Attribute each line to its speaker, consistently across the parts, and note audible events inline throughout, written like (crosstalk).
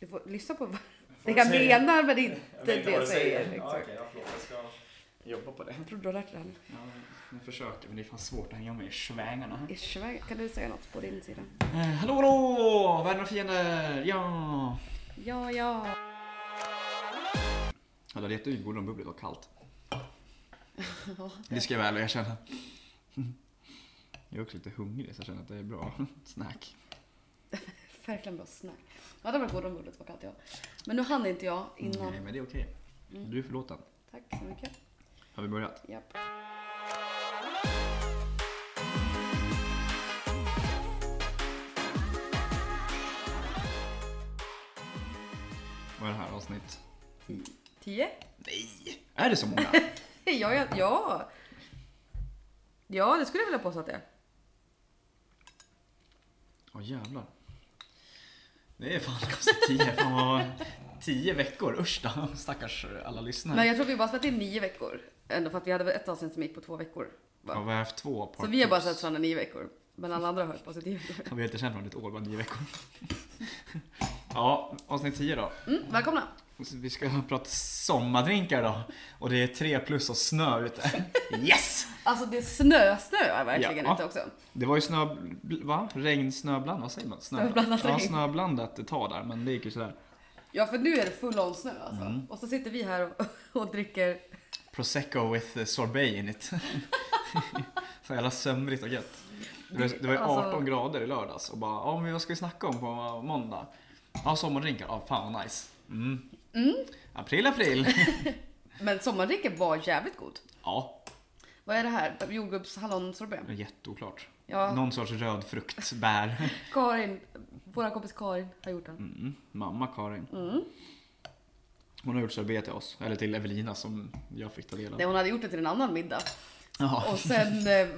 Speaker 1: Du får lyssna på vad
Speaker 2: Får
Speaker 1: det
Speaker 2: du
Speaker 1: jag
Speaker 2: säga?
Speaker 1: menar men
Speaker 2: Jag
Speaker 1: inte
Speaker 2: vet inte
Speaker 1: det
Speaker 2: vad
Speaker 1: jag
Speaker 2: du
Speaker 1: säger.
Speaker 2: säger. Ja,
Speaker 1: exakt.
Speaker 2: okej, ja, förlåt. Jag ska jobba på det.
Speaker 1: Jag tror du har lärt dig det här.
Speaker 2: Ja, jag försöker, men det är fan svårt att hänga med i svängarna.
Speaker 1: Ischväg, kan du säga något på din sida?
Speaker 2: Eh, hallå, hallå! Världen och fiender! Ja!
Speaker 1: Ja, ja.
Speaker 2: Ja, det är jättegodare om bubbligt och
Speaker 1: (laughs)
Speaker 2: kallt. Det ska jag väl erkänna. Jag är också lite hungrig så jag känner att det är bra (laughs) snack.
Speaker 1: Verkligen bra snack. Ja, det var god om bubblet var kallt ja. Men nu hann inte jag innan.
Speaker 2: Nej, men det är okej.
Speaker 1: Mm.
Speaker 2: Du är förlåten.
Speaker 1: Tack så mycket.
Speaker 2: Har vi börjat?
Speaker 1: Japp.
Speaker 2: Vad är det här avsnitt?
Speaker 1: Tio?
Speaker 2: Nej! Är det så många?
Speaker 1: Ja, ja, ja. Ja, det skulle jag vilja påstå att det är.
Speaker 2: Åh jävlar. Det är fan (laughs) konstigt. Tio, fan vad... Tio veckor, usch då. Stackars alla lyssnare.
Speaker 1: Men jag tror vi bara spelat in nio veckor. Ändå för att vi hade väl ett avsnitt som gick på två veckor.
Speaker 2: Ja, vi har haft två par
Speaker 1: Så vi har bara
Speaker 2: tips.
Speaker 1: sett varandra nio veckor. Men alla andra har hört på sig tio veckor.
Speaker 2: Ja, Vi har inte känt varandra i ett år, bara nio veckor. (laughs) Ja, avsnitt tio då.
Speaker 1: Mm, välkomna!
Speaker 2: Vi ska prata sommardrinkar då. Och det är tre plus och
Speaker 1: (laughs)
Speaker 2: snö ute. Yes!
Speaker 1: Alltså det snösnöar verkligen
Speaker 2: Ja.
Speaker 1: inte också.
Speaker 2: Det var ju snö... Va? Regn, snöbland? Vad säger man?
Speaker 1: Snöblandat
Speaker 2: Ja,
Speaker 1: regn.
Speaker 2: snöblandat ett tag där, men det gick ju sådär.
Speaker 1: Ja för nu är det full on snö alltså.
Speaker 2: Mm.
Speaker 1: Och så sitter vi här och, (laughs) och dricker.
Speaker 2: Prosecco with eh, sorbet in it. (laughs) Så jävla sömrigt och gött. Det var, det var ju
Speaker 1: Alltså-
Speaker 2: 18 grader i lördags och bara, ja men vad ska vi snacka om på måndag? Ja, sommardrinkar. Ja, fan vad nice. Mm.
Speaker 1: (laughs)
Speaker 2: April, april.
Speaker 1: Men sommardrinken var jävligt god.
Speaker 2: Ja,
Speaker 1: Vad är det här? Jordgubbshallonsorbet?
Speaker 2: det är jätteoklart.
Speaker 1: Ja,
Speaker 2: Någon sorts röd frukt, bär.
Speaker 1: Karin. Vår kompis Karin har gjort den.
Speaker 2: Mm. Mamma Karin.
Speaker 1: Mm.
Speaker 2: Hon har gjort sorbet till oss, eller till Evelina som jag fick ta del av.
Speaker 1: Nej, hon hade gjort det till en annan middag.
Speaker 2: Jaha.
Speaker 1: Och
Speaker 2: (laughs)
Speaker 1: sen eh,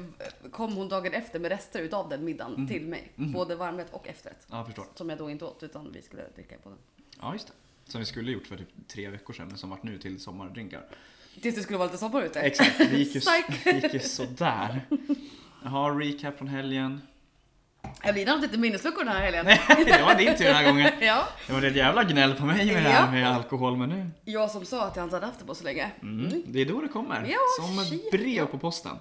Speaker 1: kom hon dagen efter med rester utav den middagen
Speaker 2: Mm.
Speaker 1: till mig. Både varmrätt och efterrätt.
Speaker 2: Ja, jag förstår.
Speaker 1: Som jag då inte åt utan vi skulle dricka på den.
Speaker 2: Ja, just det. Som vi skulle gjort för typ tre veckor sedan, men som vart nu till sommardrinkar.
Speaker 1: Tills det skulle vara lite sommar ute.
Speaker 2: Exakt, det gick ju,
Speaker 1: Psych.
Speaker 2: det gick ju sådär. Jaha, recap från helgen. (laughs)
Speaker 1: Evelina har haft lite minnesluckor den här helgen. (laughs)
Speaker 2: Det var din tur den här gången.
Speaker 1: Ja.
Speaker 2: Det var ett jävla gnäll på mig med det här
Speaker 1: Ja.
Speaker 2: med alkohol, men nu.
Speaker 1: Jag som sa att jag inte hade haft det på så länge.
Speaker 2: Mm, det är då det kommer.
Speaker 1: Ja,
Speaker 2: som ett
Speaker 1: shit.
Speaker 2: brev på posten.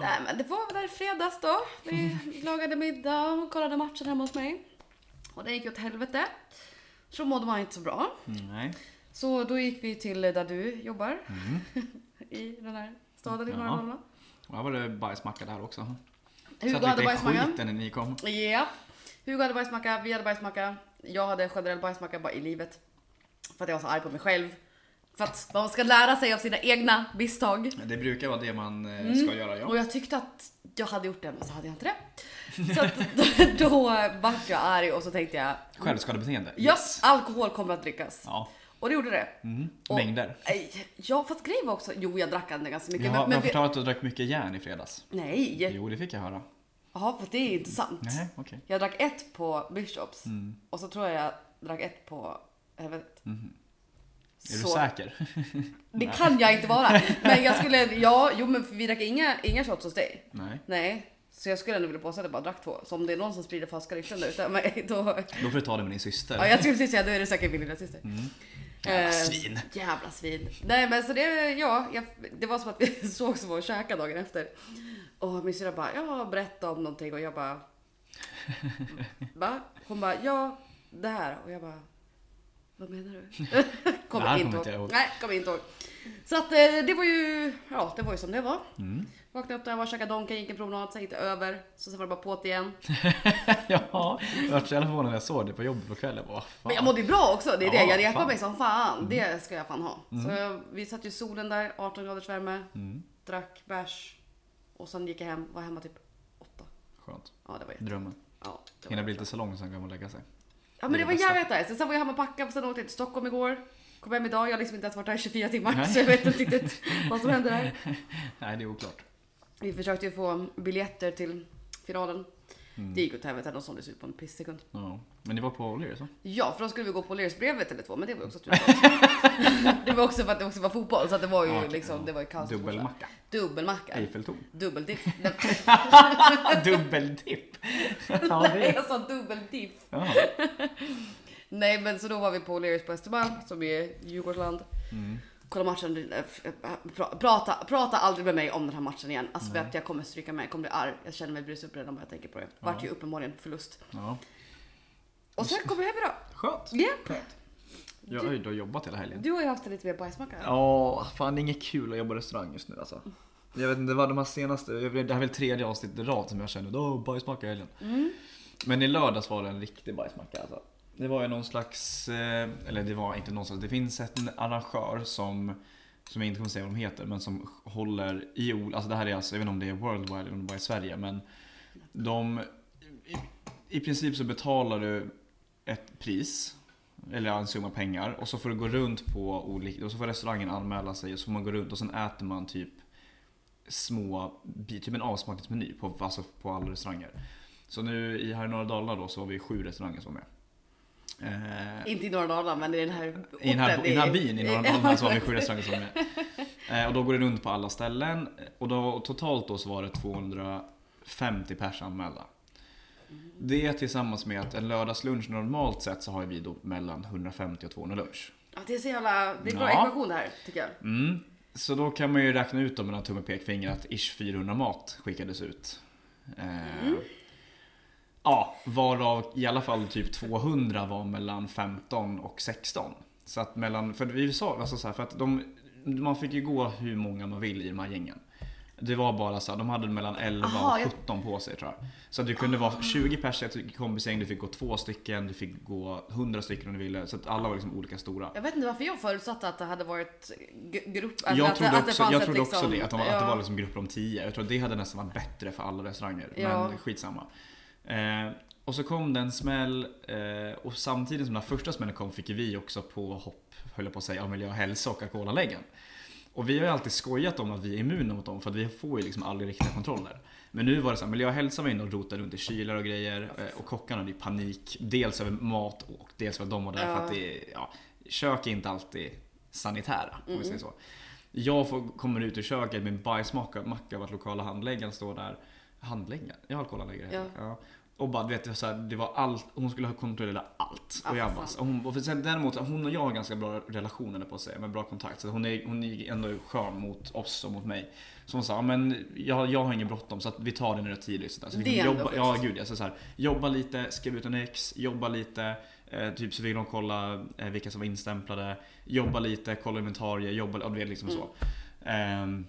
Speaker 1: Nej men det var väl där i fredags då. Vi lagade middag, kollade matchen hemma hos mig. Och det gick åt helvete. Så mådde man inte så bra.
Speaker 2: Mm, Nej.
Speaker 1: Så då gick vi till där du jobbar. (laughs) I den här staden i norra
Speaker 2: Ja.
Speaker 1: Dalarna.
Speaker 2: Och här var det bajsmacka där också.
Speaker 1: Hugo hade
Speaker 2: i
Speaker 1: bajsmacka.
Speaker 2: skiten när ni kom.
Speaker 1: Ja. Hugo hade bajsmacka, vi hade bajsmacka. Jag hade generell bajsmacka bara i livet. För att jag var så arg på mig själv. För att man ska lära sig av sina egna misstag.
Speaker 2: Det brukar vara det man eh,
Speaker 1: Mm.
Speaker 2: ska göra, ja.
Speaker 1: Och jag tyckte att jag hade gjort det, men så hade jag inte
Speaker 2: (laughs)
Speaker 1: det. Så att (laughs) då, då vart jag arg och så tänkte jag,
Speaker 2: Självskadebeteende.
Speaker 1: ja, alkohol kommer att drickas.
Speaker 2: Ja.
Speaker 1: Och det gjorde det.
Speaker 2: Mm.
Speaker 1: Och-
Speaker 2: Mängder.
Speaker 1: Nej, Ja, fast grejen var också, jo jag drack ändå ganska mycket.
Speaker 2: Jag har
Speaker 1: men,
Speaker 2: men,
Speaker 1: men vi,
Speaker 2: förklarat att du drack mycket järn i fredags.
Speaker 1: nej,
Speaker 2: Jo, det fick jag höra.
Speaker 1: jaha för det är inte sant.
Speaker 2: Nej, Mm. okej.
Speaker 1: Jag drack ett på Bishops och så tror jag jag drack ett på helvetet.
Speaker 2: Mhm. Är du säker? (laughs)
Speaker 1: Det kan jag inte vara. Men jag skulle, ja, jo men vi drack inga, inga shots hos dig.
Speaker 2: Nej.
Speaker 1: Nej, så jag skulle ändå vilja påstå att jag bara drack två. Så om det är någon som sprider falska rykten där ute, (laughs) men då...
Speaker 2: Då får du ta det med din syster.
Speaker 1: Ja, jag skulle precis säga, då är det säkert min lillasyster.
Speaker 2: Jävla
Speaker 1: Eh,
Speaker 2: svin. (laughs)
Speaker 1: Jävla svin. Nej men så det, ja, jag, det var som att vi (laughs) såg som och käkade dagen efter. Och min syrra bara, ja berätta om någonting och jag
Speaker 2: (laughs)
Speaker 1: bara... Va? Hon bara, ja det här. Och jag bara, vad menar
Speaker 2: (laughs)
Speaker 1: du?
Speaker 2: Det här
Speaker 1: kommer inte
Speaker 2: kommer
Speaker 1: ihåg.
Speaker 2: inte jag ihåg.
Speaker 1: Nej, kommer inte ihåg. Så att eh, det var ju, ja det var ju som det var.
Speaker 2: Mm.
Speaker 1: Vaknade upp där, var och käkade Donken, gick en promenad, sen gick det över. Så sen var det bara på't igen.
Speaker 2: Ja, jag vart så jävla förvånad när jag såg det på jobbet på kvällen. Bara, fan.
Speaker 1: Men jag mådde ju bra också, det är
Speaker 2: Ja,
Speaker 1: det. Jag repade
Speaker 2: fan. Mm.
Speaker 1: mig som fan. Det ska jag fan ha. Så jag, vi satt ju i solen där, 18 graders värme,
Speaker 2: Mm.
Speaker 1: drack bärs och sen gick jag hem, var hemma typ 8.
Speaker 2: Skönt.
Speaker 1: Ja det var jätte...
Speaker 2: Drömmen.
Speaker 1: Ja, det
Speaker 2: Hinna
Speaker 1: var,
Speaker 2: bli lite så lång sen kan man lägga sig. (laughs)
Speaker 1: ja men det var
Speaker 2: bästa.
Speaker 1: jävligt nice. Sen var jag hemma och packade, sen åkte jag till Stockholm igår. Kom hem idag, jag har liksom inte ens varit här i 24 timmar
Speaker 2: Nej.
Speaker 1: så jag vet inte
Speaker 2: (laughs)
Speaker 1: riktigt vad som hände där.
Speaker 2: Nej, det är oklart.
Speaker 1: Vi försökte ju få biljetter till finalen.
Speaker 2: Mm.
Speaker 1: Det gick åt helvete, de såldes ut på en pissekund.
Speaker 2: Ja. Men det var på O'Learys va?
Speaker 1: Ja, för då skulle vi gå på Lears brevet eller två, men det var ju också tur.
Speaker 2: (laughs)
Speaker 1: det var också för att det också var fotboll, så att det var ju
Speaker 2: Ja, okej,
Speaker 1: liksom,
Speaker 2: ja.
Speaker 1: det var ju kaos.
Speaker 2: Dubbelmacka.
Speaker 1: Dubbelmacka.
Speaker 2: Eiffeltorn. (laughs)
Speaker 1: Dubbeldiff.
Speaker 2: Dubbeldipp. Ja,
Speaker 1: (laughs)
Speaker 2: det
Speaker 1: Nej, (laughs)
Speaker 2: är...
Speaker 1: jag sa dubbeldiff.
Speaker 2: ja.
Speaker 1: Nej men så då var vi på O'Learys på Östermalm som är Djurgårdsland.
Speaker 2: Mm.
Speaker 1: Kolla matchen. eh, f- pra- Prata, prata aldrig med mig om den här matchen igen. Alltså för att jag kommer stryka med, jag kommer bli arg. Jag känner mig brus upp redan bara jag tänker på det. Vart ju uppenbarligen förlust.
Speaker 2: Ja.
Speaker 1: Och sen kommer jag hem idag.
Speaker 2: Skönt.
Speaker 1: Ja.
Speaker 2: Jag har ju då jobbat hela helgen.
Speaker 1: Du har ju haft en lite mer bajsmacka.
Speaker 2: Ja, fan det är inget kul att jobba restaurang just nu alltså. Jag vet inte, det var de här senaste, jag vet- det här är väl tredje avsnittet i rad som jag kände, åh bajsmacka i helgen. Men i lördags var det en riktig bajsmacka alltså. Det var ju någon slags, eh, eller det var inte någon slags, det finns en arrangör som, som jag inte kommer säga vad de heter, men som håller i, ol- alltså det här är alltså, jag vet inte om det är worldwide eller om det bara är i Sverige, men de, i, i princip så betalar du ett pris eller en summa pengar och så får du gå runt på olika, och så får restaurangen anmäla sig och så får man gå runt och sen äter man typ små, bi- typ en avsmakningsmeny på, alltså på alla restauranger. Så nu i här i norra Dalarna då så har vi sju restauranger som är med. Eh,
Speaker 1: Inte i norra Dalarna men i den här
Speaker 2: i den, här,
Speaker 1: orten
Speaker 2: I den här byn
Speaker 1: (laughs)
Speaker 2: i (laughs) norra Dalarna så har vi sju restauranger som är med. Eh, Och då går det runt på alla ställen. Eh, Och då, och totalt då så var det 250 pers anmälda. Det tillsammans med att en lördagslunch normalt sett så har vi då mellan 150 och 200 lunch.
Speaker 1: Ja, det är så jävla, det är en bra
Speaker 2: Ja.
Speaker 1: ekvation det här tycker jag.
Speaker 2: Mm. Så då kan man ju räkna ut då mellan tumme och pekfinger att ish 400 mat skickades ut. Eh,
Speaker 1: Mm.
Speaker 2: Ja, varav i alla fall typ 200 var mellan 15 och 16. Så att mellan, för vi sa, alltså så här, för att de, man fick ju gå hur många man vill i de här gängen. Det var bara så här, de hade mellan 11
Speaker 1: Aha, jag- Ah.
Speaker 2: och 17 på sig tror jag. Så att du kunde vara 20 pers i ett kompisgäng, du fick gå två stycken, du fick gå 100 stycken om du ville. Så att alla var liksom olika stora.
Speaker 1: Jag vet inte varför jag förutsatte att det hade varit g- grupp...
Speaker 2: Jag
Speaker 1: typ att,
Speaker 2: trodde
Speaker 1: att
Speaker 2: också,
Speaker 1: fanns
Speaker 2: jag
Speaker 1: ett
Speaker 2: trodde också
Speaker 1: liksom-
Speaker 2: det, att, de, att det
Speaker 1: ja.
Speaker 2: var liksom grupper om tio. Jag tror att det hade nästan varit bättre för alla restauranger.
Speaker 1: Ja.
Speaker 2: Men skitsamma. Eh, och så kom den smäll eh, och samtidigt som den här första smällen kom fick ju vi också på hopp, höll jag på att säga, av miljö och hälsa och alkoholanläggen. Och vi har ju alltid skojat om att vi är immuna mot dem för att vi får ju liksom aldrig riktiga kontroller. Men nu var det så här, miljö och hälsa var inne och rotade runt i kylar och grejer eh, och kockarna hade ju panik. Dels över mat och dels över dem och där för
Speaker 1: Ja.
Speaker 2: att det, är- ja, kök är inte alltid sanitära
Speaker 1: Mm.
Speaker 2: om vi säger så. Jag får, kommer ut ur köket med en bajsmacka macka av att lokala handläggaren står där. Handläggaren? Ja, alkoholanläggare heter det. ja. Och bara, du vet, så här, det var allt, hon skulle ha kontrollerat allt.
Speaker 1: Ja,
Speaker 2: och jag
Speaker 1: för
Speaker 2: bara,
Speaker 1: fan.
Speaker 2: och hon, och för sen, däremot, hon och jag har ganska bra relationer på sig, men bra kontakt. Så hon är, hon är ändå skön mot oss och mot mig. Så hon sa, "Ja, men jag, jag har ingen bråttom så att vi tar det när det är tidigt. Så, där. så vi
Speaker 1: Det
Speaker 2: kan
Speaker 1: är ändå
Speaker 2: jobba, ja,
Speaker 1: schysst.
Speaker 2: gud, alltså, så här, jobba lite, skriv ut en ex, jobba lite. Eh, typ så vill de kolla eh, vilka som var instämplade. Jobba lite, kolla inventarier, jobba, ja, du vet liksom
Speaker 1: Mm.
Speaker 2: så. Ehm,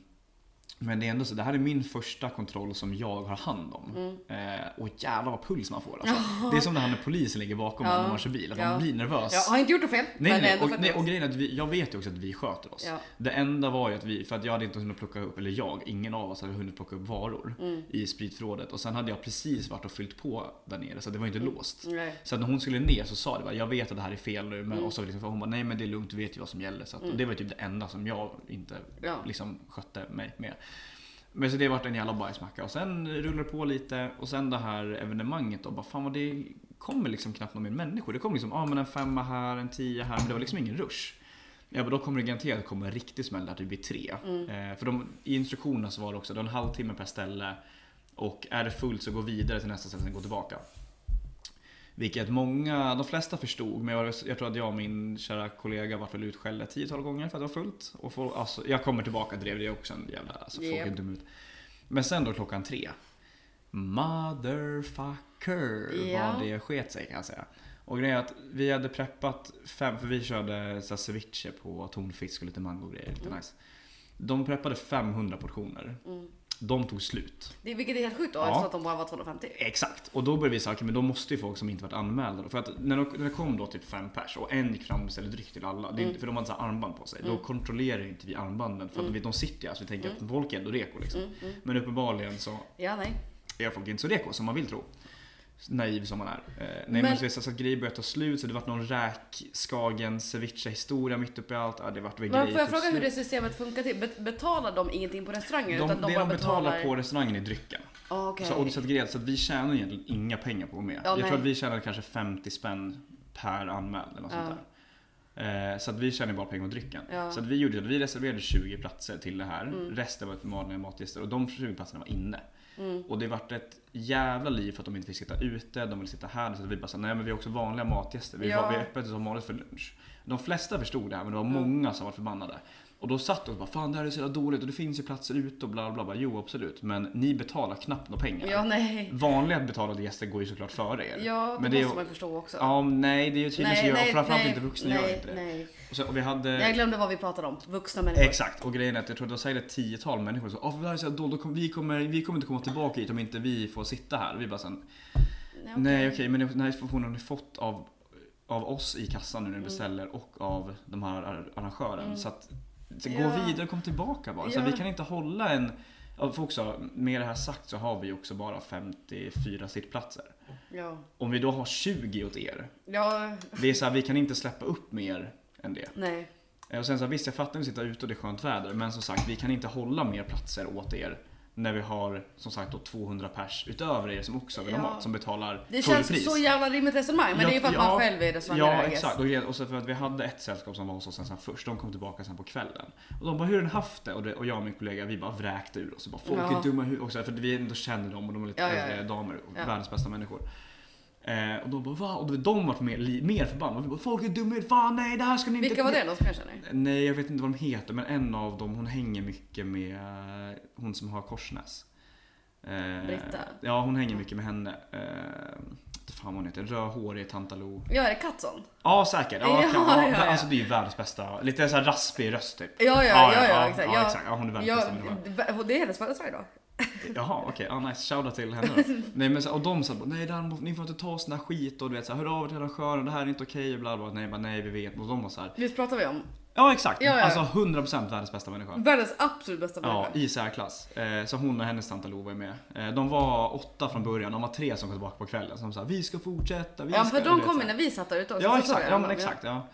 Speaker 2: men det är ändå så, det här är min första kontroll som jag har hand om.
Speaker 1: Mm.
Speaker 2: Eh, och jävlar vad puls man får alltså. Det är som det här när polisen ligger bakom
Speaker 1: Ja.
Speaker 2: en när man kör bil, att
Speaker 1: Ja.
Speaker 2: man blir nervös.
Speaker 1: Jag har inte gjort något fel.
Speaker 2: Nej,
Speaker 1: men
Speaker 2: nej,
Speaker 1: ändå
Speaker 2: och,
Speaker 1: för att-
Speaker 2: nej, och grejen är att vi, jag vet ju också att vi sköter oss.
Speaker 1: Ja.
Speaker 2: Det enda var ju att vi, för att jag hade inte hunnit plocka upp, eller jag, ingen av oss hade hunnit plocka upp varor i spritförrådet. Och sen hade jag precis varit och fyllt på där nere så det var ju inte låst.
Speaker 1: Nej.
Speaker 2: Så att när hon skulle ner så sa det bara, jag vet att det här är fel nu. Men, och så liksom, för hon bara, nej men det är lugnt, du vet ju vad som gäller. Så att, och det var typ det enda som jag inte
Speaker 1: Ja.
Speaker 2: liksom, skötte mig med. Men så det vart en jävla bajsmacka. Och sen rullar det på lite. Och sen det här evenemanget då, bara fan vad det kommer liksom knappt någon mer människor. Det kom liksom, ah, men en femma här, en tio här. Men det var liksom ingen rush. Ja, men då kommer det garanterat komma en riktig smäll där det blir tre. Eh, för de, i instruktionerna så var det också, det var en halvtimme per ställe. Och är det fullt så gå vidare till nästa ställe, sen gå tillbaka. Vilket många, de flesta förstod, men jag, jag tror att jag och min kära kollega vart väl utskällda ett tiotal gånger för att det var fullt. Och folk, alltså, jag kommer tillbaka drev det också en jävla, alltså,
Speaker 1: Yep.
Speaker 2: folk är dum ut. Men sen då klockan tre. Motherfucker
Speaker 1: Ja.
Speaker 2: vad det sket sig kan jag säga. Och grejen är att vi hade preppat fem, för vi körde så här ceviche på tonfisk och lite mango och grejer, lite nice. De preppade 500 portioner. De tog slut.
Speaker 1: Mm. Det, vilket är helt sjukt då
Speaker 2: Ja.
Speaker 1: eftersom att de bara var 250.
Speaker 2: Exakt, och då började vi säga okej men då måste ju folk som inte varit anmälda. då." För att när de- när det kom då typ fem pers och en gick fram och beställde dryck till alla. Det är inte, för de hade så här armband på sig. Då kontrollerar ju inte vi armbanden. För att vi, de sitter ju här så vi tänker att folk är ändå reko
Speaker 1: Mm.
Speaker 2: liksom. Men uppenbarligen så
Speaker 1: Ja, nej.
Speaker 2: är folk inte så reko som man vill tro. Naiv som man är. Eh, nej
Speaker 1: Men-
Speaker 2: men, så, är det så att grejer började ta slut så det vart någon räk, Skagen, ceviche historia mitt uppe i allt. Ja, det vart väl
Speaker 1: Men
Speaker 2: grejer
Speaker 1: får jag
Speaker 2: tog
Speaker 1: fråga hur
Speaker 2: slut.
Speaker 1: det systemet funkar till? Bet- Betalar de ingenting på restaurangen?
Speaker 2: de,
Speaker 1: utan de
Speaker 2: det
Speaker 1: bara
Speaker 2: de betalar
Speaker 1: betalar
Speaker 2: på restaurangen är drycken.
Speaker 1: Ah, okej.
Speaker 2: Så, och så, att grejen, så att vi tjänar egentligen inga pengar på att gå med.
Speaker 1: Ja,
Speaker 2: jag
Speaker 1: nej.
Speaker 2: tror att vi tjänar kanske 50 spänn per anmäld eller något sånt
Speaker 1: Ja.
Speaker 2: där. Eh, så att vi tjänade bara pengar på drycken.
Speaker 1: Ja. Mm.
Speaker 2: Så att vi gjorde så att vi reserverade 20 platser till det här. Resten var för vanliga matgäster och de 20 platserna var inne.
Speaker 1: Mm.
Speaker 2: Och det vart ett jävla liv för att de inte fick sitta ute, de ville sitta här. Så att vi bara sa, nej men vi är också vanliga matgäster. Vi,
Speaker 1: Ja.
Speaker 2: var, vi är öppet som vanligt för lunch. De flesta förstod det här men det var många som var förbannade. Och då satt de och bara, fan det här är så jävla dåligt och det finns ju platser ute och bla bla bla. Jo absolut, men ni betalar knappt några pengar.
Speaker 1: Ja, nej.
Speaker 2: Vanliga betalade gäster går ju såklart före er.
Speaker 1: Ja, det
Speaker 2: men
Speaker 1: måste
Speaker 2: det är,
Speaker 1: man ju förstå också.
Speaker 2: Ja, nej, det är ju tydligen så gör framförallt inte vuxna
Speaker 1: nej,
Speaker 2: gör inte det.
Speaker 1: Nej.
Speaker 2: Och, så, och vi hade...
Speaker 1: Jag glömde vad vi pratade om. Vuxna människor.
Speaker 2: Exakt, och grejen är att jag tror det var säkert ett tiotal människor som sa oh, det här är så här dåligt, då kom, vi, kommer, vi kommer inte komma tillbaka hit om inte vi får sitta här. Vi bara sen,
Speaker 1: Ja, okej.
Speaker 2: nej okej, men den här informationen har ni fått av, av oss i kassan
Speaker 1: Mm.
Speaker 2: nu när ni beställer och av de här ar- arrangören. Så att, så gå
Speaker 1: Ja.
Speaker 2: vidare och kom tillbaka bara. Så
Speaker 1: Ja.
Speaker 2: vi kan inte hålla en... ja, För också, med det här sagt så har vi också bara 54 sittplatser.
Speaker 1: Ja.
Speaker 2: Om vi då har 20 åt er,
Speaker 1: ja,
Speaker 2: det är så här, vi kan inte släppa upp mer än det.
Speaker 1: nej.
Speaker 2: Eh, Och sen så här, visst jag fattar att vi sitter ute och det är skönt väder men som sagt vi kan inte hålla mer platser åt er när vi har som sagt då 200 pers utöver er som också vill ha
Speaker 1: Ja.
Speaker 2: mat som betalar
Speaker 1: Det
Speaker 2: full
Speaker 1: känns
Speaker 2: pris.
Speaker 1: så jävla rimligt resonemang. Men det är ju för att
Speaker 2: Ja,
Speaker 1: man själv är det som
Speaker 2: Ja
Speaker 1: är I guess.
Speaker 2: exakt och, grejen- och så för att vi hade ett sällskap som var hos oss sen, sen först, de kom tillbaka sen på kvällen. Och de bara hur har ni haft det? Och, det, och jag och min kollega vi bara vräkte ur oss och bara folk
Speaker 1: Ja.
Speaker 2: är dumma i huvudet också för att vi ändå känner dem och de är lite
Speaker 1: Ja, ja, ja.
Speaker 2: äldre damer och
Speaker 1: Ja.
Speaker 2: världens bästa människor. Eh, och de bara va? Och de var mer, li- mer förbannade. Vi bara, folk är dumma i huvudet, fan nej det här ska ni inte...
Speaker 1: Vilka var det då som jag känner?
Speaker 2: Nej, jag vet inte vad de heter, men en av dem hon hänger mycket med eh, hon som har Korsnäs. Eh,
Speaker 1: Britta?
Speaker 2: Ja, hon hänger mycket med henne. Eh, vad fan vad hon heter, rödhårig Tantalo.
Speaker 1: Ja, är det Katzon?
Speaker 2: Ja, säkert. Ja,
Speaker 1: Ja,
Speaker 2: kan, ja,
Speaker 1: ja, ja.
Speaker 2: Alltså det är ju världens bästa. Lite så här raspig röst typ.
Speaker 1: Ja, ja, ja, ja, exakt.
Speaker 2: Ja,
Speaker 1: Ja.
Speaker 2: exakt. Ja, hon är världens
Speaker 1: Ja,
Speaker 2: bästa människa.
Speaker 1: det- det är hennes födelsedag idag.
Speaker 2: Jaha, okej. Ah, nice. Shoutout till henne
Speaker 1: (laughs)
Speaker 2: då. Nej, men så, och de sa bara, nej Dan, ni får inte ta sån här skit och du vet så här, hör av er till arrangören, det här är inte okej och bla bla. bla. Nej, jag bara, nej vi vet. Och de var så här,
Speaker 1: Visst pratar vi om
Speaker 2: ja exakt.
Speaker 1: Ja, Mm. ja.
Speaker 2: Alltså 100% världens bästa människa.
Speaker 1: världens absolut bästa
Speaker 2: Ja,
Speaker 1: människa?
Speaker 2: i särklass. Eh, så hon och hennes tant Alova är med. Eh, de var åtta från början, de var tre som kom tillbaka på kvällen. Som sa vi ska fortsätta, vi
Speaker 1: Ja,
Speaker 2: ska...
Speaker 1: för
Speaker 2: du
Speaker 1: de
Speaker 2: vet,
Speaker 1: kom
Speaker 2: så
Speaker 1: ju
Speaker 2: här.
Speaker 1: när vi satt där ute också.
Speaker 2: Ja,
Speaker 1: så sa
Speaker 2: exakt.
Speaker 1: jag
Speaker 2: Ja,
Speaker 1: dem,
Speaker 2: men exakt. Ja.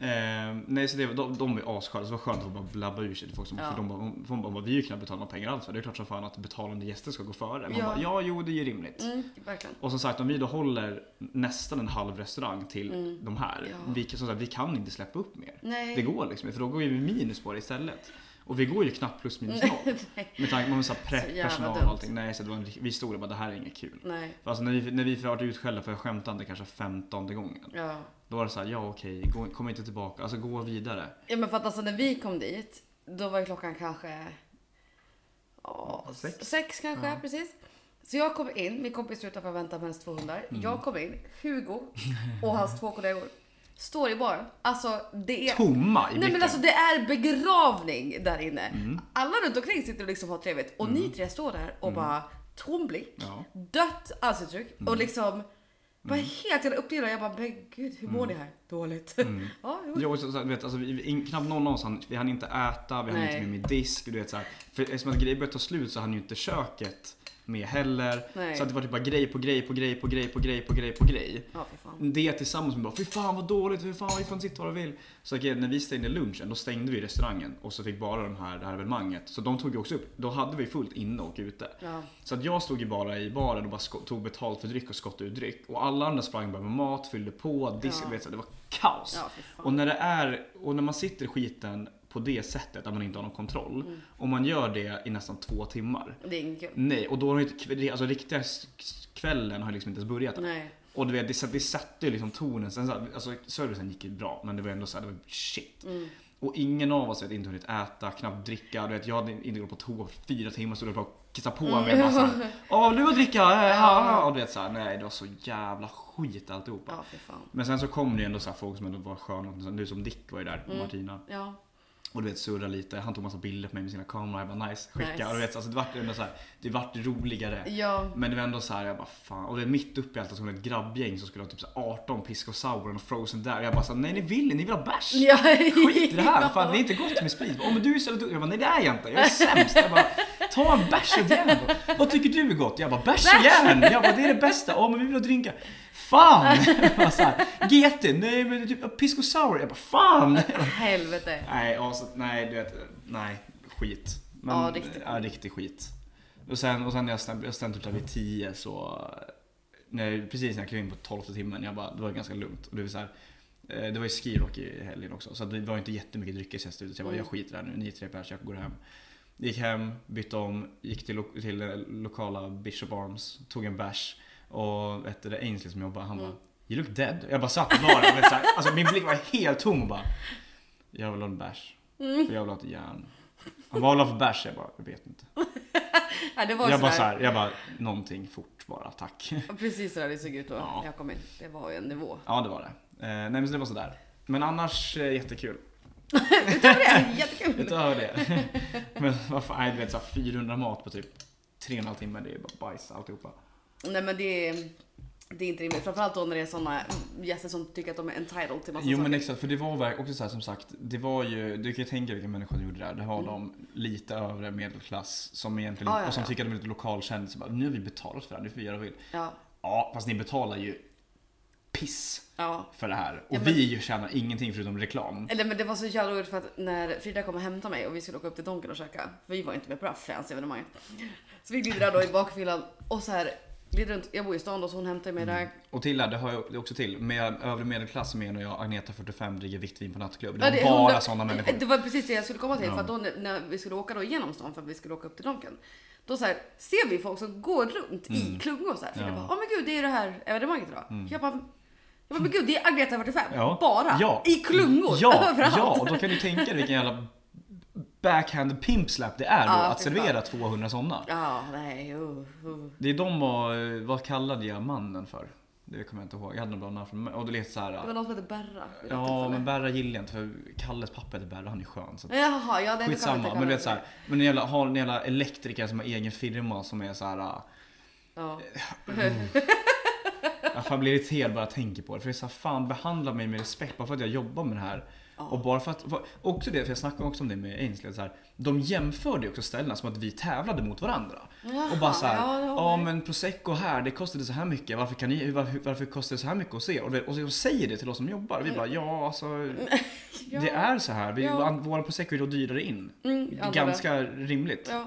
Speaker 2: Eh, nej, så det, var- de, de är assköna, så det var skönt att få bara blabba ur sig till folk. Som,
Speaker 1: Ja.
Speaker 2: för de, bara- hon- för hon bara, vi har ju knappt betalat några pengar alls. för Det är klart som fan att betalande gäster ska gå före.
Speaker 1: Ja.
Speaker 2: Man ja. bara, ja, jo, det är ju rimligt.
Speaker 1: Mm, verkligen.
Speaker 2: Och som sagt, om vi då håller nästan en halv restaurang till de här.
Speaker 1: Mm. Ja.
Speaker 2: Vi, kan- som sagt, vi kan inte släppa upp mer.
Speaker 1: Nej.
Speaker 2: Det går liksom för då går vi minus på det istället. Och vi går ju knappt plus minus noll. Med tanke på om så här
Speaker 1: Så
Speaker 2: prepp,
Speaker 1: jävla
Speaker 2: personal och
Speaker 1: dumt.
Speaker 2: allting. Nej, så det var en, rik- vi stod där och bara det här är inget kul.
Speaker 1: (laughs) Nej.
Speaker 2: För alltså när vi, när vi varit utskällda för skämtande kanske femtonde gången.
Speaker 1: Ja.
Speaker 2: Då var det så här, ja okej, gå, kom inte tillbaka, alltså gå vidare.
Speaker 1: ja, men för att alltså när vi kom dit, då var ju klockan kanske... Ja,
Speaker 2: Sex.
Speaker 1: sex. kanske, precis. Så jag kom in, min kompis står utanför och väntar med hennes två hundar. Jag kom in, Hugo och hans två kollegor står i baren. Alltså det är...
Speaker 2: Tomma
Speaker 1: Nej
Speaker 2: i
Speaker 1: men
Speaker 2: blicken.
Speaker 1: alltså det är begravning där inne. Alla runt omkring sitter och liksom har trevligt och ni tre står där och bara tom blick,
Speaker 2: Ja.
Speaker 1: dött ansiktsuttryck och liksom bara helt jävla uppdelad. Jag bara men gud hur mår ni här? Dåligt. (laughs) ja, jo.
Speaker 2: Ja, och så, så, här, du vet, alltså, vi, vi- in, knappt någon av oss hann, vi hann inte äta, vi hann
Speaker 1: Nej.
Speaker 2: inte med med disk. Du vet, så här, för eftersom att grejer började ta slut så hann ju inte köket med heller.
Speaker 1: Nej.
Speaker 2: Så att det var typ bara grej på grej på grej på grej på grej på grej på grej.
Speaker 1: ja fy fan.
Speaker 2: Det tillsammans med bara fy fan vad dåligt, fy fan vi får inte sitta var vi vill. Så att, när vi stängde lunchen då stängde vi restaurangen och så fick bara de här, det här evenemanget. Så de tog ju också upp, då hade vi fullt inne och ute.
Speaker 1: Ja.
Speaker 2: Så att jag stod ju bara i baren och bara sko- tog betalt för dryck och skottade ut dryck. Och alla andra sprang bara med mat, fyllde på, disk,
Speaker 1: Ja.
Speaker 2: vet, så det var kaos.
Speaker 1: Ja, fy fan.
Speaker 2: och, när det är, och när man sitter i skiten på det sättet, att man inte har någon kontroll.
Speaker 1: Mm.
Speaker 2: Och man gör det i nästan två timmar.
Speaker 1: Det är inget kul.
Speaker 2: Nej, och då har ju inte, kv- alltså riktiga s- kvällen har liksom inte ens börjat än.
Speaker 1: Nej.
Speaker 2: Och du vet, det, satt- det satte ju liksom tonen. Sen, så här- alltså, servicen gick ju bra, men det var ändå så här, det var shit.
Speaker 1: Mm.
Speaker 2: Och ingen av oss hade inte hunnit äta, knappt dricka. Du vet, jag hade inte gått på toa på fyra timmar så du bara kissa på mig. Bara så
Speaker 1: Mm.
Speaker 2: här, Åh, du vill dricka? Äh, ja. Och du vet så här, nej det var så jävla skit alltihopa.
Speaker 1: Ja fy fan.
Speaker 2: Men sen så kom det ju ändå så här folk som ändå var sköna. Nu som Dick var ju
Speaker 1: Mm.
Speaker 2: där, och Martina.
Speaker 1: Ja.
Speaker 2: Och du vet surra lite, han tog massa bilder på mig med sina kameror, jag bara nice, skicka.
Speaker 1: Nice.
Speaker 2: Och du vet, alltså, det vart ju ändå så här, det vart roligare.
Speaker 1: Ja.
Speaker 2: Men det var ändå så här, jag bara fan. Och det är mitt uppe i allt, som ett grabbgäng som skulle ha typ så här 18 pisk och sour och frozen där. Och jag bara så här, nej ni vill ni vill ha bärs.
Speaker 1: Ja.
Speaker 2: Skit i det här, fan det är inte gott med sprit. Åh men du är så jävla dum. Jag bara, nej det är jag inte, jag är sämst. Jag bara, ta en bärs och järn då. Vad tycker du är gott? Jag bara, bärs och järn. Jag bara, det är det bästa. Åh men vi vill ha drinkar. Fan! (laughs) Jag bara så här, GT, nej men det är typ pisk och sour. Jag bara, fan!
Speaker 1: (laughs) Helvete.
Speaker 2: Nej, alltså, nej, du vet, nej, skit. Men,
Speaker 1: Ja, riktigt.
Speaker 2: ja, riktig skit. Och sen, och sen när jag stämt, jag stämt upp där vid 10 så, när, precis när jag klev in på 12 timmen, jag bara, det var ganska lugnt. Och det var så här, Eh, Det var ju skirock i helgen också så att det var inte jättemycket dryckestester ute. Så jag bara, jag
Speaker 1: Mm.
Speaker 2: skiter i det här nu. Ni är tre pers, jag går hem. Gick hem, bytte om, gick till, lo- till det lokala Bishop Arms, tog en bärs. Och vet du, det Ainsley som jobbade, han
Speaker 1: Mm.
Speaker 2: bara You look dead. Jag bara satt bara med så här, alltså min blick var helt tom och bara Jag vill ha en bärs.
Speaker 1: Mm.
Speaker 2: För jag vill ha ett järn. Han bara, vad vill du ha för bärs? Jag bara, jag vet inte.
Speaker 1: Ja, det var
Speaker 2: Jag
Speaker 1: sådär.
Speaker 2: bara så här, jag bara, någonting fort bara, tack.
Speaker 1: Precis sådär det såg ut då
Speaker 2: Ja.
Speaker 1: när jag kom in. Det var ju en nivå.
Speaker 2: Ja det var det. Eh, nej men så det var sådär. Men annars eh, jättekul.
Speaker 1: Utöver det, jättekul!
Speaker 2: Utöver det. (laughs) men vad fan, nej, du vet såhär 400 mat på typ 3,5 timmar, det är bara bajs alltihopa.
Speaker 1: Nej men det är, det är inte rimligt. Framförallt då när det är sådana gäster som tycker att de är entitled till massa
Speaker 2: Jo men
Speaker 1: saker.
Speaker 2: exakt, för det var verkligen också så här, som sagt, det var ju, du kan ju tänka vilka människor som gjorde det där. Det var de lite övre medelklass som egentligen,
Speaker 1: Mm. Ah, Ja, ja,
Speaker 2: och som
Speaker 1: ja.
Speaker 2: tycker att de är lite lokalkända. Så bara, nu har vi betalat för det här, nu får vi göra vad vi vill.
Speaker 1: Ja,
Speaker 2: Ja, fast ni betalar ju piss
Speaker 1: ja.
Speaker 2: för det här. Och
Speaker 1: Ja, men-
Speaker 2: vi ju tjänar ingenting förutom reklam.
Speaker 1: Eller men det var så jävla roligt för att när Frida kom och hämtade mig och vi skulle åka upp till Donken och käka. För vi var inte med på det här fancy evenemanget. Så vi glider där då i bakfyllan och så här glider runt. Jag bor i stan då så hon hämtade mig där.
Speaker 2: Och till det, här, det hör jag också till, med övre medelklass menar jag Agneta 45 dricker vitt vin på nattklubb. Det
Speaker 1: Ja,
Speaker 2: var
Speaker 1: det är
Speaker 2: bara
Speaker 1: hundra-
Speaker 2: sådana människor.
Speaker 1: Det var precis det jag skulle komma till.
Speaker 2: Ja.
Speaker 1: För att då när- när vi skulle åka då igenom stan för att vi skulle åka upp till Donken. Då så här, ser vi folk som går runt i klungor så här. Frida
Speaker 2: Mm. Ja. Mm.
Speaker 1: bara, åh men gud det är ju det här evenemanget idag. Jag bara, jag bara, men gud det är Agneta 45.
Speaker 2: Ja.
Speaker 1: Bara.
Speaker 2: Ja.
Speaker 1: I klungor.
Speaker 2: Ja,
Speaker 1: (laughs) överallt.
Speaker 2: ja, och då kan du tänka dig vilken jävla backhand pimp slap det är då
Speaker 1: Ja,
Speaker 2: att
Speaker 1: fy fan.
Speaker 2: servera 200 sådana.
Speaker 1: Ja, nej. Uh, uh.
Speaker 2: Det är de och, eh, vad kallade jag mannen för? Det kommer jag inte ihåg, jag hade något bra namn för mig. Och det lät
Speaker 1: Det var
Speaker 2: såhär,
Speaker 1: någon som hette Berra. vid något
Speaker 2: eh, ja
Speaker 1: tillfälle.
Speaker 2: men Berra gillar jag inte för Kalles pappa heter Berra, han är skön. Så att-
Speaker 1: Jaha, ja det är
Speaker 2: Skitsamma, men du vet såhär, men en jävla, har en jävla elektriker som har egen firma som är eh, såhär
Speaker 1: Ja.
Speaker 2: Mm. Jag fan blir irriterad bara jag tänker på det. För det är så här, fan behandla mig med respekt bara för att jag jobbar med det här. Och bara för att, för- också det, för jag snackade också om det med Ainsley, så här, de jämförde ju också ställena som att vi tävlade mot varandra. och bara så här,
Speaker 1: ja, det
Speaker 2: ja,
Speaker 1: håller jag.
Speaker 2: men prosecco här, det kostade så här mycket, varför, kan ni, varför, varför kostar det så här mycket hos er? Och, det, och de säger det till oss som jobbar, vi bara
Speaker 1: (laughs)
Speaker 2: ja alltså, det är så här, vi,
Speaker 1: Ja.
Speaker 2: vår prosecco är då dyrare in.
Speaker 1: Mm, ja, det
Speaker 2: Ganska rimligt.
Speaker 1: Ja.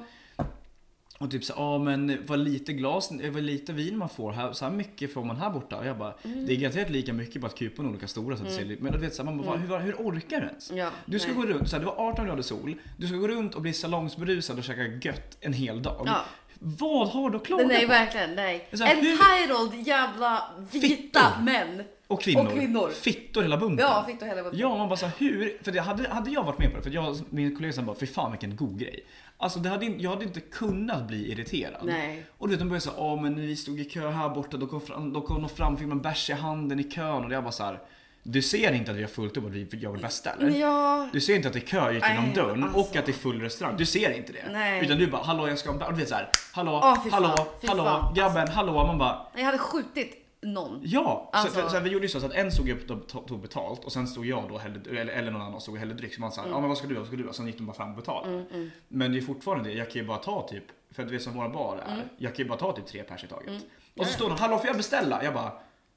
Speaker 2: Och typ så ja men vad lite glas, eh, vad lite vin man får här, så här mycket får man här borta. Och jag bara,
Speaker 1: Mm.
Speaker 2: det är garanterat lika mycket bara att kuporna är olika stora så att det ser Men du vet så här, man bara, hur, hur orkar du ens?
Speaker 1: Mm. Ja,
Speaker 2: Du ska
Speaker 1: nej.
Speaker 2: gå runt, så här, det var 18 grader sol, du ska gå runt och bli salongsberusad och käka gött en hel dag.
Speaker 1: Ja.
Speaker 2: Vad har du att klaga
Speaker 1: Nej, nej,
Speaker 2: på?
Speaker 1: verkligen. Nej.
Speaker 2: Så här, hur-
Speaker 1: Entitled jävla vita
Speaker 2: Fittor.
Speaker 1: män.
Speaker 2: Och kvinnor.
Speaker 1: Och kvinnor.
Speaker 2: Fittor hela bunten.
Speaker 1: Ja, fick du hela gått.
Speaker 2: Ja, man bara så här, hur? För det hade, hade jag varit med på det, för jag, min kollega sen bara, fy fan vilken god grej. Alltså det hade, in- jag hade inte kunnat bli irriterad.
Speaker 1: Nej.
Speaker 2: Och du vet de började säga, ja men vi stod i kö här borta, då kom, fram, då kom de fram, fick man bärs i handen i kön och jag bara så här. Du ser inte att vi har fullt upp och att vi gör vårt bästa eller?
Speaker 1: Ja.
Speaker 2: Du ser inte att det är kö ut
Speaker 1: Nej,
Speaker 2: genom dörren och
Speaker 1: alltså.
Speaker 2: att det är full restaurang. Du ser inte det.
Speaker 1: Nej.
Speaker 2: Utan du bara, hallå jag ska ha en bär. Och Du vet såhär, hallå,
Speaker 1: Åh, fy fan,
Speaker 2: hallå,
Speaker 1: fy
Speaker 2: hallå,
Speaker 1: fan.
Speaker 2: grabben, hallå. Man bara,
Speaker 1: Jag hade skjutit någon.
Speaker 2: Ja! så,
Speaker 1: Alltså-
Speaker 2: för, så här, vi gjorde ju så, så att en stod upp och to- tog betalt och sen stod jag då och hällde, eller, eller någon annan stod och hällde dryck. Så man sa
Speaker 1: Mm.
Speaker 2: ja men vad ska du ha, vad ska du ha? Sen gick de bara fram och betalade. Men det är fortfarande det, jag kan ju bara ta typ, för att du vet som våra bar är,
Speaker 1: Mm.
Speaker 2: jag kan ju bara ta typ tre pers i taget. Och så står de, hallå får jag beställa? Jag bara,
Speaker 1: (laughs)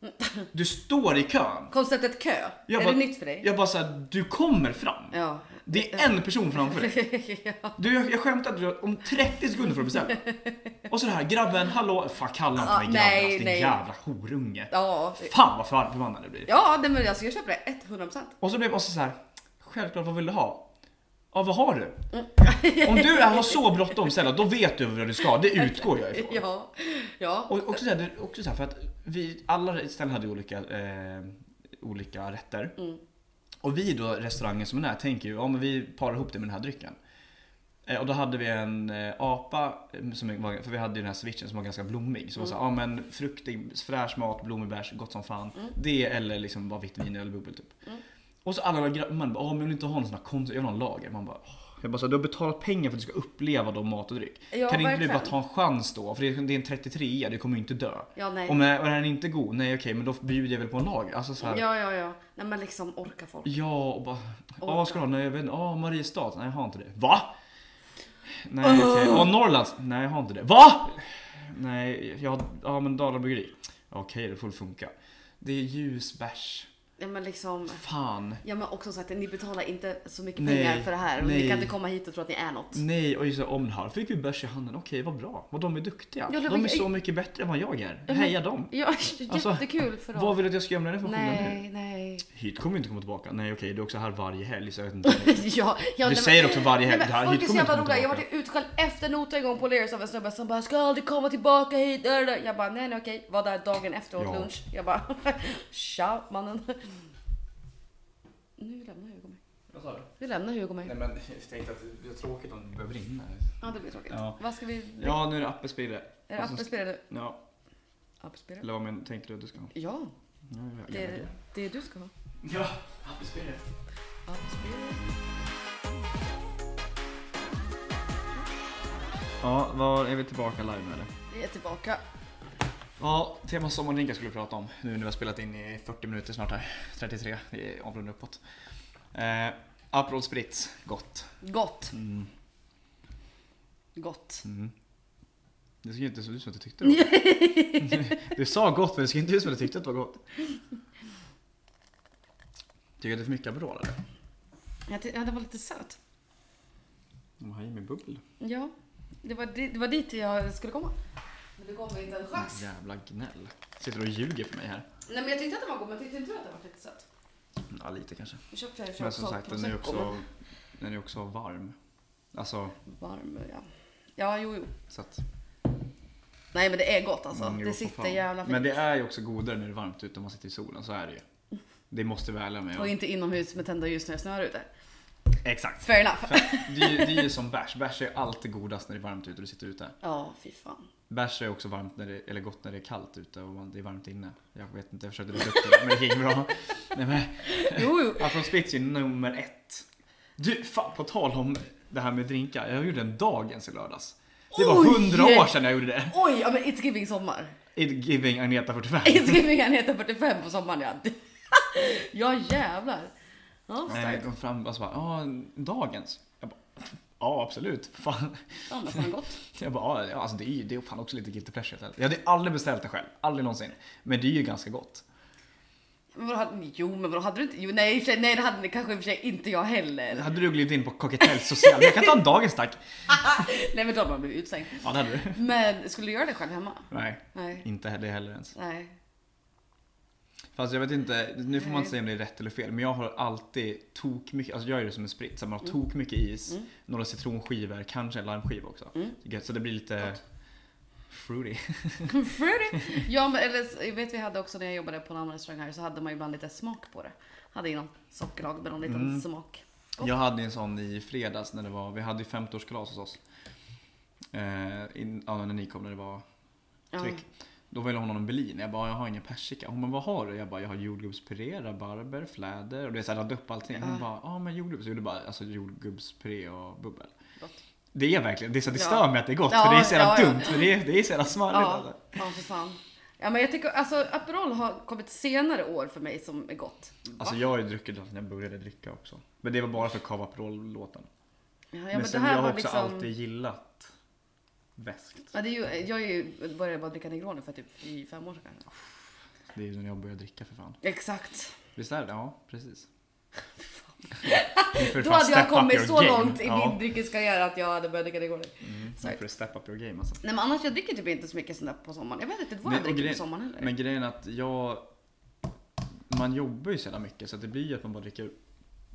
Speaker 2: du står i kön.
Speaker 1: Konceptet kö.
Speaker 2: Jag
Speaker 1: är
Speaker 2: bara,
Speaker 1: det nytt för dig?
Speaker 2: Jag bara såhär, du kommer fram.
Speaker 1: Ja.
Speaker 2: Det är en person framför dig.
Speaker 1: (laughs)
Speaker 2: Du, jag, jag skämtar att du om 30 sekunder får du beställa. Och så det här, grabben, hallå, fan kalla inte
Speaker 1: Ja,
Speaker 2: mig
Speaker 1: nej,
Speaker 2: grabben, alltså, din
Speaker 1: nej.
Speaker 2: jävla horunge.
Speaker 1: Ja.
Speaker 2: Fan vad för- förbannad jag blir.
Speaker 1: Ja, nej, men alltså, jag köper det 100%.
Speaker 2: Och så blev jag också så här. Självklart, vad vill du ha? Ja, vad har du? Om du har så bråttom snälla, då vet du vad du ska. Det utgår jag ifrån.
Speaker 1: (laughs) Ja. Ja.
Speaker 2: Och också så här, det är också så här för att vi, alla ställen hade olika, eh, olika rätter. Och vi då, restaurangen som är nära, tänker ju ja, men vi parar ihop det med den här drycken. Eh, och då hade vi en eh, apa, eh, som var, för vi hade ju den här switchen som var ganska blommig. Som var så här, ja men fruktig, fräsch mat, blommig bärs, gott som fan. Det eller liksom bara vitt vin eller bubbel typ. Och så alla grabbarna bara, "Åh, men jag vill inte ha någon sån här konstig, jag vill ha en lager. Man bara, "Åh." jag bara så här, du har betalat pengar för att du ska uppleva då mat och dryck.
Speaker 1: Ja,
Speaker 2: kan inte du bara
Speaker 1: verkligen.
Speaker 2: ta en chans då? För det är det är en 33 du kommer ju inte dö.
Speaker 1: Ja, nej.
Speaker 2: Om är, är den inte god, nej okej men då bjuder jag väl på en lager. Alltså så här, ja.
Speaker 1: Ja, ja, ja. Nej, men liksom orka folk.
Speaker 2: och bara, ja vad ska du ha? Nej jag vet inte, ja Mariestad, nej jag har inte det. Va? Nej okej, och Norrlands, nej jag har inte det. Va? Nej, jag har- ja men Dalarna Bryggeri. Okej det får väl funka. Det är ljus bärs.
Speaker 1: Ja men liksom.
Speaker 2: Fan.
Speaker 1: Ja men också sagt, ni betalar inte så mycket
Speaker 2: Nej,
Speaker 1: pengar för det här. Och ni
Speaker 2: nej.
Speaker 1: kan inte komma hit och tro att ni är något.
Speaker 2: Nej, och just det, om det här fick vi bärs i handen. Okej, vad bra. Vad de är duktiga.
Speaker 1: Ja, det var-
Speaker 2: de är så mycket bättre än vad jag är.
Speaker 1: men-
Speaker 2: Heja dem.
Speaker 1: Ja, (laughs)
Speaker 2: Alltså,
Speaker 1: jättekul för dem.
Speaker 2: Vad vill du att jag ska göra med den informationen
Speaker 1: Nej,
Speaker 2: nu?
Speaker 1: nej.
Speaker 2: Hit kommer vi inte komma tillbaka. Nej okej, du är också här varje helg så jag vet inte.
Speaker 1: (laughs) ja, jag
Speaker 2: Du säger också varje helg,
Speaker 1: Nej, men
Speaker 2: det här
Speaker 1: folk
Speaker 2: hit
Speaker 1: är så
Speaker 2: kommer
Speaker 1: jävla
Speaker 2: inte
Speaker 1: roliga. Jag
Speaker 2: komma
Speaker 1: vart utskälld efter noter en gång på Lears av en snubbe som bara “ska aldrig komma tillbaka hit”. där, där." Jag bara “nej nej okej”. Var där dagen efter åt
Speaker 2: Ja.
Speaker 1: lunch. Jag bara (laughs) “tja mannen”. Nu lämnar Hugo mig.
Speaker 2: Vad sa du?
Speaker 1: Nu lämnar Hugo mig.
Speaker 2: men jag tänkte att det är tråkigt om det börjar brinna.
Speaker 1: Ja det blir tråkigt.
Speaker 2: Ja.
Speaker 1: Vad ska vi...
Speaker 2: Ja, nu är det appelspirre.
Speaker 1: Är det appelspirre nu?
Speaker 2: Ja,
Speaker 1: Appelspirre?
Speaker 2: eller vad men, tänkte du att du ska ha?
Speaker 1: Ja,
Speaker 2: Ja, jag- jag-
Speaker 1: det, det är du ska ha.
Speaker 2: Ja, appelspirre.
Speaker 1: Appelspirre.
Speaker 2: Ja, var är vi tillbaka live med det?
Speaker 1: Vi är tillbaka.
Speaker 2: Ja, tema sommardrinkar skulle vi prata om nu när vi har spelat in i 40 minuter snart här. 33, det är avrundar uppåt. Eh, Aperol Spritz, gott.
Speaker 1: Gott.
Speaker 2: Mm.
Speaker 1: Gott.
Speaker 2: Mm. Det såg inte ut som att du tyckte det var
Speaker 1: (laughs)
Speaker 2: gott. Du sa gott men det såg inte ut som att du tyckte att det var gott. Tycker du att det är för mycket Aperol eller?
Speaker 1: Jag ty- ja, det var lite söt.
Speaker 2: De har i mig bubbel.
Speaker 1: Ja, det var, di- det var dit jag skulle komma. Men du gav mig inte en chans.
Speaker 2: Mm, Jävla gnäll. Sitter och ljuger för mig här.
Speaker 1: Nej men jag tyckte att den var god men jag tyckte inte du att den var lite söt?
Speaker 2: Ja lite kanske.
Speaker 1: Jag köpte jag köpte
Speaker 2: Men som
Speaker 1: också
Speaker 2: sagt den är ju
Speaker 1: prosecco,
Speaker 2: också, den är också varm. Alltså
Speaker 1: men Varm ja. Ja jo jo.
Speaker 2: så att.
Speaker 1: Nej men det är gott alltså.
Speaker 2: Mm, jo,
Speaker 1: det
Speaker 2: för
Speaker 1: sitter
Speaker 2: fan.
Speaker 1: jävla fint.
Speaker 2: Men det är ju också godare när det är varmt ute om man sitter i solen, så är det ju. Det måste vi välja med.
Speaker 1: Och inte inomhus med tända ljus när det snöar ute.
Speaker 2: Exakt.
Speaker 1: Fair enough.
Speaker 2: För Det är ju- det är ju som bärs, bärs är alltid godast när det är varmt ute och du sitter ute.
Speaker 1: Ja fy fan.
Speaker 2: Bärs är också varmt när det, eller gott när det är kallt ute och man- det är varmt inne. Jag vet inte, jag försökte lägga upp det men det gick bra. Nej, men,
Speaker 1: Jo jo.
Speaker 2: Afron Spritz är nummer ett. Du, fan, på tal om det här med drinkar. Jag gjorde en dagens i lördags. Det var
Speaker 1: Oj!
Speaker 2: hundra år sedan jag gjorde det.
Speaker 1: Oj, ja men It's Giving Sommar.
Speaker 2: It giving Agneta 45.
Speaker 1: It's Giving Agneta 45 på sommaren ja. (laughs) ja jävlar. Ja,
Speaker 2: Nej, jag
Speaker 1: starkt.
Speaker 2: kom fram och så bara, ja, dagens. Jag bara, ja absolut. Fan.
Speaker 1: Ja men fan gott.
Speaker 2: Jag bara, ja alltså det är ju det är fan också lite guilty pleasure. helt ärligt. Jag hade aldrig beställt det själv, aldrig någonsin. Men det är ju ganska gott.
Speaker 1: Men vadå, hade- jo men vadå hade du inte? Jo, nej, i och för sig- nej det hade ni kanske i och för sig inte jag heller.
Speaker 2: Hade du glidit in på Cockatell social, jag kan ta en dagens tack.
Speaker 1: nej men då hade man blivit utslängd.
Speaker 2: Ja det hade du.
Speaker 1: Men skulle du göra det själv hemma?
Speaker 2: Nej,
Speaker 1: Nej.
Speaker 2: inte det heller ens.
Speaker 1: Nej. (laughs)
Speaker 2: Fast jag vet inte, nu får man
Speaker 1: Nej.
Speaker 2: inte säga om det är rätt eller fel, men jag har alltid tok mycket, alltså jag gör det som en sprit, så man
Speaker 1: Mm.
Speaker 2: har tok mycket is, några citronskivor, kanske en limeskiva också.
Speaker 1: Mm.
Speaker 2: Gött, Så det blir lite fruity.
Speaker 1: Fruity. Ja men eller jag vet vi hade också när jag jobbade på en annan restaurang här så hade man ju ibland lite smak på det. Hade ju någon sockerlag med någon liten
Speaker 2: Mm.
Speaker 1: smak. Gott.
Speaker 2: Jag hade en sån i fredags när det var, vi hade ju 50-årskalas hos oss. Eh, in, ja, när ni kom när det var
Speaker 1: Ja.
Speaker 2: tryck. Då ville hon ha någon Berlin. Jag bara, jag har ingen persika. Hon bara, vad har du? Jag bara, jag har jordgubbspuré, rabarber, fläder. Och det är så här, radde upp allting. Hon
Speaker 1: Ja.
Speaker 2: bara, ja men jordgubbs. Jag gjorde bara, alltså jordgubbspuré och bubbel.
Speaker 1: Gott.
Speaker 2: Det är verkligen, det är så att det
Speaker 1: Ja.
Speaker 2: stör mig att det är gott.
Speaker 1: Ja,
Speaker 2: för det är så jävla
Speaker 1: ja, ja.
Speaker 2: dumt. För det är, det är så jävla smarrigt.
Speaker 1: Ja,
Speaker 2: Alltså.
Speaker 1: ja för fan. Ja men jag tycker alltså Aperol har kommit senare år för mig som är gott. Va?
Speaker 2: alltså jag har ju druckit allt när jag började dricka också. Men det var bara för Cava Aperol-låten.
Speaker 1: ja, ja,
Speaker 2: men,
Speaker 1: men det
Speaker 2: sen,
Speaker 1: här
Speaker 2: jag har
Speaker 1: var
Speaker 2: också
Speaker 1: liksom.
Speaker 2: alltid gillat väskt.
Speaker 1: Ja, det är ju, jag är ju, började bara dricka Negroni för typ i fem år sedan. kanske.
Speaker 2: Det är ju när jag började dricka för fan.
Speaker 1: Exakt.
Speaker 2: Visst är det? Ja,
Speaker 1: (laughs)
Speaker 2: precis. Ni får
Speaker 1: Då
Speaker 2: fan
Speaker 1: hade jag
Speaker 2: step up
Speaker 1: kommit
Speaker 2: your
Speaker 1: så
Speaker 2: game.
Speaker 1: långt i
Speaker 2: Ja.
Speaker 1: min dryckeskarriär att jag hade börjat dricka Negroni.
Speaker 2: Mm,
Speaker 1: Sorry.
Speaker 2: nu får du step up your game alltså.
Speaker 1: Nej men annars jag dricker typ inte så mycket sånt där på sommaren. Jag vet inte vad
Speaker 2: Nej,
Speaker 1: jag
Speaker 2: och
Speaker 1: dricker
Speaker 2: grej-
Speaker 1: på sommaren heller.
Speaker 2: Men grejen är att jag... Man jobbar ju så jävla mycket så att det blir ju att man bara dricker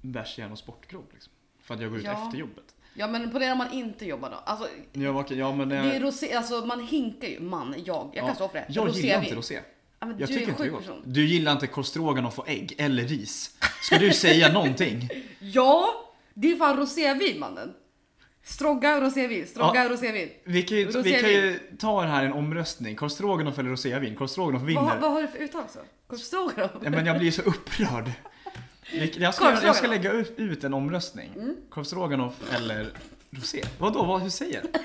Speaker 2: bärs igen och sportgrogg liksom. För att jag går ut
Speaker 1: Ja.
Speaker 2: efter jobbet.
Speaker 1: Ja men på det när man inte jobbar då. Alltså,
Speaker 2: Jag var, ja, men,
Speaker 1: det
Speaker 2: eh,
Speaker 1: är rosé, alltså man hinkar ju. Man, jag. Jag kan
Speaker 2: ja.
Speaker 1: stå för det.
Speaker 2: Jag
Speaker 1: Rosé
Speaker 2: gillar
Speaker 1: vi-
Speaker 2: inte rosé.
Speaker 1: Ja, men
Speaker 2: Jag
Speaker 1: du är
Speaker 2: tycker
Speaker 1: en
Speaker 2: inte det
Speaker 1: sjuk
Speaker 2: är gott.
Speaker 1: person.
Speaker 2: Du gillar inte korvstroganoff och ägg eller ris. Ska du säga någonting?
Speaker 1: Ja! Det är fan rosévin mannen. Strogga och rosévin. Strogga
Speaker 2: Ja.
Speaker 1: och rosévin. (laughs)
Speaker 2: Vi kan ju, vi
Speaker 1: Rosévin.
Speaker 2: kan ju ta här en omröstning. Korvstroganoff eller rosévin? Korvstroganoff vinner.
Speaker 1: Vad, vad har du för uttal så? Korvstroganoff?
Speaker 2: Ja, men jag blir så upprörd. Vi- Jag ska, jag ska
Speaker 1: Korvstroganoff.
Speaker 2: lägga ut ut en omröstning.
Speaker 1: Mm.
Speaker 2: Korvstroganoff eller rosé? Vadå, vad, hur säger jag?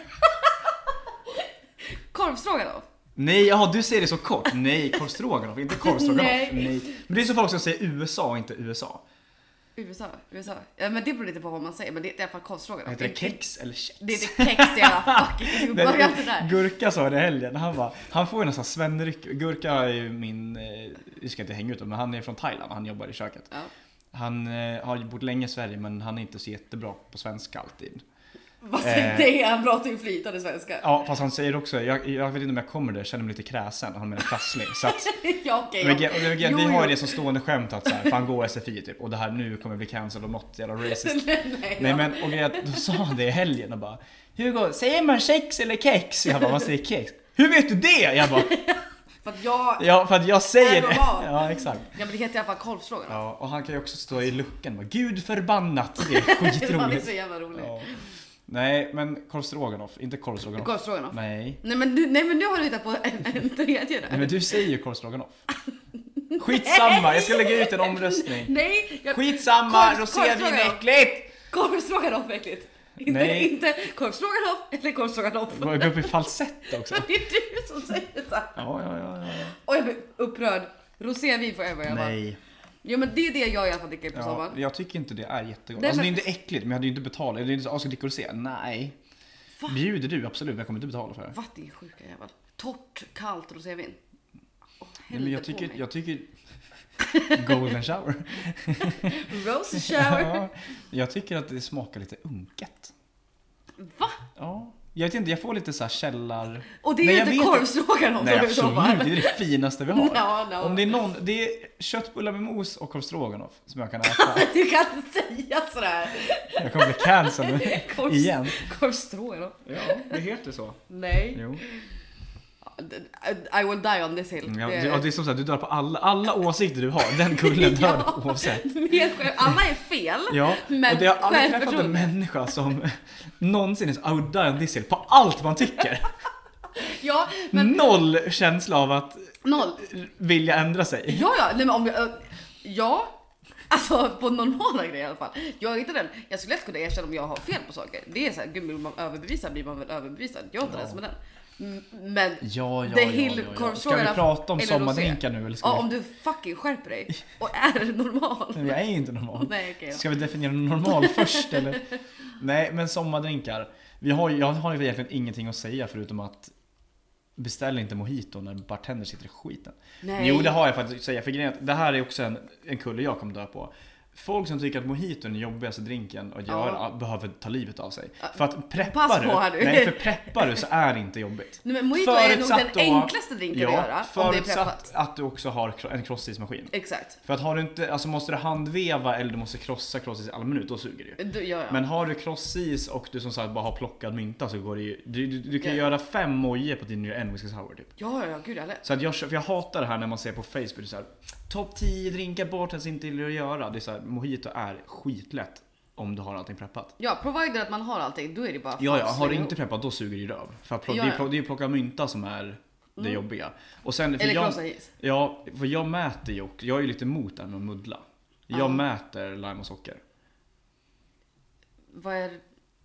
Speaker 1: Korvstroganoff?
Speaker 2: Nej, jaha du säger det så kort. Nej, korvstroganoff, inte korvstroganoff.
Speaker 1: Nej.
Speaker 2: Nej. Men det är så folk som säger USA och inte USA.
Speaker 1: USA, USA. Ja, men det beror lite på vad man säger, men det är i alla fall kostfrågan.
Speaker 2: Heter det kex eller kex?
Speaker 1: Det är inte kex i alla fucking...
Speaker 2: (laughs) Nej,
Speaker 1: Börja inte där.
Speaker 2: Gurka sa det i helgen, han bara, han får ju nästan svenneryck. Gurka är ju min, eh, jag ska inte hänga ut honom, men han är från Thailand, han jobbar i köket.
Speaker 1: Ja.
Speaker 2: Han eh, har ju bott länge i Sverige men han är inte så jättebra på svenska alltid.
Speaker 1: Vad
Speaker 2: Eh.
Speaker 1: det? Han pratar ju flytande svenska.
Speaker 2: Ja fast han säger också, jag, jag vet inte om jag kommer där, jag känner mig lite kräsen. Han menar krasslig. Så att,
Speaker 1: (laughs) ja, okej.
Speaker 2: men, vi- vi- vi-
Speaker 1: (laughs) Jo,
Speaker 2: vi
Speaker 1: jo.
Speaker 2: har ju det som stående skämt att så här, fan gå SFI typ och det här nu kommer jag bli cancelled och något jävla
Speaker 1: (laughs)
Speaker 2: racist.
Speaker 1: nej, nej,
Speaker 2: Nej
Speaker 1: ja.
Speaker 2: men och jag, då sa han det i helgen och bara Hugo, säger man kex eller kex? Jag bara, man säger kex. Hur vet du det? Jag bara,
Speaker 1: För att jag... Ja.
Speaker 2: ja för att jag säger det.
Speaker 1: Är normal.
Speaker 2: Ja exakt.
Speaker 1: men det heter i alla fall korvfrågan. (laughs)
Speaker 2: Ja, och han kan ju också stå i luckan och bara, gud förbannat.
Speaker 1: (laughs)
Speaker 2: Det är
Speaker 1: Han är
Speaker 2: skitroligt.
Speaker 1: så jävla rolig.
Speaker 2: Ja. Nej, men korv stroganoff, inte korv stroganoff.
Speaker 1: Korvfrågan då?
Speaker 2: Nej.
Speaker 1: Nej men, nu, nej men nu har du hittat på en, en tredje
Speaker 2: Nej
Speaker 1: där.
Speaker 2: men du säger ju
Speaker 1: (laughs)
Speaker 2: korv stroganoff. Skitsamma, jag ska lägga ut en omröstning.
Speaker 1: Nej! jag-
Speaker 2: Skitsamma,
Speaker 1: Korv-
Speaker 2: rosévin är
Speaker 1: korvstroganoff.
Speaker 2: äckligt!
Speaker 1: Korvstroganoff är äckligt. Inte,
Speaker 2: Nej.
Speaker 1: inte korvstroganoff eller korvstroganoff.
Speaker 2: Gå gå upp i falsett också.
Speaker 1: Men (laughs) det är du som säger så. här.
Speaker 2: Ja, ja, ja. ja.
Speaker 1: Och jag blir upprörd. Rosévin får jag börja med.
Speaker 2: Nej.
Speaker 1: Jo men det är det jag i alla fall dricker på
Speaker 2: Ja,
Speaker 1: sommaren.
Speaker 2: jag tycker inte det är jättegott.
Speaker 1: Nej,
Speaker 2: Alltså det är
Speaker 1: men-
Speaker 2: inte äckligt, men jag hade ju inte betalat. Det är inte så, "Ah, ska du dricka rosé? Nej.
Speaker 1: Va?
Speaker 2: Bjuder du, absolut, men jag kommer inte betala för det.
Speaker 1: Vad din sjuka jävel. Torrt, kallt rosévin. Åh,
Speaker 2: Nej, men
Speaker 1: hällde
Speaker 2: jag
Speaker 1: på
Speaker 2: tycker,
Speaker 1: mig.
Speaker 2: jag tycker...
Speaker 1: (laughs)
Speaker 2: Golden shower.
Speaker 1: Rose shower.
Speaker 2: Ja, (laughs) jag tycker att det smakar lite unket.
Speaker 1: Va?
Speaker 2: Ja. Jag vet inte, jag får lite så här källar...
Speaker 1: Och det är
Speaker 2: Nej,
Speaker 1: ju
Speaker 2: jag
Speaker 1: inte
Speaker 2: vet
Speaker 1: korvstroganoff
Speaker 2: Nej
Speaker 1: som du
Speaker 2: absolut,
Speaker 1: jobbar.
Speaker 2: det är det finaste vi har.
Speaker 1: Ja, ja.
Speaker 2: Om det är någon, det är köttbullar med mos och korv stroganoff som jag kan äta.
Speaker 1: (laughs) Du kan inte säga
Speaker 2: (laughs)
Speaker 1: sådär.
Speaker 2: Jag kommer bli
Speaker 1: (laughs)
Speaker 2: cancelled nu.
Speaker 1: Korv-
Speaker 2: igen.
Speaker 1: Korvstroganoff.
Speaker 2: Ja, det heter så.
Speaker 1: Nej.
Speaker 2: Jo.
Speaker 1: I will die on this hill.
Speaker 2: Mm, Ja, det, ja, det är som så här, du dör på alla, alla åsikter du har, den kullen dör
Speaker 1: (laughs) Ja.
Speaker 2: på oavsett.
Speaker 1: Mer själv- Alla är fel.
Speaker 2: Ja,
Speaker 1: Men
Speaker 2: och det har aldrig träffat en
Speaker 1: självförtroende.
Speaker 2: människa som någonsin är så out die on this hill på allt man tycker.
Speaker 1: Ja, (laughs)
Speaker 2: Mm.
Speaker 1: men
Speaker 2: Noll känsla av att
Speaker 1: noll.
Speaker 2: vilja ändra sig.
Speaker 1: Ja, ja, nej men om jag, eh, ja. Alltså på normala grejer i alla fall. Jag är inte den, jag skulle lätt kunna erkänna om jag har fel på saker. Det är såhär, gud blir man överbevisad blir man väl överbevisad. Jag är inte
Speaker 2: Ja.
Speaker 1: den som är den. Mm, Men
Speaker 2: Ja, ja,
Speaker 1: The
Speaker 2: ja,
Speaker 1: Hill
Speaker 2: ja, ja. Ska
Speaker 1: korvstroganoff
Speaker 2: vi prata om
Speaker 1: eller
Speaker 2: sommardrinkar nu eller ska
Speaker 1: ja,
Speaker 2: vi
Speaker 1: om du fucking skärper dig och är (laughs) normal.
Speaker 2: Men Jag är inte normal.
Speaker 1: Nej okej då.
Speaker 2: Ska vi
Speaker 1: (laughs)
Speaker 2: definiera normal först eller? Nej, men sommardrinkar. Vi har, ju- jag har ju egentligen ingenting att säga förutom att beställ inte mojito när bartender sitter i skiten.
Speaker 1: Nej.
Speaker 2: Jo, det har jag faktiskt att säga. För grejen är att det här är också en, en kulle jag kommer dö på. Folk som tycker att mojito är den jobbigaste drinken att göra behöver ta livet av sig. För att
Speaker 1: pass
Speaker 2: preppar
Speaker 1: på här
Speaker 2: du,
Speaker 1: nu.
Speaker 2: nej, för preppar du så är det
Speaker 1: (laughs)
Speaker 2: inte jobbigt.
Speaker 1: Nej, men mojito är nog den
Speaker 2: Förutsatt då-
Speaker 1: enklaste drinken
Speaker 2: ja,
Speaker 1: att göra. Om det är
Speaker 2: Förutsatt
Speaker 1: preppat.
Speaker 2: att du också har kro- en crossismaskin.
Speaker 1: Exakt.
Speaker 2: För att har du inte, alltså måste du handveva eller du måste krossa crossis i alla minut, då suger det ju.
Speaker 1: Du, ja, ja.
Speaker 2: Men har du crossis och du som sagt bara har plockat mynta så går det ju, du, du, du kan
Speaker 1: Ja.
Speaker 2: göra fem mojor på din nya en whisky sour typ.
Speaker 1: ja, ja, ja, gud jag är lätt.
Speaker 2: Så att jag, kö- för jag hatar det här när man ser på Facebook, det är så här, topp 10 drinkar bartenders inte gillar att göra. Det är så här, mojito är skitlätt om du har allting preppat.
Speaker 1: Ja, provided att man har allting, då är det bara
Speaker 2: Ja, ja,
Speaker 1: fan,
Speaker 2: har du
Speaker 1: slänga
Speaker 2: inte
Speaker 1: ihop.
Speaker 2: preppat då suger det ju röv. För att plock,
Speaker 1: Ja,
Speaker 2: det, är,
Speaker 1: ja. Mm.
Speaker 2: plock- det är plocka mynta som är det jobbiga. Och sen, för
Speaker 1: Eller
Speaker 2: jag,
Speaker 1: krossa is.
Speaker 2: Ja, för jag mäter ju och jag är ju lite emot det här med att muddla. Jag
Speaker 1: Ja.
Speaker 2: mäter lime och socker.
Speaker 1: Vad är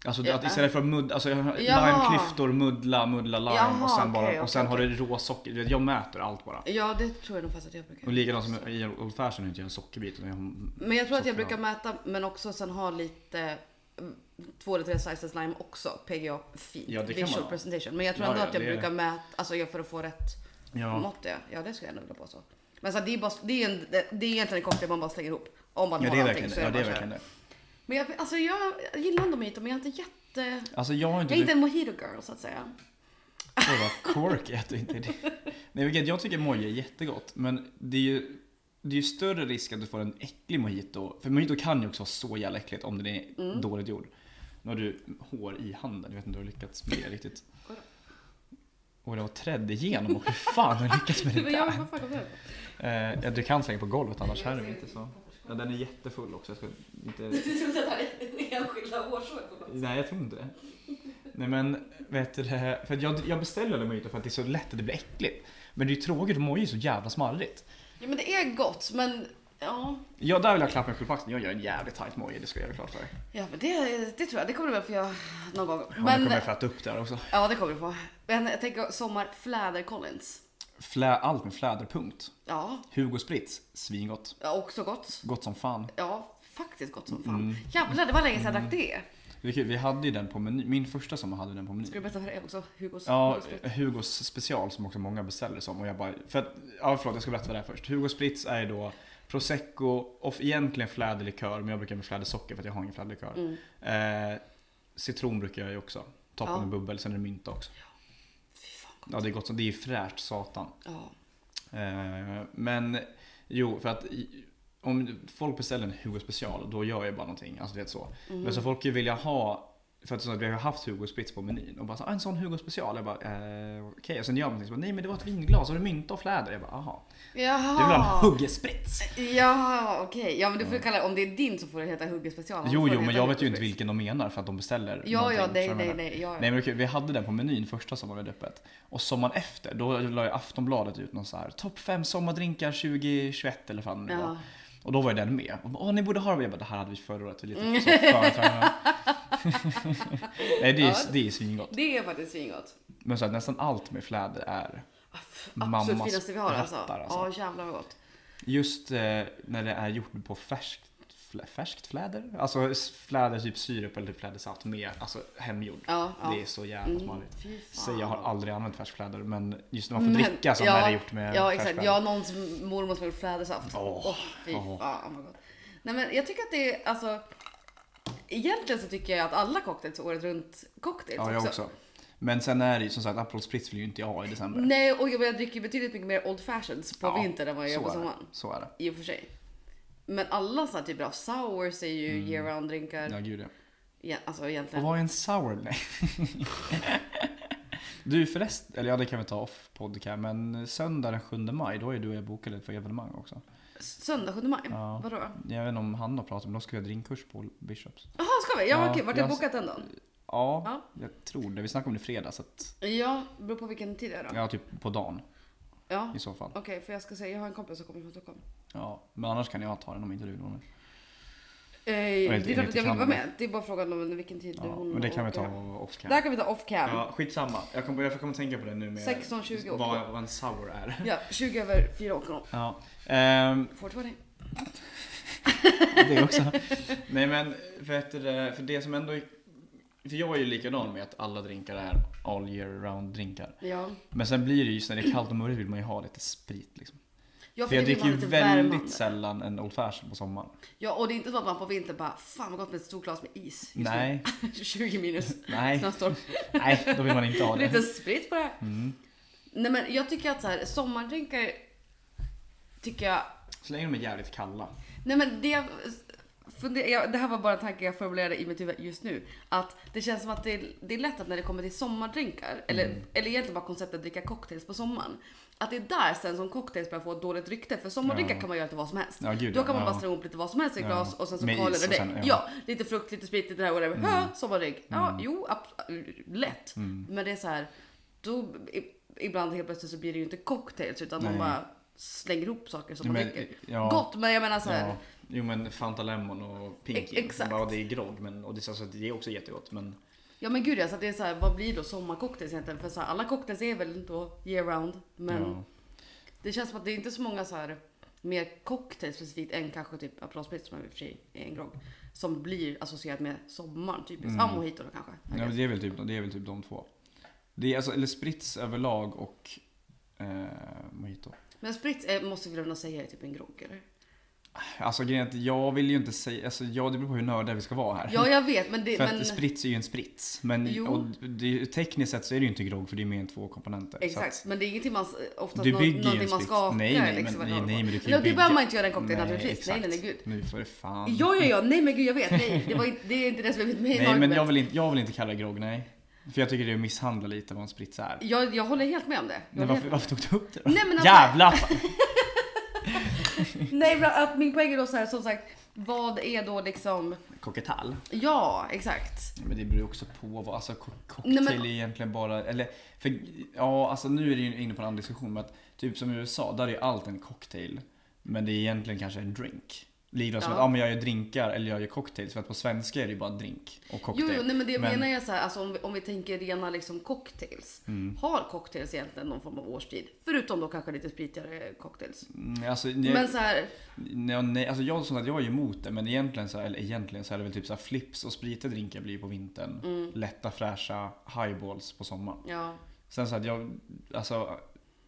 Speaker 2: Alltså
Speaker 1: Ja.
Speaker 2: att istället för att muddla, alltså jag har
Speaker 1: Jaha.
Speaker 2: limeklyftor, muddla, muddla lime
Speaker 1: Jaha,
Speaker 2: och sen, bara,
Speaker 1: okej,
Speaker 2: och sen
Speaker 1: okej,
Speaker 2: har du råsocker. Du vet, Jag mäter allt bara.
Speaker 1: Ja, det tror jag nog faktiskt att jag brukar
Speaker 2: Och likadant som i en Old Fashion inte jag en sockerbit utan jag har-
Speaker 1: Men jag tror att jag
Speaker 2: socker-
Speaker 1: brukar mäta, men också sen ha lite mm, två eller tre slices lime också. PGA, fint.
Speaker 2: Ja, det kan
Speaker 1: Visual
Speaker 2: man ha.
Speaker 1: presentation. Men jag tror
Speaker 2: Ja,
Speaker 1: ändå
Speaker 2: ja,
Speaker 1: att jag
Speaker 2: det är-
Speaker 1: brukar mäta, alltså jag för att få rätt
Speaker 2: Ja,
Speaker 1: mått. Ja, ja det skulle jag nog vilja påstå. Men så här, det, är bara, det, är en, det- det är egentligen en cocktail man bara slänger ihop. Om man
Speaker 2: ja
Speaker 1: har
Speaker 2: det är
Speaker 1: allting
Speaker 2: verkligen
Speaker 1: så
Speaker 2: det. Ja,
Speaker 1: är
Speaker 2: det,
Speaker 1: det
Speaker 2: är
Speaker 1: bara att
Speaker 2: verkligen
Speaker 1: köra.
Speaker 2: det.
Speaker 1: Men jag, alltså jag, jag gillar ändå mojito, men jag är inte jätte...
Speaker 2: Alltså jag har inte
Speaker 1: Jag är inte en mojito girl så att säga.
Speaker 2: Oj vad quirky att du inte är det. Nej vilket jag tycker moja är jättegott. Men det är ju, det är ju större risk att du får en äcklig mojito. För mojito kan ju också vara så jävla äckligt om den är
Speaker 1: Mm.
Speaker 2: dåligt gjord. Nu har du hår i handen, jag vet inte om du har lyckats med det riktigt.
Speaker 1: Vadå?
Speaker 2: Och det har trädd igenom och hur fan har du lyckats med det
Speaker 1: (laughs) Men jag,
Speaker 2: där?
Speaker 1: vad fan kom det här på?
Speaker 2: Eh, ja, du kan slänga på golvet annars här är det
Speaker 1: (laughs)
Speaker 2: inte så. Ja, den är jättefull också. Jag ska inte...
Speaker 1: Du trodde att det här är enskilda hårstrån?
Speaker 2: Nej, jag tror inte det. Nej men, vet du det? För att jag, jag beställer aldrig mojito för att det är så lätt att det blir äckligt. Men det är ju tråkigt, moji är så jävla smarrigt.
Speaker 1: Ja men det är gott, men ja.
Speaker 2: Ja, där vill jag klappa mig på axeln. Jag gör en jävligt tight moji, det ska jag göra klart för dig.
Speaker 1: Ja men det, det tror jag, det kommer du väl få göra någon gång.
Speaker 2: Ja, men... Nu
Speaker 1: Men,
Speaker 2: kommer jag fatta upp det här också.
Speaker 1: ja det kommer du få. Men jag tänker sommar Fläder Collins.
Speaker 2: Flä, allt med fläderpunkt.
Speaker 1: Ja,
Speaker 2: Hugo Spritz, svingott.
Speaker 1: ja, också gott.
Speaker 2: Gott som fan.
Speaker 1: Ja, faktiskt gott som fan.
Speaker 2: Mm.
Speaker 1: Jävlar, det var länge sedan jag drack det.
Speaker 2: Det är kul, Vi hade ju den på menyn. Min första sommar hade den på menyn.
Speaker 1: Ska du berätta för dig också? Hugos
Speaker 2: Ja,
Speaker 1: Hugos sprit?
Speaker 2: Hugos special som också många beställer som. Och jag bara, för att, ja, förlåt, jag ska berätta det här först. Hugos Spritz är ju då prosecco, och egentligen fläderlikör, men jag brukar med flädersocker för att jag har ingen fläderlikör.
Speaker 1: Mm.
Speaker 2: Eh, citron brukar jag ju också. Toppa
Speaker 1: Ja.
Speaker 2: med bubbel, sen är det mynta också.
Speaker 1: Fy fan.
Speaker 2: Ja, det är gott som, det är ju fräscht satan.
Speaker 1: Ja.
Speaker 2: Eh, men jo, för att i- om folk beställer en Hugo special, då gör jag bara någonting. Alltså det är så.
Speaker 1: Mm.
Speaker 2: Men så folk vill jag ha, för att så att vi har haft Hugo Spritz på menyn. Och bara så, ah, en sån Hugo special. Jag bara, eh, okej. Och sen gör man någonting. Så bara, nej men det var ett vinglas och det är mynta och fläder. Jag bara, aha.
Speaker 1: Ah.
Speaker 2: Du vill ha en
Speaker 1: Jaha.
Speaker 2: Hugo Spritz?
Speaker 1: Ja, okej. Ja, men du får ju kalla om det är din så får det heta Huggespecial.
Speaker 2: Jo, jo, men jag vet ju inte vilken de menar för att de beställer
Speaker 1: Ja,
Speaker 2: någonting.
Speaker 1: ja,
Speaker 2: Så
Speaker 1: nej,
Speaker 2: jag
Speaker 1: nej,
Speaker 2: menar-
Speaker 1: nej. Ja, ja.
Speaker 2: Nej men okej, vi hade den på menyn första sommaren vi hade öppet. Och sommaren efter, då la ju Aftonbladet ut någon så här topp 5 sommardrinkar 2021 eller fan det var.
Speaker 1: Ja.
Speaker 2: Och då var ju den med. Och bara, Åh, ni borde ha den. Jag bara, det här hade vi förra året. Vi
Speaker 1: (laughs)
Speaker 2: är lite för föruträngda." (laughs) Nej, det är,
Speaker 1: Ja.
Speaker 2: det är svingott.
Speaker 1: Det är faktiskt svingott.
Speaker 2: Men så här, nästan allt med fläder är Mammas
Speaker 1: Absolut finaste vi har alltså.
Speaker 2: rattar, alltså.
Speaker 1: Ja, jävlar vad gott.
Speaker 2: just eh, när det är gjort på färskt, flä, färskt fläder. Alltså s- fläder, typ syrup eller typ flädersaft med alltså, hemgjord.
Speaker 1: Ja, ja.
Speaker 2: Det är så jävla smarrigt.
Speaker 1: Mm. Fy
Speaker 2: Säg,
Speaker 1: fan.
Speaker 2: jag har aldrig använt färskt fläder, men just när man får
Speaker 1: Men-
Speaker 2: dricka så
Speaker 1: ja,
Speaker 2: är det gjort med
Speaker 1: Ja,
Speaker 2: färskt
Speaker 1: exakt.
Speaker 2: fläder.
Speaker 1: Jag har någons mormor som har gjort flädersaft. Åh,
Speaker 2: Åh,
Speaker 1: fy
Speaker 2: åh.
Speaker 1: fan vad gott. Nej, men jag tycker att det är alltså. Egentligen så tycker jag att alla cocktails är året runt cocktails
Speaker 2: Ja, jag
Speaker 1: också.
Speaker 2: också. Men sen är det ju som sagt, Aperol Spritz vill ju inte jag ha i december.
Speaker 1: Nej, och jag, jag dricker ju betydligt mycket mer old fashions på
Speaker 2: Ja,
Speaker 1: vintern än vad jag gör
Speaker 2: så
Speaker 1: på
Speaker 2: är det.
Speaker 1: sommaren.
Speaker 2: Så är det.
Speaker 1: I och för sig. Men alla sådana typer av sours är ju year round drinkar.
Speaker 2: Mm. Ja, gud ja.
Speaker 1: Ja, alltså
Speaker 2: Och
Speaker 1: egentligen.
Speaker 2: vad är en sour? Nej. (laughs) du förresten, eller ja det kan vi ta off podcast, men söndag den 7 maj då är du och jag bokade för evenemang också.
Speaker 1: Söndag 7 maj?
Speaker 2: Ja.
Speaker 1: Vadå?
Speaker 2: Jag vet inte om han har pratat men då ska vi ha drinkkurs på Bishops.
Speaker 1: Jaha, ska vi? Ja,
Speaker 2: Ja,
Speaker 1: vad kul. Vart är
Speaker 2: jag-
Speaker 1: bokat den då?
Speaker 2: Ja,
Speaker 1: Ja.
Speaker 2: jag tror det. Vi snackade om det i fredags, så att,
Speaker 1: Ja, beror på vilken tid det är då.
Speaker 2: ja typ på dagen
Speaker 1: Ja.
Speaker 2: i så fall.
Speaker 1: Okej, för jag ska säga, jag har en kompis som kommer från Stockholm.
Speaker 2: Ja, men annars kan jag ta den om inte du vill vara med.
Speaker 1: Eh, det är
Speaker 2: inte-
Speaker 1: klart att
Speaker 2: inte
Speaker 1: jag vill
Speaker 2: kan
Speaker 1: vara
Speaker 2: det.
Speaker 1: med. Det är bara frågan om vilken tid
Speaker 2: Ja,
Speaker 1: hon
Speaker 2: men det kan vi ta
Speaker 1: åker.
Speaker 2: off
Speaker 1: Det här
Speaker 2: cam.
Speaker 1: kan vi ta off cam. Ja.
Speaker 2: Ja, skitsamma. Jag kommer, jag kommer tänka på det nu med
Speaker 1: 16-20 år.
Speaker 2: vad, vad en sour är.
Speaker 1: 20 över 4 åker hon.
Speaker 2: Ja. Ehm,
Speaker 1: Fortfarande.
Speaker 2: (laughs) det också. Nej men för, att, det- för det som ändå är- För jag är ju likadan med att alla drinkar är all year round drinkar.
Speaker 1: Ja.
Speaker 2: Men sen blir det ju just när det är kallt och murrigt vill man ju ha lite sprit liksom.
Speaker 1: ja
Speaker 2: För jag
Speaker 1: det vill
Speaker 2: dricker ju
Speaker 1: man lite värmande.
Speaker 2: väldigt sällan en Old Fashion
Speaker 1: (laughs)
Speaker 2: på sommaren.
Speaker 1: Ja, och det är inte så att man på vintern bara, fan vad gott med ett stort glas med is. just nu." (laughs)
Speaker 2: Nej,
Speaker 1: 20 minus.
Speaker 2: (laughs) nej,
Speaker 1: Snöstorm.
Speaker 2: nej, då vill
Speaker 1: (laughs)
Speaker 2: man inte ha
Speaker 1: Lite
Speaker 2: det. Mm.
Speaker 1: sprit på det här. Nej men jag tycker att så här, sommardrinkar tycker jag...
Speaker 2: Så länge de är jävligt kalla.
Speaker 1: Nej men det jag funder, jag, Det här var bara en tanke jag formulerade i mitt huvud just nu. Att det känns som att det, är- det är lätt att när det kommer till sommardrinkar, eller,
Speaker 2: Mm.
Speaker 1: eller egentligen bara konceptet att dricka cocktails på sommaren. Att det är där sen som cocktails börjar få ett dåligt rykte. För sommardrinkar
Speaker 2: Ja.
Speaker 1: kan man göra lite vad som helst.
Speaker 2: Ja, gud,
Speaker 1: Då kan man
Speaker 2: ja.
Speaker 1: bara slänga ihop lite vad som helst i ett
Speaker 2: Ja.
Speaker 1: glas och sen så
Speaker 2: Med
Speaker 1: kollar
Speaker 2: is
Speaker 1: det
Speaker 2: och sen-
Speaker 1: dig.
Speaker 2: ja. Mm.
Speaker 1: Ja. lite frukt, lite sprit, lite det här whatever. Hö, sommardrink. Ja, jo, abs- lätt. Men det är så här, då i- ibland helt plötsligt så blir det ju inte cocktails utan man
Speaker 2: Nej.
Speaker 1: bara slänger ihop saker som man
Speaker 2: Men,
Speaker 1: dricker.
Speaker 2: ja.
Speaker 1: Gott, men jag menar så här.
Speaker 2: Ja. Jo men Fanta Lemon och Pinky.
Speaker 1: E- exakt.
Speaker 2: Ja, det är grogg men och det, alltså, det är också jättegott men
Speaker 1: Ja men gud ja, så att det är så här, vad blir då sommarcocktails egentligen? För så här, alla cocktails är väl då year round. Men
Speaker 2: ja.
Speaker 1: det känns som att det är inte så många så här mer cocktails specifikt än kanske typ Aperol Spritz som i och för sig är en grogg. Som blir associerat med sommaren typiskt. Ja, mojito då kanske. I
Speaker 2: Mm. Ja,
Speaker 1: guess.
Speaker 2: men det, är väl typ, det är väl typ de två. Det är alltså, eller sprits överlag och eh, mojito.
Speaker 1: Men Spritz är, måste vi väl ändå säga är typ en grogg eller?
Speaker 2: Alltså grejen är att jag vill ju inte säga, alltså ja det beror på hur nördiga vi ska vara här.
Speaker 1: Ja jag vet men det...
Speaker 2: för
Speaker 1: men...
Speaker 2: att sprits är ju en sprits. Men
Speaker 1: Jo.
Speaker 2: och det, tekniskt sett så är det ju inte grogg för det är mer än två komponenter. Så
Speaker 1: Exakt,
Speaker 2: att-
Speaker 1: men det är ingenting man oftast
Speaker 2: Du
Speaker 1: nå-
Speaker 2: bygger ju en
Speaker 1: någonting man
Speaker 2: sprit.
Speaker 1: skakar
Speaker 2: Nej, nej, men-
Speaker 1: liksom,
Speaker 2: nej,
Speaker 1: eller håller
Speaker 2: nej,
Speaker 1: på.
Speaker 2: men du kan ju
Speaker 1: Ja, Det
Speaker 2: bygga-
Speaker 1: behöver man inte göra i en cocktail
Speaker 2: Nej,
Speaker 1: naturligtvis. Nej, nej, nej, gud.
Speaker 2: Nu för fan.
Speaker 1: Ja, ja, ja, nej men gud jag vet, nej. Det, var inte, det är inte det som är mitt main
Speaker 2: nej men
Speaker 1: argument.
Speaker 2: jag vill, inte, jag vill inte kalla det grogg, nej. För jag tycker det är att misshandla lite vad en sprits är.
Speaker 1: Jag, jag håller helt med om det. Jag
Speaker 2: Nej,
Speaker 1: håller
Speaker 2: varför,
Speaker 1: helt-
Speaker 2: varför tog du upp det då?
Speaker 1: Nej, men alltså-
Speaker 2: Jävlar!
Speaker 1: Nej, men att min poäng är då så här, som sagt, vad är då liksom,
Speaker 2: Koketall.
Speaker 1: ja exakt.
Speaker 2: Ja, Men det beror ju också på vad, alltså co- cocktail
Speaker 1: Nej, men-
Speaker 2: är egentligen bara, eller för, ja alltså nu är det ju inne på en annan diskussion men att typ som i USA, där är ju allt en cocktail. Men det är egentligen kanske en drink. liknar som
Speaker 1: Ja.
Speaker 2: att ah, men jag gör drinkar eller jag gör cocktails. För att på svenska är det ju bara drink och
Speaker 1: Jo,
Speaker 2: cocktail.
Speaker 1: jo, nej, men det
Speaker 2: Men-
Speaker 1: menar jag så här, alltså, om, vi, om vi tänker rena liksom cocktails.
Speaker 2: Mm.
Speaker 1: Har cocktails egentligen någon form av årstid? Förutom då kanske lite spritigare cocktails.
Speaker 2: Mm, Alltså, nej,
Speaker 1: Men så här,
Speaker 2: nej, nej, alltså jag, sånt att jag är emot det men egentligen så, här, eller egentligen så är det väl typ så här flips och spritiga drinkar blir ju på vintern.
Speaker 1: Mm.
Speaker 2: Lätta fräscha highballs på sommaren.
Speaker 1: ja. (laughs)
Speaker 2: Sen så att jag, alltså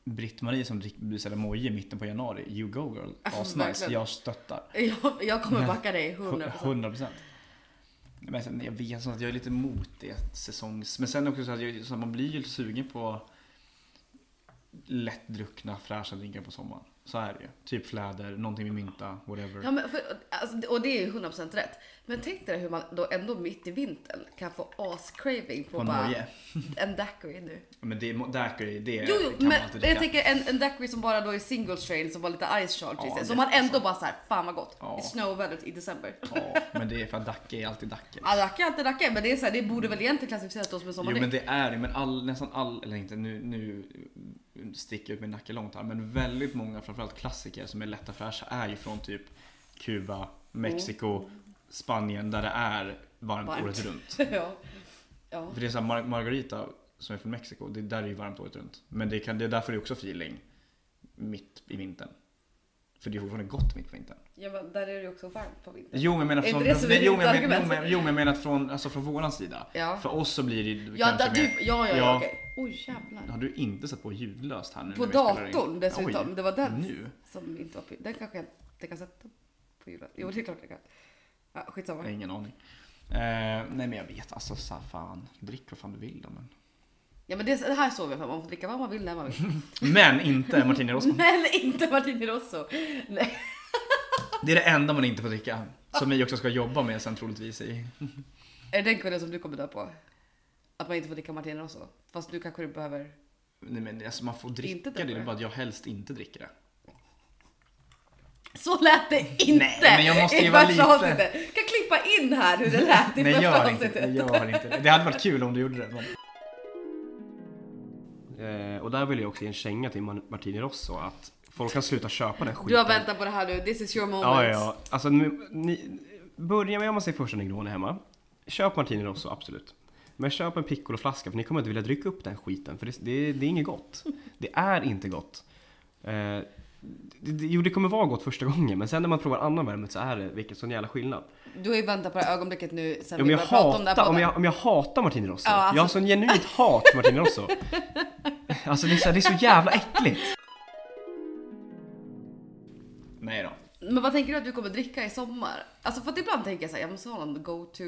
Speaker 2: Britt-Marie som dricker moji i mitten på januari, you go girl.
Speaker 1: Ja,
Speaker 2: Asnice,
Speaker 1: verkligen.
Speaker 2: jag stöttar.
Speaker 1: Jag, jag kommer backa dig 100%.
Speaker 2: 100 procent. Men sen, jag vet sånt att jag är lite emot det säsongs... Men sen också så att jag, så att man blir ju sugen på lättdruckna fräscha drinkar på sommaren. Så är det ju. Typ fläder, någonting med mynta, whatever.
Speaker 1: Ja, men för, alltså, och det är ju 100% rätt. Men tänk dig hur man då ändå mitt i vintern kan få as-craving på,
Speaker 2: På en
Speaker 1: bara
Speaker 2: moje.
Speaker 1: (laughs) en daiquiri
Speaker 2: (laughs)
Speaker 1: nu.
Speaker 2: Men det, är- daiquiri, det
Speaker 1: Jo, jo
Speaker 2: kan man alltid
Speaker 1: men jag
Speaker 2: dricka.
Speaker 1: tänker en, en daiquiri som bara då är single strain som var lite ice charge i
Speaker 2: Ja,
Speaker 1: sig.
Speaker 2: det
Speaker 1: Som man
Speaker 2: är
Speaker 1: ändå bara såhär, fan vad gott.
Speaker 2: Ja.
Speaker 1: I snowvädret i december.
Speaker 2: Ja, men det är för att Dacke är alltid Dacke.
Speaker 1: Ja, racka är alltid racka, men det, är så här, det borde väl egentligen klassificeras då som en
Speaker 2: Jo
Speaker 1: sommardryck? (laughs)
Speaker 2: men det är det, men all, nästan all, eller inte nu, nu sticker jag ut min nacke långt här, men väldigt många framförallt klassiker som är lätta fräscha är ju från typ Kuba, Mexiko, Spanien där det är varmt,
Speaker 1: Mm. Varmt.
Speaker 2: året runt.
Speaker 1: ja. ja.
Speaker 2: För det är så här, Mar- Margarita som är från Mexiko, det där är ju varmt året runt. Men det, kan, det är därför det är också feeling mitt i vintern. För det är fortfarande gott mitt på vintern.
Speaker 1: ja, men där är det ju också varmt på vintern.
Speaker 2: Jo men jag menar
Speaker 1: Är inte
Speaker 2: från,
Speaker 1: det som är
Speaker 2: nej, jo, men, jag
Speaker 1: ditt
Speaker 2: menar- jo,
Speaker 1: argument?
Speaker 2: men, jo, men jag menar att från, alltså från våran sida.
Speaker 1: Ja.
Speaker 2: För oss så blir det ju
Speaker 1: Ja, där,
Speaker 2: kanske
Speaker 1: du,
Speaker 2: mer-
Speaker 1: ja, ja, ja,
Speaker 2: Ja.
Speaker 1: okej. Oj jävlar.
Speaker 2: Har du inte satt på ljudlöst här nu?
Speaker 1: På
Speaker 2: när vi spelar in?
Speaker 1: datorn dessutom.
Speaker 2: Oj,
Speaker 1: Det var den
Speaker 2: Nu?
Speaker 1: som inte var på Den kanske jag inte kan sätta på julen. Jo, det är klart jag kan. Ja,
Speaker 2: Jag
Speaker 1: skitsamma.
Speaker 2: har ingen aning. Eh, nej men jag vet alltså så här, fan. Drick vad fan du vill då men.
Speaker 1: Ja, men det, det här såg vi för man får dricka vad man vill när man vill.
Speaker 2: Men inte
Speaker 1: (laughs)
Speaker 2: Martini Rosso.
Speaker 1: Men inte Martini Rosso. Nej.
Speaker 2: Det är det enda man inte får dricka. Som vi också ska jobba med sen troligtvis i.
Speaker 1: Är det den kunden som du kommer dö på? Att man inte får dricka Martini Rosso? Fast nu kanske du behöver...
Speaker 2: Nej men alltså man får dricka
Speaker 1: Inte
Speaker 2: det, det är
Speaker 1: dricka.
Speaker 2: bara att jag helst inte dricker det.
Speaker 1: Så lät det inte!
Speaker 2: Nej, men jag måste ju
Speaker 1: i
Speaker 2: vara
Speaker 1: första
Speaker 2: lite-
Speaker 1: avsnittet. Jag kan klippa in här hur det lät
Speaker 2: (laughs)
Speaker 1: i
Speaker 2: Nej
Speaker 1: första
Speaker 2: gör inte
Speaker 1: avsnittet.
Speaker 2: det, gör inte det. Det hade varit kul om du gjorde det. Men...
Speaker 3: Eh, och där vill jag också ge en känga till Man- Martini Rosso att folk kan sluta köpa den skiten.
Speaker 1: Du har väntat på det här nu, this is your moment.
Speaker 3: Ja, ja, ja. Alltså, nu, ni, börja med om man ser första Negroni hemma. Köp Martini Rosso, absolut. Men köp en piccoloflaska för ni kommer inte vilja dricka upp den skiten för det, det, det är inget gott. Det är inte gott. Eh, det, det, jo, det kommer vara gott första gången men sen när man provar annan värme så är det vilken sån jävla skillnad.
Speaker 1: Du har ju väntat på det här ögonblicket nu sen
Speaker 3: Om
Speaker 1: vi
Speaker 3: jag,
Speaker 1: började prata om det
Speaker 3: hatar,
Speaker 1: här
Speaker 3: om,
Speaker 1: podden.
Speaker 3: jag, om jag hatar Martini Rosso.
Speaker 1: Ja, alltså-
Speaker 3: Jag har sån genuint hat för Martini
Speaker 1: (laughs)
Speaker 3: Rosso. Alltså det är, så, det är så jävla äckligt.
Speaker 2: Nej då.
Speaker 1: Men vad tänker du att du kommer dricka i sommar? Alltså för att ibland tänker jag så här, jag måste ha någon go-to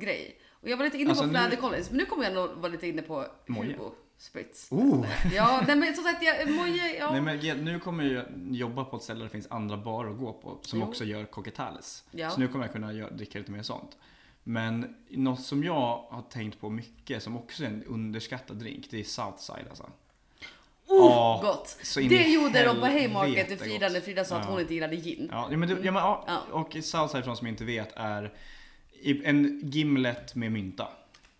Speaker 1: grej. Och jag var lite inne
Speaker 2: Alltså,
Speaker 1: på
Speaker 2: nu-
Speaker 1: Fläder Collins, men nu kommer jag nog vara lite inne på
Speaker 2: Moje.
Speaker 1: Hugo Spritz.
Speaker 3: Oh.
Speaker 1: Ja, nej, men som sagt, jag, Moje, ja.
Speaker 2: Nej men Ged, nu kommer jag ju jobba på ett ställe där det finns andra barer att gå på som
Speaker 1: Jo.
Speaker 2: också gör cocktails.
Speaker 1: Ja.
Speaker 2: Så nu kommer jag kunna göra, dricka lite mer sånt. Men något som jag har tänkt på mycket som också är en underskattad drink, det är Southside alltså.
Speaker 1: oh,
Speaker 2: Ja,
Speaker 1: gott!
Speaker 2: så in i
Speaker 1: Det gjorde de på
Speaker 2: helvete
Speaker 1: Haymarket till Frida
Speaker 2: gott.
Speaker 1: när Frida sa att
Speaker 2: Ja.
Speaker 1: hon inte gillade gin.
Speaker 2: Ja, ja, men, du, ja, men, ja.
Speaker 1: Ja.
Speaker 2: Och Southside för de som inte vet är i- en gimlet med mynta.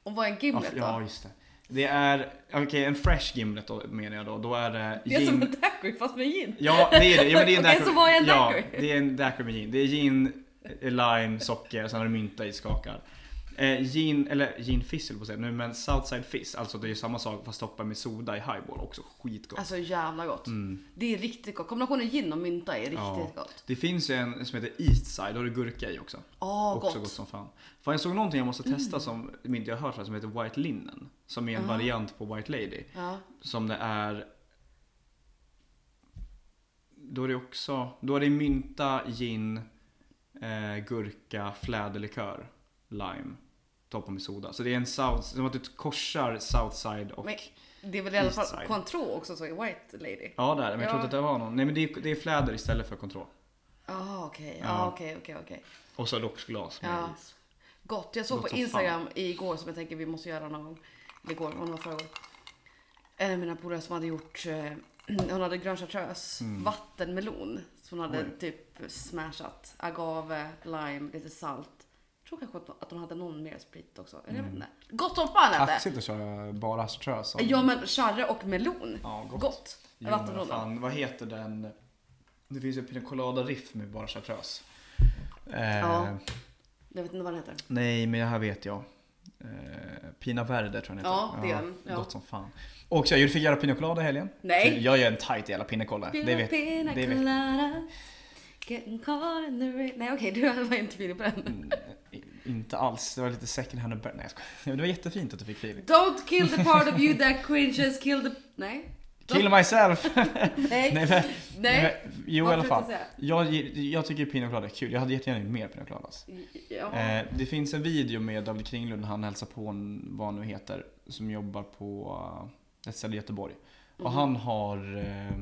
Speaker 1: Och vad är en
Speaker 2: Ja,
Speaker 1: gimlet
Speaker 2: f-
Speaker 1: då?
Speaker 2: Alltså, ja just det. Det är, okej en fresh gimlet då, menar jag då. Då är det
Speaker 1: det är som
Speaker 2: gin-
Speaker 1: en daiquiri fast med gin.
Speaker 2: Ja, det är det. Ja, men det
Speaker 1: (laughs)
Speaker 2: är en
Speaker 1: Okej,
Speaker 2: daiquiri.
Speaker 1: så vad är en
Speaker 2: ja,
Speaker 1: daiquiri?
Speaker 2: det är en daiquiri med gin. Det är gin, lime, socker, sen har du mynta i skakar. Eh, gin, eller gin fizz höll jag på att säga nu, men Southside fizz. Alltså det är ju samma sak fast toppat med soda i highball. Också skitgott.
Speaker 1: Alltså jävla gott. Det är riktigt gott. Kombinationen gin och mynta är riktigt
Speaker 2: Mm. Ja.
Speaker 1: gott.
Speaker 2: Det finns ju en som heter Eastside, då har du gurka i också.
Speaker 1: Åh,
Speaker 2: också
Speaker 1: gott. Mm.
Speaker 2: gott. som fan. Fan jag såg någonting jag måste testa som som inte jag har hört förut som heter White Linen. Som är en variant på White Lady.
Speaker 1: Ja.
Speaker 2: Som det är... Då är det också... Då är det mynta, gin, eh, gurka, fläderlikör, lime. Toppa med soda. Så det är en south... Som att du korsar Southside och...
Speaker 1: Men det är väl i alla fall
Speaker 2: Eastside.
Speaker 1: Cointreau också så i White Lady?
Speaker 2: Ja där, men jag
Speaker 1: Ja.
Speaker 2: trodde att det var någon. Nej men det är, det är fläder istället för kontroll.
Speaker 1: Jaha okej, ja
Speaker 2: Ja.
Speaker 1: okej, okej, okej.
Speaker 2: Och så locksglas med
Speaker 1: Ja.
Speaker 2: is.
Speaker 1: Gott, jag såg
Speaker 2: Gott
Speaker 1: på
Speaker 2: som
Speaker 1: Instagram igår som jag tänker vi måste göra någon gång. Eller Igår, hon var förra gången. En av mina polare som hade gjort, eh, (clears throat) hon hade grön chartreuse, vattenmelon. Som hon hade
Speaker 2: Mm. Oj.
Speaker 1: typ smashat. Agave, lime, lite salt. Jag tror kanske att- att de hade någon mer sprit också. Eller Jag
Speaker 2: Mm.
Speaker 1: vet inte. Gott som fan lät det!
Speaker 2: Kaxigt att köra bara chartreuse. som-
Speaker 1: Ja men charre och melon.
Speaker 2: Ja,
Speaker 1: gott.
Speaker 2: Jo, men vad
Speaker 1: Vattenmelon.
Speaker 2: fan, vad heter den Det finns ju Pina Colada Riff med bara chartreuse. Eh,
Speaker 1: Ja. Jag vet inte vad den heter.
Speaker 2: Nej, men det här vet jag. Eh, Pina Verde tror jag den
Speaker 1: Ja,
Speaker 2: heter.
Speaker 1: det är den. Ja.
Speaker 2: Gott som fan. Och så, jag fick göra Pina Colada i helgen.
Speaker 1: Nej.
Speaker 2: Så jag gör en tight jävla Pina Colada. Ah, Det vet,
Speaker 1: Pina
Speaker 2: det vet.
Speaker 1: colada, getting caught in the rain. Nej okej, du var inte fin på den.
Speaker 2: Mm, eh, Inte alls. Det var lite second hand. Nej, jag skojar. Men Det var jättefint att du fick feeling.
Speaker 1: Don't kill the part of you that cringes, kill the... Nej.
Speaker 2: Kill myself!
Speaker 1: (laughs) Nej.
Speaker 2: nej, men,
Speaker 1: Nej.
Speaker 2: men, jo i
Speaker 1: Vad
Speaker 2: alla
Speaker 1: försökte
Speaker 2: fall.
Speaker 1: jag säga?
Speaker 2: Jag, jag tycker Pina Colada är kul. Jag hade jättegärna gjort mer Pina Coladas.
Speaker 1: Ja.
Speaker 2: Eh, det finns en video med David Kringlund, han hälsar på en, vad han nu heter, som jobbar på eh, ett ställe i Göteborg. Och han har... Eh,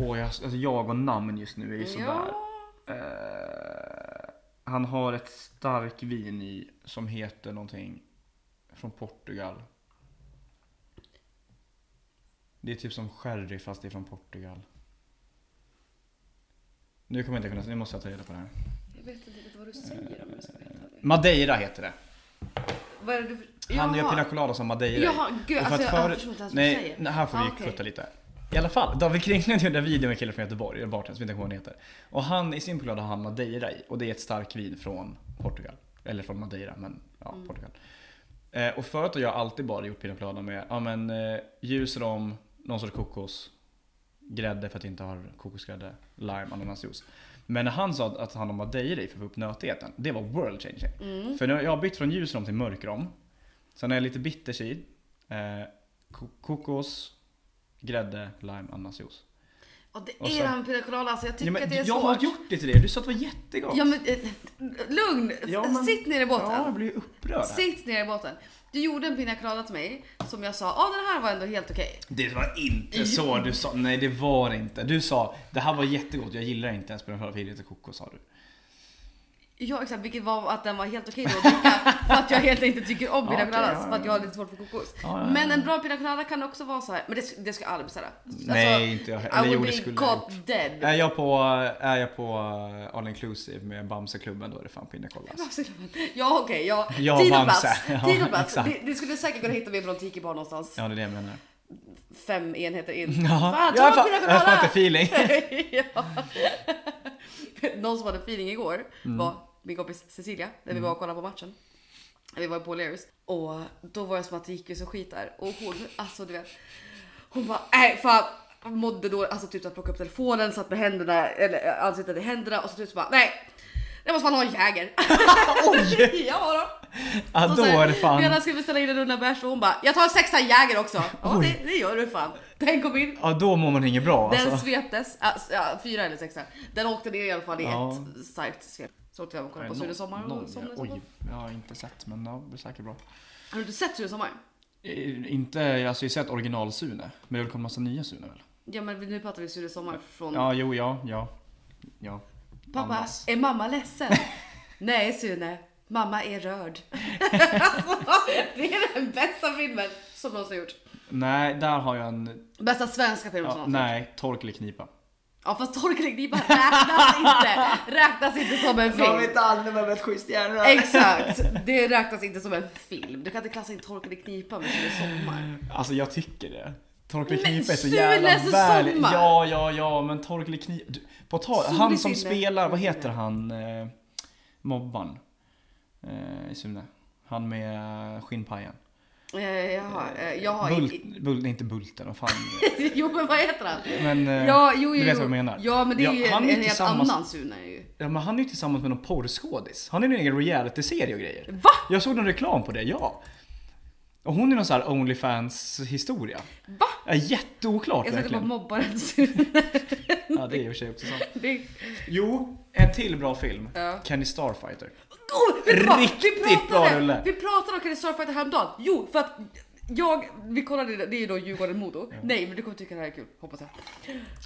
Speaker 2: åh, jag, alltså jag och namn just nu är ju sådär.
Speaker 1: Ja.
Speaker 2: Eh, han har ett stark vin i som heter någonting från Portugal. Det är typ som sherry fast det är från Portugal. Nu kommer jag inte kunna, nu måste jag ta reda på det här.
Speaker 1: Jag vet inte riktigt vad du säger om jag ska vara helt ärlig.
Speaker 2: Madeira heter det.
Speaker 1: Vad är det du...
Speaker 2: Mm. Han
Speaker 1: Jaha.
Speaker 2: gör pina colada som Madeira.
Speaker 1: Jaha, gud,
Speaker 2: Och för
Speaker 1: alltså,
Speaker 2: att
Speaker 1: jag- jag förstår inte ens vad du
Speaker 2: nej,
Speaker 1: säger.
Speaker 2: nej, här får vi
Speaker 1: Ah, okej.
Speaker 2: kutta lite. I alla fall, David Kringlund gjorde en video med en kille från Göteborg, en bartender som inte kommer ihåg vad han heter. Och han, i sin choklad har han Madeira i. Och det är ett starkt vin från Portugal. Eller från Madeira, men ja,
Speaker 1: Mm.
Speaker 2: Portugal. Eh, och förut har jag alltid bara gjort pina colada med ja, men, eh, ljus rom, någon sorts kokos, grädde för att jag inte har kokosgrädde, lime, ananasjuice. Men när han sa att, att han har Madeira i för att få upp nötigheten, det var world changing.
Speaker 1: Mm.
Speaker 2: För nu, har jag har bytt från ljus rom till mörk rom. Sen är jag lite bitters i. Eh, ko- kokos, grädde, lime, ananasjuice.
Speaker 1: Ja, det
Speaker 2: Och
Speaker 1: är
Speaker 2: så-
Speaker 1: den pina colada, alltså, jag tycker
Speaker 2: Ja, men
Speaker 1: att det är
Speaker 2: jag
Speaker 1: svårt.
Speaker 2: har gjort det till dig, du sa att det var jättegott.
Speaker 1: Ja men eh, lugn!
Speaker 2: Ja, men-
Speaker 1: Sitt ner i båten.
Speaker 2: Ja, jag blir ju upprörd. här.
Speaker 1: Sitt ner i båten. Du gjorde en pina colada till mig som jag sa, ja den här var ändå helt okej.
Speaker 2: Det var inte så du sa. Nej det var det inte. Du sa det här var jättegott, jag gillar inte ens spinat för jag gillar inte kokos sa du.
Speaker 1: Ja exakt, vilket var att den var helt okej då att
Speaker 2: (laughs)
Speaker 1: dricka för att jag helt enkelt inte tycker om
Speaker 2: Ja,
Speaker 1: pina
Speaker 2: okej,
Speaker 1: coladas
Speaker 2: ja, ja,
Speaker 1: för att jag
Speaker 2: ja.
Speaker 1: har lite svårt för kokos.
Speaker 2: Ja, ja,
Speaker 1: Men
Speaker 2: ja.
Speaker 1: en bra pina colada kan också vara så här. men det, det ska jag aldrig beställa. Alltså,
Speaker 2: Nej, inte jag heller.
Speaker 1: I
Speaker 2: Jo,
Speaker 1: would
Speaker 2: det
Speaker 1: be
Speaker 2: skulle jag Äh.
Speaker 1: caught dead. (laughs)
Speaker 2: Är jag på, är jag på eh, all inclusive med Bamseklubben då är det fan pinne kolla. alltså.
Speaker 1: Ja okej, ja.
Speaker 2: Ja,
Speaker 1: tid och
Speaker 2: Bamse.
Speaker 1: plats.
Speaker 2: (laughs) Ja,
Speaker 1: Tid och plats.
Speaker 2: exakt.
Speaker 1: Det, det skulle säkert kunna hitta mig på någon tiki bar någonstans.
Speaker 2: Ja det är det jag menar.
Speaker 1: Fem enheter in.
Speaker 2: Ja,
Speaker 1: Fan,
Speaker 2: jag,
Speaker 1: ta
Speaker 2: fa-
Speaker 1: pina
Speaker 2: jag
Speaker 1: colada! (laughs)
Speaker 2: fattar feeling.
Speaker 1: ja. Någon som hade feeling igår
Speaker 2: Mm.
Speaker 1: var min kompis Cecilia när vi var och kollade på matchen. Vi var på O'Learys och då var det som att det gick ju så skit där och hon, alltså du vet. Hon bara, nej fan mådde då, alltså typ att plocka upp telefonen, satt med händerna, eller eh, ansiktet i händerna och så typ så bara nej. Jag måste fan ha en
Speaker 2: (laughs)
Speaker 1: Jäger. Oj! (laughs) ja då.
Speaker 2: Ja
Speaker 1: Och
Speaker 2: då
Speaker 1: så här,
Speaker 2: är det fan.
Speaker 1: Vi hade skulle beställa in en runda bärs och hon bara, jag tar en sexa Jäger också. Ja
Speaker 2: Oj.
Speaker 1: det, det gör du fan. Den kom in,
Speaker 2: Ja då mår man inget bra
Speaker 1: den
Speaker 2: alltså.
Speaker 1: sveptes, alltså, ja, fyra eller sexa. Den åkte ner i alla fall i
Speaker 2: Ja.
Speaker 1: ett starkt svep. Så åkte jag och kollade på
Speaker 2: Nej,
Speaker 1: Sune
Speaker 2: någon-
Speaker 1: Sommar och
Speaker 2: någon-
Speaker 1: somnade i sommar.
Speaker 2: Oj, jag har inte sett men ja, det blir säkert bra.
Speaker 1: Har du inte sett Sune Sommar?
Speaker 2: Eh, Inte, alltså jag har sett original-Sune. Men det har väl kommit massa nya Sune väl?
Speaker 1: Ja men nu pratar vi Sune Sommar från
Speaker 2: Ja, jo, ja, ja. Ja.
Speaker 1: Pappa,
Speaker 2: Andas.
Speaker 1: är mamma
Speaker 2: (laughs)
Speaker 1: ledsen? Nej Sune, mamma är rörd. alltså, det är den bästa filmen som någonsin gjorts.
Speaker 2: Nej, där har jag en...
Speaker 1: Bästa svenska filmen som
Speaker 2: Ja,
Speaker 1: någonsin gjorts.
Speaker 2: nej, tork eller knipa.
Speaker 1: Ja fast Torkelknipan räknas inte, räknas inte som en film.
Speaker 2: aldrig vem ett schysst hjärna.
Speaker 1: Exakt, det räknas inte som en film. Du kan inte klassa in Torkel i knipa med Sune Sommar.
Speaker 2: Alltså jag tycker det. Tork eller
Speaker 1: Men
Speaker 2: knipa är så
Speaker 1: Sune
Speaker 2: jävla
Speaker 1: Sommar!
Speaker 2: väl... Ja, ja, ja, men tork eller knipa... Du, På tal,
Speaker 1: Solig
Speaker 2: han som
Speaker 1: Sune.
Speaker 2: spelar, vad heter han? Eh, mobban. Eh, i Sune. Han med skinnpajen.
Speaker 1: Eh, Jaha, eh, jag har...
Speaker 2: Bult, bult, nej, inte Bulten, vad fan.
Speaker 1: (laughs) Jo men vad heter han?
Speaker 2: Men, eh,
Speaker 1: Ja, jo, jo,
Speaker 2: du vet
Speaker 1: jo.
Speaker 2: vad jag menar.
Speaker 1: Ja men det är
Speaker 2: Ja,
Speaker 1: ju
Speaker 2: han
Speaker 1: en,
Speaker 2: är
Speaker 1: en helt
Speaker 2: tillsammans-
Speaker 1: annan Sune ju.
Speaker 2: Ja men han är ju tillsammans med någon porrskådis. Han är ju en egen reality-serie och grejer.
Speaker 1: Va?
Speaker 2: Jag såg någon reklam på det, ja. Och hon är någon sån här Onlyfans-historia.
Speaker 1: Va?
Speaker 2: Ja, jätteoklart
Speaker 1: Jag ska inte bara
Speaker 2: verkligen.
Speaker 1: mobba den
Speaker 2: (laughs)
Speaker 1: Sune. (laughs)
Speaker 2: Ja det är i och för sig också sant.
Speaker 1: Det-
Speaker 2: Jo, en till bra film.
Speaker 1: Ja.
Speaker 2: Kenny Starfighter.
Speaker 1: Oh, vet du vad?
Speaker 2: Riktigt
Speaker 1: vi pratade,
Speaker 2: bra, Rulle.
Speaker 1: Vi pratade om Kenny Starfighter häromdagen. Jo, för att jag, vi kollade, det är ju då Djurgården-Modo. Nej, men du kommer tycka det här är kul, hoppas jag.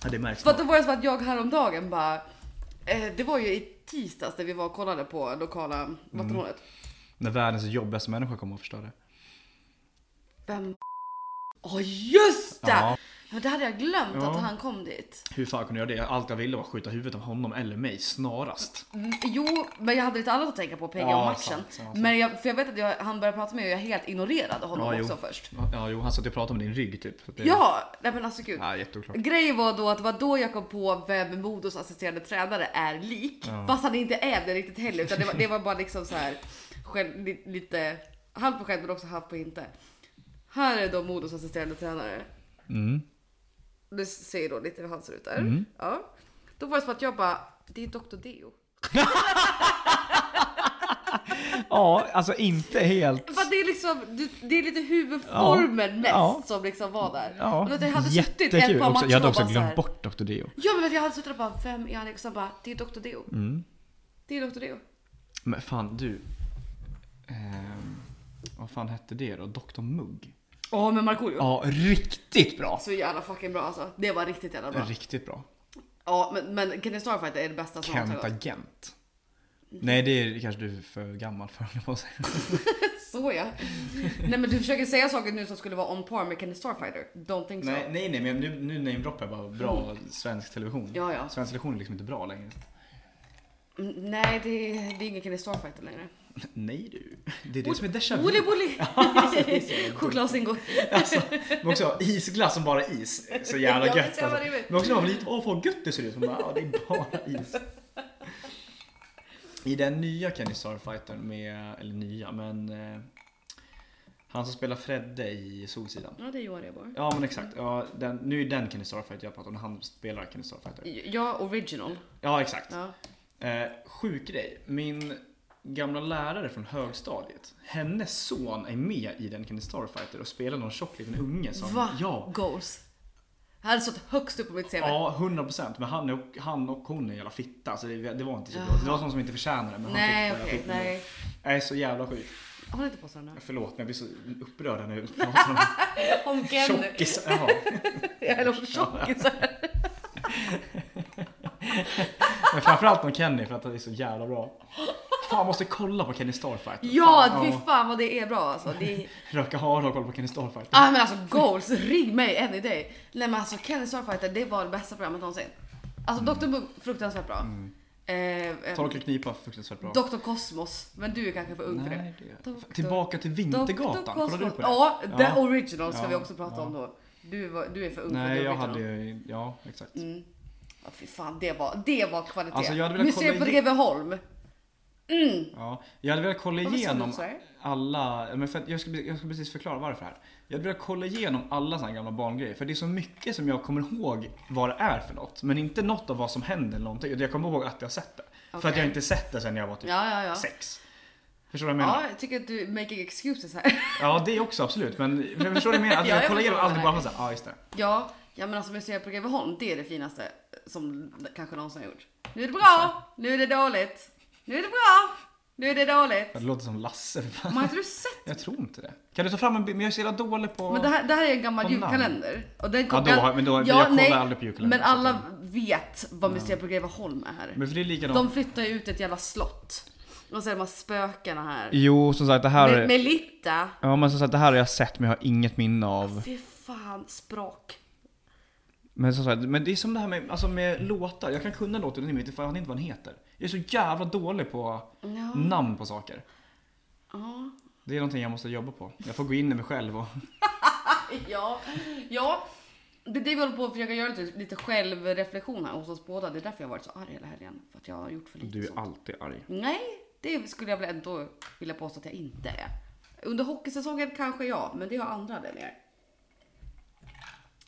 Speaker 2: Ja det märks.
Speaker 1: För att då var det som att jag häromdagen bara, eh, det var ju i tisdags när vi var och kollade på
Speaker 2: Mm.
Speaker 1: lokala vattenhålet.
Speaker 2: När världens jobbigaste människa kommer och förstör det.
Speaker 1: Vem Åh just det!
Speaker 2: Ja.
Speaker 1: Ja. det hade jag glömt
Speaker 2: Ja.
Speaker 1: att han kom dit.
Speaker 2: Hur fan kunde jag göra det? Allt jag ville var skjuta huvudet av honom eller mig snarast.
Speaker 1: Mm, Jo, men jag hade lite annat att tänka på PG
Speaker 2: Ja,
Speaker 1: om matchen.
Speaker 2: sant, sant, sant.
Speaker 1: Men jag, för jag vet att jag, han började prata med mig och jag helt ignorerade honom
Speaker 2: Ja, jo.
Speaker 1: också först.
Speaker 2: Ja, jo, han satt och pratade om din rygg typ. Så att det-
Speaker 1: Ja, nej men alltså gud.
Speaker 2: Ja, jätteoklart.
Speaker 1: Grejen var då att det var då jag kom på vem Modos assisterande tränare är lik.
Speaker 2: Ja.
Speaker 1: Fast han inte är det riktigt heller utan det var, det var bara liksom så här själv, li- lite halvt på skämt men också halvt på inte. Här är då Modos assisterande tränare.
Speaker 2: Mm.
Speaker 1: Du ser då lite hur han ser ut där. Ja. Då var det som att jag bara, det är Dr. Deo.
Speaker 2: Ja, alltså inte helt.
Speaker 1: För att det är liksom, du- det är lite huvudformen
Speaker 2: Ja.
Speaker 1: näst
Speaker 2: Ja.
Speaker 1: som liksom var där.
Speaker 2: Ja,
Speaker 1: Men att jag hade suttit ett
Speaker 2: jättekul.
Speaker 1: par
Speaker 2: Också,
Speaker 1: matcher
Speaker 2: jag hade
Speaker 1: och
Speaker 2: också
Speaker 1: bara så här-
Speaker 2: glömt bort Dr. Dio.
Speaker 1: Ja men att jag hade suttit och bara, vem är han? Och sen bara, det är Dr. Deo. Det är Dr. Deo.
Speaker 2: Mm. Men fan du. Ehm, vad fan hette det då? Dr Mugg?
Speaker 1: Ja men Markoolio.
Speaker 2: Ja, riktigt bra!
Speaker 1: Så jävla fucking bra alltså. Det var riktigt jävla bra.
Speaker 2: Riktigt bra.
Speaker 1: Ja men, men Kenny Starfighter är det bästa som
Speaker 2: Kent
Speaker 1: har gått.
Speaker 2: Agent. Nej, det är kanske du är för gammal för (laughs) höll jag på att säga.
Speaker 1: Så ja. Nej men du försöker säga saker nu som skulle vara on par med Kenny Starfighter. Don't think so.
Speaker 2: Nej, nej, nej, men nu, nu namedroppar jag bara bra svensk television.
Speaker 1: Ja, ja.
Speaker 2: Svensk television är liksom inte bra längre.
Speaker 1: Mm, Nej det, det är ingen Kenny Starfighter längre.
Speaker 2: Nej du. Det är det som är déjà vu.
Speaker 1: Woolly Woolly!
Speaker 2: (laughs)
Speaker 1: Chokladzingo.
Speaker 2: Alltså, men också isglass som bara är is. (laughs) Så jävla
Speaker 1: Ja, det är
Speaker 2: gött
Speaker 1: så jävla
Speaker 2: alltså.
Speaker 1: rimligt.
Speaker 2: Men också när man var lite, åh vad gött det ser ut. Så bara, ja det är bara is. I den nya Kenny Starfightern med, eller nya, men eh, han som spelar Fredde i Solsidan.
Speaker 1: Ja det är Johan Rheborg.
Speaker 2: Ja men exakt, ja, den, nu är den Kenny Starfighter jag pratar om, när han spelar Kenny Starfighter.
Speaker 1: Ja, original.
Speaker 2: Ja exakt.
Speaker 1: Ja.
Speaker 2: Eh, sjuk grej, min gamla lärare från högstadiet, hennes son är med i den Kenny Starfighter och spelar någon tjock liten unge som...
Speaker 1: Va?
Speaker 2: Ja.
Speaker 1: Goals. Han hade stått högst upp på mitt CV.
Speaker 2: Ja, 100 procent. Men han och, han och hon är en jävla fitta. Så det, det var inte så bra. Det var sånt som inte förtjänade det. Men
Speaker 1: nej
Speaker 2: han fick
Speaker 1: okej,
Speaker 2: skiten.
Speaker 1: nej.
Speaker 2: Nej, så jävla sjukt.
Speaker 1: Håll inte på sådana.
Speaker 2: Förlåt, men jag blir så
Speaker 1: (laughs)
Speaker 2: upprörd när jag pratar om
Speaker 1: Om Kenny.
Speaker 2: tjockis. Jaha.
Speaker 1: Eller om tjockisar.
Speaker 2: Men framförallt om Kenny för att det är så jävla bra. Fan, jag måste kolla på Kenny Starfighter.
Speaker 1: Ja,
Speaker 2: Fan,
Speaker 1: fy fan vad det är bra alltså. Det är...
Speaker 2: Röka hara och kolla på Kenny Starfighter.
Speaker 1: Ah, men alltså goals, ring mig any day. Nej men alltså Kenny Starfighter, det var det bästa programmet någonsin.
Speaker 2: Mm.
Speaker 1: Alltså Dr. Mugg, fruktansvärt bra. Eh, eh,
Speaker 2: Torka Mm. och knipa, fruktansvärt bra.
Speaker 1: Dr. Kosmos, men du är kanske för ung för det.
Speaker 2: Nej, det...
Speaker 1: Doktor-
Speaker 2: Tillbaka till Vintergatan,
Speaker 1: Dr.
Speaker 2: kollade du
Speaker 1: Cosmos.
Speaker 2: på det?
Speaker 1: Ja, the
Speaker 2: Ja.
Speaker 1: original ska
Speaker 2: Ja,
Speaker 1: vi också prata
Speaker 2: ja.
Speaker 1: om då. Du, var, du är för ung för
Speaker 2: Nej,
Speaker 1: the
Speaker 2: jag
Speaker 1: original.
Speaker 2: hade ju... Ja, exakt.
Speaker 1: Mm. Ja, fy fan, det var, det var kvalitet.
Speaker 2: Alltså, jag hade velat
Speaker 1: Museet
Speaker 2: kolla
Speaker 1: på
Speaker 2: i-
Speaker 1: Greveholm.
Speaker 2: Ja, jag hade velat kolla
Speaker 1: Varför sa du
Speaker 2: igenom Typ
Speaker 1: så här?
Speaker 2: alla, men för att jag, ska, jag ska precis förklara varför här. Jag hade velat kolla igenom alla såna här gamla barngrejer för det är så mycket som jag kommer ihåg vad det är för något. Men inte något av vad som händer eller någonting. Jag kommer ihåg att jag har sett det. För att
Speaker 1: Okej.
Speaker 2: jag inte sett det sen jag var typ
Speaker 1: Ja, ja, ja.
Speaker 2: sex. Förstår du vad jag menar?
Speaker 1: Ja, jag tycker att du making excuses här. (laughs)
Speaker 2: Ja, det också absolut. Men men förstår du vad jag menar? Att
Speaker 1: Ja,
Speaker 2: jag
Speaker 1: jag
Speaker 2: kollar igenom
Speaker 1: förstår
Speaker 2: aldrig
Speaker 1: vad
Speaker 2: bara
Speaker 1: du
Speaker 2: för såhär, ja just det.
Speaker 1: Ja, ja men alltså museet på Greveholm, det är det finaste som kanske någonsin har gjort. Nu är det bra, nu är det dåligt, nu är det bra, nu är det dåligt.
Speaker 2: Det låter som Lasse. för fan.
Speaker 1: Men har inte du sett?
Speaker 2: Jag tror inte det. Kan du ta fram en bild? Men jag är så jävla dålig på...
Speaker 1: Men det här, det här är en gammal
Speaker 2: Kom namn.
Speaker 1: julkalender. Och den
Speaker 2: Ja, då har- men då- jag kollar aldrig på julkalender,
Speaker 1: Men
Speaker 2: så
Speaker 1: alla vet vad museet på Greveholm är.
Speaker 2: Men för det är likadant.
Speaker 1: De flyttar ju ut ett jävla slott. Och så är de här spökena här.
Speaker 2: Jo, som sagt det här...
Speaker 1: Med, med Litta.
Speaker 2: Ja, men som sagt det här har jag sett men jag har inget minne av.
Speaker 1: Fy fan, språk.
Speaker 2: Men som sagt, men det är som det här med, alltså med låtar. Jag kan kunna låten men jag vet inte fan inte vad den heter. Jag är så jävla dålig på
Speaker 1: Ja.
Speaker 2: namn på saker.
Speaker 1: Ja.
Speaker 2: Det är någonting jag måste jobba på. Jag får gå in i mig själv och...
Speaker 1: Ja, ja. Det är det vi håller på att försöka göra lite, lite självreflektion här hos oss båda. Det är därför jag har varit så arg hela helgen. För att jag har gjort för lite sånt.
Speaker 2: alltid arg.
Speaker 1: Nej, det skulle jag väl ändå vilja påstå att jag inte är. Under hockeysäsongen kanske ja, men det har andra anledningar.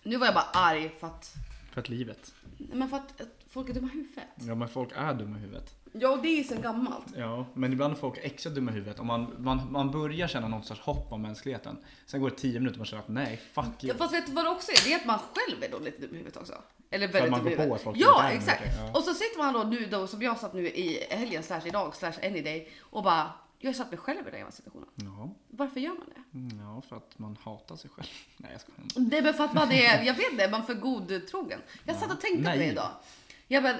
Speaker 1: Nu var jag bara arg för att,
Speaker 2: För att livet.
Speaker 1: nej, men för att att folk är dumma i huvudet.
Speaker 2: Ja men folk är dumma i huvudet.
Speaker 1: Ja, och det är ju sedan gammalt.
Speaker 2: Ja, men ibland är folk extra dumma i huvudet. Och man, man, man börjar känna någon sorts hopp om mänskligheten. Sen går det 10 minuter och man känner att nej, fuck you.
Speaker 1: Fast vet du vad det också är? Det är att man själv är då lite dum i huvudet också. Eller
Speaker 2: att
Speaker 1: väldigt
Speaker 2: man
Speaker 1: dum i
Speaker 2: går på
Speaker 1: huvudet.
Speaker 2: att folk
Speaker 1: Ja,
Speaker 2: är dumma,
Speaker 1: exakt.
Speaker 2: okej, ja.
Speaker 1: Och så sitter man då nu då, som jag satt nu i helgen slash idag slash any day och bara, jag har satt mig själv i den här situationen.
Speaker 2: Ja,
Speaker 1: Varför gör man det?
Speaker 2: Mm, ja, för att man hatar sig själv. (laughs) Nej, jag skojar.
Speaker 1: Det är väl för att man är, jag vet det, man är för godtrogen. Jag satt och tänkte på det
Speaker 2: Naiv.
Speaker 1: idag. Jag bara,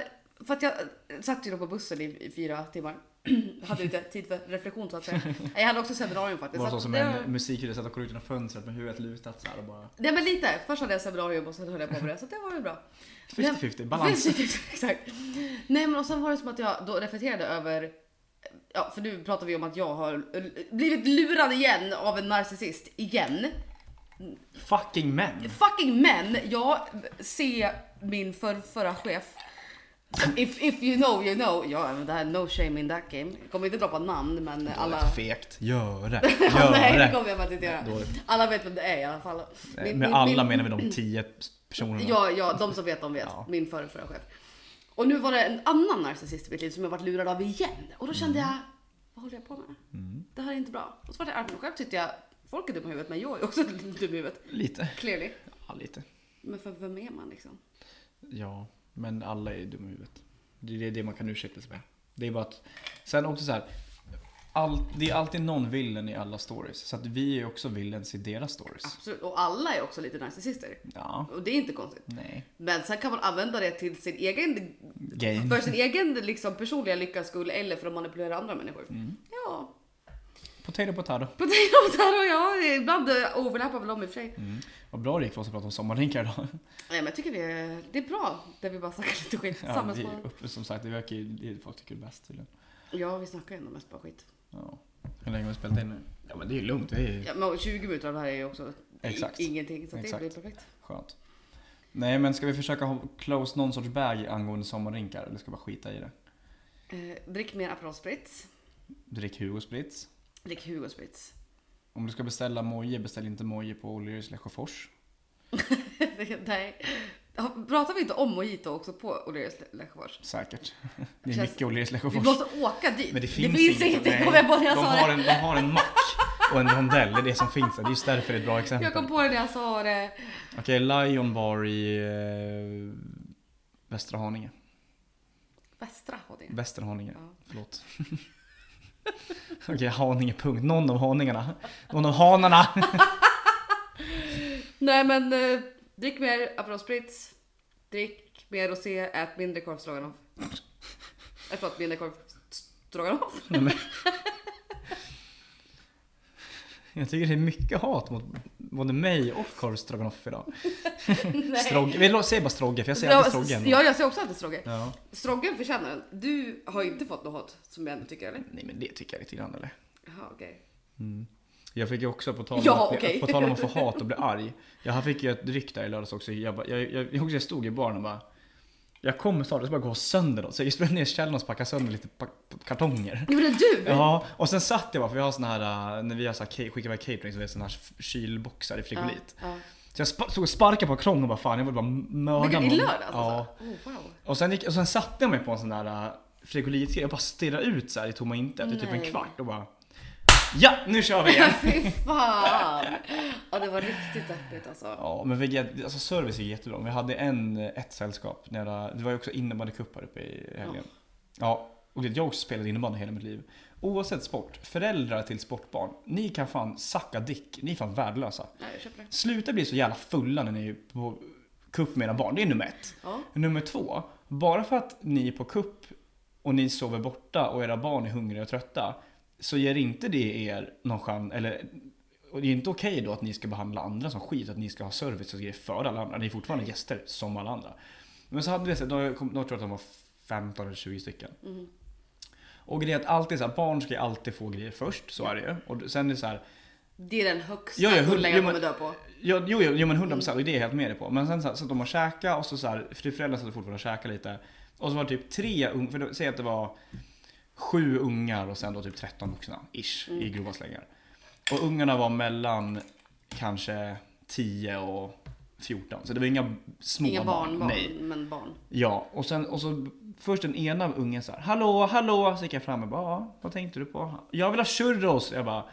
Speaker 1: För att jag eh, satt ju då på bussen i, i fyra timmar. (clears throat) hade lite tid för reflektion så att säga. Jag hade också seminarium faktiskt. så
Speaker 2: Bara så
Speaker 1: att
Speaker 2: som
Speaker 1: det
Speaker 2: en
Speaker 1: var-
Speaker 2: musikkille satt och kollade ut genom fönstret med huvudet lutat såhär och bara
Speaker 1: Nej men lite. Först hade jag seminarium och sen höll jag på med det. Så det var ju bra.
Speaker 2: 50-50,
Speaker 1: (laughs)
Speaker 2: balans.
Speaker 1: 50-50, exakt. Nej men och sen var det som att jag då reflekterade över Ja, för nu pratar vi om att jag har eh, blivit lurad igen av en narcissist. Igen.
Speaker 2: Fucking män!
Speaker 1: Fucking men! Jag ser min för, förra chef. If, if you know you know. Ja, men det här no shame in that game. Jag kommer inte droppa namn men alla...
Speaker 2: Dåligt, Fegt. Gör det.
Speaker 1: Ja, (laughs)
Speaker 2: Gör
Speaker 1: Nej, det
Speaker 2: det.
Speaker 1: kommer jag faktiskt inte göra.
Speaker 2: Dåligt.
Speaker 1: Alla vet vem det är i alla fall. Min-
Speaker 2: Med
Speaker 1: min-
Speaker 2: alla
Speaker 1: min-
Speaker 2: menar vi de tio personerna.
Speaker 1: Ja, ja, de som vet, de vet.
Speaker 2: Ja.
Speaker 1: Min förra, förra chef. Och nu var det en annan narcissist i mitt liv som jag varit lurad av igen. Och då
Speaker 2: Mm.
Speaker 1: kände jag, vad håller jag på med? Det här är inte bra. Och så vart jag arg på mig själv tyckte jag, folk är dumma i huvudet men jag är också (laughs) dum i huvudet.
Speaker 2: Lite.
Speaker 1: Clearly.
Speaker 2: Ja, lite.
Speaker 1: Men för vem är man liksom?
Speaker 2: Ja, men alla är dumma i huvudet. Det är det- det man kan ursäkta sig med. Det är bara att... Sen också så här. All, det är alltid någon villen i alla stories. Så att vi är också villens i deras stories.
Speaker 1: Absolut. Och alla är också lite narcissister.
Speaker 2: Ja.
Speaker 1: Och det är inte konstigt.
Speaker 2: Nej.
Speaker 1: Men sen kan man använda det till sin egen,
Speaker 2: Gain.
Speaker 1: för sin egen liksom, personliga lyckas skull eller för att manipulera andra människor.
Speaker 2: Mm.
Speaker 1: Ja,
Speaker 2: Potato,
Speaker 1: (laughs)
Speaker 2: potato.
Speaker 1: potato potato och jag, ibland eh, overlappar väl de i och för sig.
Speaker 2: Mm. Vad bra det gick för oss att prata om sommarlinkar idag.
Speaker 1: Nej men jag tycker vi är, det är bra där vi bara snackar lite skit
Speaker 2: Ja,
Speaker 1: tillsammans.
Speaker 2: vi,
Speaker 1: Ja,
Speaker 2: upp- som sagt, det verkar ju det är folk tycker är bäst tydligen.
Speaker 1: ja vi snackar ju ändå mest bara skit.
Speaker 2: Ja. Hur länge har vi spelat in nu? Ja men det är ju lugnt, det är ju
Speaker 1: Ja, men 20 minuter av det här är ju också
Speaker 2: Exakt.
Speaker 1: i- ingenting så att det
Speaker 2: Exakt.
Speaker 1: blir perfekt.
Speaker 2: skönt. Nej men ska vi försöka ha, close någon sorts bag angående sommarrinkar eller ska vi bara skita i det?
Speaker 1: Eh, drick mer Aperol Spritz.
Speaker 2: Drick Hugo Spritz.
Speaker 1: Drick Hugo Spritz. (laughs)
Speaker 2: Om du ska beställa moje, beställ inte moje på O'Learys Lesjöfors.
Speaker 1: Det- Nej. Ja, Pratar vi inte om mojito också på O'Learys Lesjöfors? (laughs)
Speaker 2: Säkert. Det är
Speaker 1: Känns-
Speaker 2: mycket O'Learys
Speaker 1: Vi
Speaker 2: Lesjöfors.
Speaker 1: måste åka dit.
Speaker 2: Men det finns,
Speaker 1: inget.
Speaker 2: Nej,
Speaker 1: Jag kom jag på när jag
Speaker 2: de,
Speaker 1: sa
Speaker 2: har
Speaker 1: det.
Speaker 2: en, de har en mack och en rondell, det är det som finns där. Det är just därför det är ett bra exempel.
Speaker 1: Jag kom på det när jag sa det.
Speaker 2: Okej, Lion var i eh, Västra Haninge.
Speaker 1: Västra Haninge.
Speaker 2: Västerhaninge,
Speaker 1: Ja.
Speaker 2: förlåt. (laughs) Okej, Haninge punkt. Någon av haningarna. Någon av hanarna.
Speaker 1: Nej men eh, drick mer Aperol Spritz. Drick mer rosé, ät mindre korv stroganoff. Eh, Förlåt, mindre korv stroganoff. (laughs)
Speaker 2: Nej, men- Jag tycker det är mycket hat mot både mig och korv stroganoff idag. Strogge. Vi lå- säger bara strogge, för jag säger alltid strogge. ändå.
Speaker 1: Ja, jag säger också alltid strogge.
Speaker 2: Ja.
Speaker 1: Stroggen förtjänar den. Du har inte fått något hat som jag inte tycker eller?
Speaker 2: Nej men det tycker jag lite grann eller?
Speaker 1: Jaha okej.
Speaker 2: Jag fick ju också, på tal om,
Speaker 1: Ja,
Speaker 2: att,
Speaker 1: okej.
Speaker 2: på tal om att få hat och bli arg. Jag fick ju ett ryck där i lördags också. Jag, bara, jag, jag, jag, också jag stod i baren och bara jag kommer snart, jag ska bara gå sönder något. Så jag sprang ner i källaren och packade sönder lite pa- kartonger.
Speaker 1: Gjorde du?
Speaker 2: Ja, och sen satt jag bara, för vi har såna här, eh, när vi har så här, ca- skickar iväg catering så är det såna här f- kylboxar i frigolit.
Speaker 1: Ja, ja.
Speaker 2: Så jag spa- stod och sparkade på krång och bara fan jag vill bara m-
Speaker 1: Men
Speaker 2: mörda
Speaker 1: gud, I lördags
Speaker 2: Ja.
Speaker 1: alltså? Oh, wow. (laughs)
Speaker 2: Och sen, gick, och sen satte jag mig på en sån där äh, frigolitgrej och bara stirrade ut så här i tomma intet i typ en
Speaker 1: Nej.
Speaker 2: kvart och bara Ja, nu kör vi igen! (laughs)
Speaker 1: Fy fan! Ja det var riktigt öppet alltså.
Speaker 2: Ja, men vi, alltså service är jättebra. Vi hade en, äh, ett sällskap. Nära, det var ju också innebandycup här uppe i helgen. Ja. och det jag har också spelat innebandy hela mitt liv. Oavsett sport, föräldrar till sportbarn. Ni kan fan sacka dick. Ni är fan värdelösa.
Speaker 1: Ja, jag köper det.
Speaker 2: Sluta bli så jävla fulla när ni är på cup med era barn. Det är nummer ett.
Speaker 1: Ja.
Speaker 2: Nummer två, bara för att ni är på kupp och ni sover borta och era barn är hungriga och trötta så ger inte det er någon chans, eller och det är inte okej då att ni ska behandla andra som skit, att ni ska ha service och grejer för alla andra. Ni är fortfarande gäster som alla andra. Men så hade vi, så- då kom- då tror jag att de var 15 eller 20 stycken. Och det är att alltid så här, barn ska ju alltid få grejer först, så är det ju. Och sen är det så här,
Speaker 1: Det är den högsta
Speaker 2: Ja, ja, hund-
Speaker 1: kullen jag
Speaker 2: ja, men-
Speaker 1: kommer dö på.
Speaker 2: Ja, jo, jo, jo men 100
Speaker 1: Mm.
Speaker 2: procent, och det är jag helt med dig på. Men sen så, här, så att de har käkat och så, så här, för föräldrarna satt fortfarande och käkade lite. Och så var det typ tre unga, för då- säg att det var sju ungar och sen då typ 13 vuxna, ish,
Speaker 1: Mm.
Speaker 2: i grova slängar. Och ungarna var mellan kanske 10 och 14, så det var inga små
Speaker 1: Inga
Speaker 2: barn.
Speaker 1: barnbarn, barn,
Speaker 2: Nej.
Speaker 1: men barn.
Speaker 2: Ja, och sen och så först den ena av ungen så här, hallå, hallå, så gick jag fram och bara, "Ja, vad tänkte du på? Jag vill ha churros! Jag bara,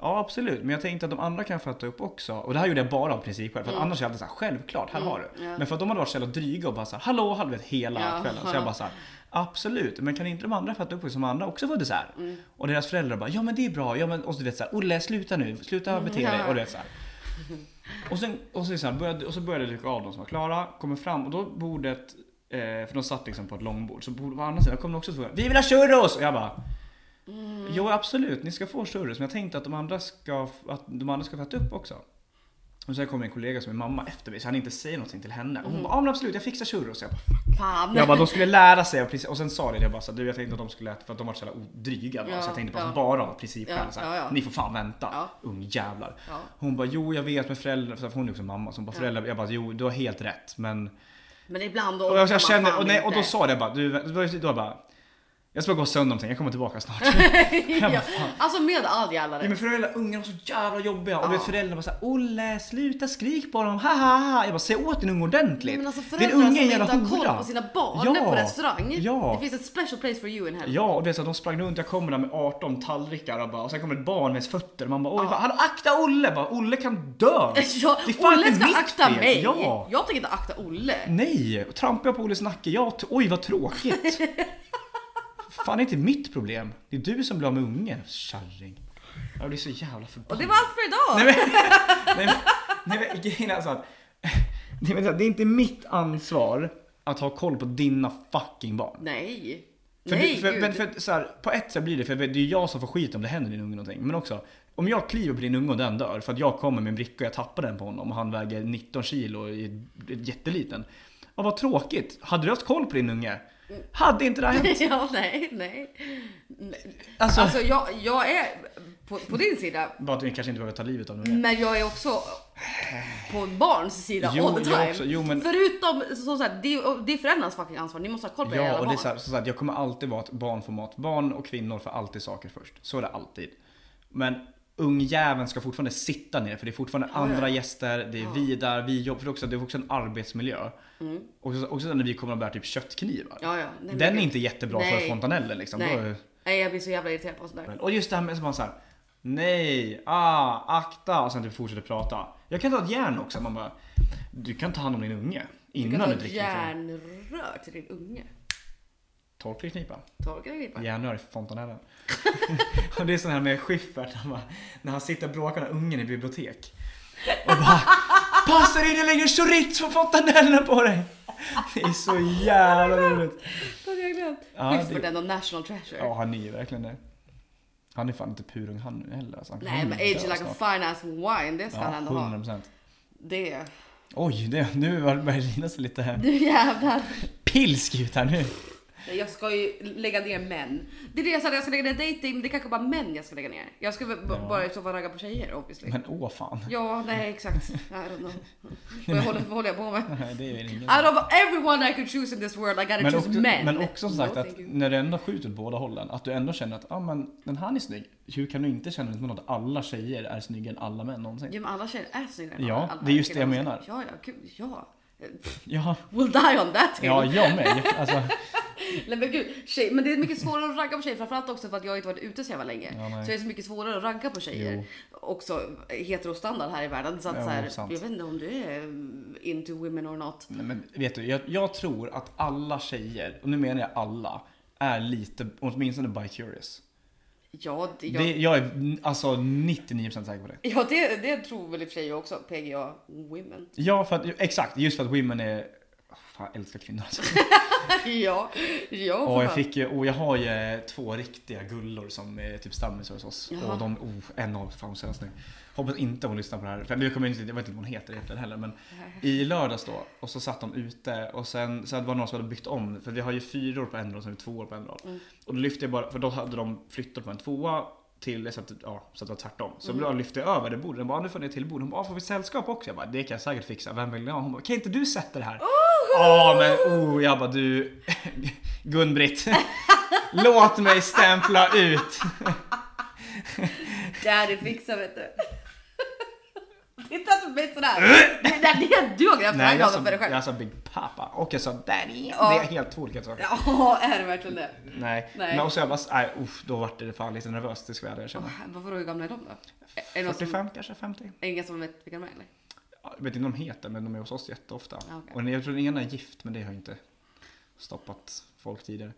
Speaker 2: ja absolut, men jag tänkte att de andra kan fatta upp också. Och det här gjorde jag bara av princip själv, för att annars är jag alltid så här, självklart, här har du.
Speaker 1: Mm. ja.
Speaker 2: Men för att de hade varit så jävla dryga och bara så här, hallå, hallå, vet, hela
Speaker 1: Ja,
Speaker 2: kvällen. Så
Speaker 1: ja.
Speaker 2: jag bara så här, absolut, men kan inte de andra fatta upp också, som andra också får dessert? Och deras föräldrar bara, ja men det är bra, ja men, och så du vet så här, Olle, sluta nu, sluta bete dig,
Speaker 1: Ja.
Speaker 2: och du vet så här. liksom, Och, sen, och, så är det så här, började, och så började jag dyka av de som var klara, kommer fram och då bordet Eh, för de satt liksom på ett långbord. Så på på andra sidan kom det också två. Vi vill ha churros! Och jag bara. Jo absolut, ni ska få churros. Men jag tänkte att de andra ska, f- att de andra ska få äta upp också. Och sen kom en kollega som är mamma efter mig så han inte säger någonting till henne. Och hon bara, ja men absolut jag fixar churros. Jag bara,
Speaker 1: Fan!
Speaker 2: jag bara, de skulle lära sig av princip. Och sen sa det jag bara så här, du jag tänkte att de skulle äta för att de var så jävla dryga. bara.
Speaker 1: Ja,
Speaker 2: så jag tänkte bara,
Speaker 1: ja.
Speaker 2: bara av principskäl.
Speaker 1: Ja,
Speaker 2: så här,
Speaker 1: ja, ja.
Speaker 2: Ni får fan vänta.
Speaker 1: Ja.
Speaker 2: Ungjävlar.
Speaker 1: (laughs) Ja.
Speaker 2: Hon bara, jo jag vet med föräldrar. För hon är också mamma. Så hon bara, föräldrar. Jag bara, jo du har helt rätt. Men...
Speaker 1: Men ibland
Speaker 2: Och jag, jag
Speaker 1: orkar man
Speaker 2: känner,
Speaker 1: fan
Speaker 2: och, nej, och
Speaker 1: (laughs)
Speaker 2: då
Speaker 1: inte.
Speaker 2: sa det bara, du, då, då bara. Jag ska bara gå sönder någonting, jag kommer tillbaka snart.
Speaker 1: ja. Alltså med all jävla
Speaker 2: Ja,
Speaker 1: rätt.
Speaker 2: men föräldrar, ungarna var så jävla jobbiga. Och
Speaker 1: Ja.
Speaker 2: du vet föräldrar bara såhär Olle sluta skrik på dem, ha ha ha. Jag bara säg åt din unge ordentligt.
Speaker 1: Men alltså
Speaker 2: Din
Speaker 1: föräldrar
Speaker 2: unge är en
Speaker 1: som inte har
Speaker 2: jävla
Speaker 1: koll
Speaker 2: hora."
Speaker 1: på sina barn
Speaker 2: Ja.
Speaker 1: på restaurang.
Speaker 2: Ja.
Speaker 1: Det finns ett special place for you in hell.
Speaker 2: Ja, och det är så att de sprang runt, jag kommer där med 18 tallrikar och, bara, och sen kommer ett barn med fötter. Man bara oj, bara, hallå akta Olle! Bara, Olle kan dö!
Speaker 1: (laughs) (laughs) Ja,
Speaker 2: Det är fan
Speaker 1: Olle
Speaker 2: inte
Speaker 1: ska
Speaker 2: mitt
Speaker 1: akta
Speaker 2: fel.
Speaker 1: mig.
Speaker 2: Ja.
Speaker 1: Jag tänker inte akta Olle.
Speaker 2: Nej! och Trampar jag på Olles nacke, ja, t- oj vad tråkigt!
Speaker 1: (laughs)
Speaker 2: fan, det är inte mitt problem. Det är du som blir av med ungen, kärring. Jag blir så jävla
Speaker 1: Och
Speaker 2: förbannad.
Speaker 1: det var allt för idag.
Speaker 2: Nej men, nej, men, nej, men grejen är alltså att (laughs) nej, men, det är inte mitt ansvar att ha koll på dina fucking barn.
Speaker 1: Nej.
Speaker 2: För
Speaker 1: Nej,
Speaker 2: du, för,
Speaker 1: gud.
Speaker 2: men för, så här, på ett sätt blir det, för det är ju jag som får skit om det händer din unge någonting. Men också, om jag kliver på din unge och den dör för att jag kommer med en bricka och jag tappar den på honom och han väger 19 kilo och är jätteliten. Ja, vad tråkigt. Hade du haft koll på din unge?
Speaker 1: Mm.
Speaker 2: Hade inte det här
Speaker 1: (laughs)
Speaker 2: hänt?
Speaker 1: ja, nej, nej. nej.
Speaker 2: Alltså,
Speaker 1: Alltså jag, jag är på, på din sida,
Speaker 2: bara att vi kanske inte behöver ta livet av en unge.
Speaker 1: men jag är också på barns sida
Speaker 2: Jo,
Speaker 1: all the
Speaker 2: jag
Speaker 1: time.
Speaker 2: också. Jo, men-
Speaker 1: Förutom, så, så här, det, är- det är föräldrarnas fucking ansvar, ni måste ha koll på era
Speaker 2: Ja,
Speaker 1: jävla
Speaker 2: och det är
Speaker 1: barn.
Speaker 2: så här, så att jag kommer alltid vara att barn får mat. Barn och kvinnor får alltid saker först. Så är det alltid. Men ungjäveln ska fortfarande sitta ner för det är fortfarande andra gäster, det är vi där, vi jobbar. För också, det är också en arbetsmiljö. Och så, också när vi kommer att bära typ köttknivar.
Speaker 1: Ja, ja. Nej, men
Speaker 2: Den Mm. är
Speaker 1: gud.
Speaker 2: inte jättebra
Speaker 1: Nej.
Speaker 2: för fontanellen liksom. Då
Speaker 1: nej.
Speaker 2: är-
Speaker 1: nej, jag blir så jävla irriterad på sånt där.
Speaker 2: men- Och just det här med att man såhär Nej, ah, akta och sen typ fortsätter prata. Jag kan ta ett järn också. Man bara, du kan ta hand om din unge
Speaker 1: Du kan
Speaker 2: innan
Speaker 1: ta
Speaker 2: du
Speaker 1: ett
Speaker 2: dricker. Järn...
Speaker 1: järnrör till din unge.
Speaker 2: Torkelknipa.
Speaker 1: Torka dig bara.
Speaker 2: Järnrör i fontanellen. (laughs) och det är sån här med Schyffert, han bara, när han sitter och bråkar med ungen i bibliotek. Och bara Passar in eller lägger chorizo från fontanellen på dig! Det är så jävla roligt.
Speaker 1: Det hade jag glömt.
Speaker 2: Ja,
Speaker 1: Schysst för
Speaker 2: det-
Speaker 1: den och national treasure.
Speaker 2: Ja, han är ju verkligen det. Han är fan inte purung han nu heller. Alltså, han
Speaker 1: Nej men age like a fine ass wine, det ska han ändå ha.
Speaker 2: 100%.
Speaker 1: Det. (laughs)
Speaker 2: Oj, det, nu var- börjar det lina sig lite här.
Speaker 1: Nu jävlar.
Speaker 2: pilsk ut här nu.
Speaker 1: Nej, Jag ska ju lägga ner män. Det är det jag sa, jag ska lägga ner dating, men det är kanske bara män jag ska lägga ner. Jag ska väl b-
Speaker 2: Ja.
Speaker 1: bara i så fall ragga på tjejer obviously.
Speaker 2: Men åh fan.
Speaker 1: Ja, nej exakt. I don't
Speaker 2: (laughs)
Speaker 1: know. Vad håller, vad håller jag på med?
Speaker 2: Nej, det är väl ingen.
Speaker 1: Out of everyone I could choose in this world I gotta
Speaker 2: Men
Speaker 1: choose
Speaker 2: också,
Speaker 1: men.
Speaker 2: men också som sagt
Speaker 1: No,
Speaker 2: att
Speaker 1: thank you.
Speaker 2: när du ändå skjuter åt båda hållen, att du ändå känner att ah, men, den här är snygg. Hur kan du inte känna att något att alla tjejer är snyggare än alla män någonsin?
Speaker 1: Ja men alla tjejer är snyggare än
Speaker 2: Ja,
Speaker 1: alla- alla
Speaker 2: det är just det jag
Speaker 1: killar.
Speaker 2: menar.
Speaker 1: Ja, ja, gud, ja.
Speaker 2: Ja,
Speaker 1: We'll die on that hill.
Speaker 2: ja jag med.
Speaker 1: (laughs)
Speaker 2: Alltså,
Speaker 1: Nej men gud, tjej, men det är mycket svårare att ragga på tjejer framförallt också för att jag inte varit ute så jävla länge.
Speaker 2: Ja, nej.
Speaker 1: så det är så mycket svårare att ragga på tjejer.
Speaker 2: Jo.
Speaker 1: Också heterostandard här i världen. Så att
Speaker 2: Ja,
Speaker 1: så här,
Speaker 2: sant.
Speaker 1: jag vet inte om du är mm, into women or not.
Speaker 2: nej, men vet du, jag, jag tror att alla tjejer, och nu menar jag alla, är lite, åtminstone bi-curious.
Speaker 1: Ja, det, jag,
Speaker 2: Det, jag är mm, alltså 99% säker på det.
Speaker 1: ja, det, det tror väl i och för sig jag också. PGA women.
Speaker 2: Ja, för att, exakt. Just för att women är... Fan, jag älskar kvinnor alltså.
Speaker 1: ja, ja.
Speaker 2: Ja,
Speaker 1: för
Speaker 2: jag
Speaker 1: fan.
Speaker 2: fick ju, och jag har ju eh, två riktiga gullor som är typ stammisar hos oss.
Speaker 1: Jaha.
Speaker 2: Och de, oh, en av fan så nu. Hoppas inte hon lyssnar på det här. För jag, kommer inte, jag vet inte vad hon heter egentligen heller. Men i lördags då, och så satt de ute och sen så var det någon som hade byggt om. För vi har ju fyror på en rad och sen har vi tvåor på en rad.
Speaker 1: Mm.
Speaker 2: Och då lyfte jag bara, för då hade de flyttat på en tvåa till så att, ja, så att det var tvärtom. Så
Speaker 1: Mm.
Speaker 2: då lyfte jag över det bordet. Den bara, nu får ni ett till bord. Hon bara, får vi sällskap också? Jag bara, det kan jag säkert fixa. Vem vill ni ha? Hon bara, kan inte du sätta det här? Ja men oh, jag bara du Gun-Britt (laughs) Låt mig stämpla ut
Speaker 1: Daddy fixar vet du. (laughs) Titta på mig sådär. Det är där det du har grävt
Speaker 2: Äh! Nej jag sa,
Speaker 1: raggarna för dig själv.
Speaker 2: jag sa Big Papa och jag sa Daddy
Speaker 1: Ja.
Speaker 2: Det är helt två olika saker
Speaker 1: Ja, är det verkligen det?
Speaker 2: Nej,
Speaker 1: Nej.
Speaker 2: Men och så jag bara, nej uff, då vart det fan lite nervöst, det ska jag
Speaker 1: Åh,
Speaker 2: erkänna
Speaker 1: Varför hur gamla är de då? Är- Är det någon som-
Speaker 2: 45 kanske, 50?
Speaker 1: Är det ingen som vet vilka de är eller?
Speaker 2: Ja, Jag vet inte om de heter men de är hos oss jätteofta
Speaker 1: Ja, Ah, okej.
Speaker 2: Och jag tror den ena är gift men det har ju inte stoppat folk tidigare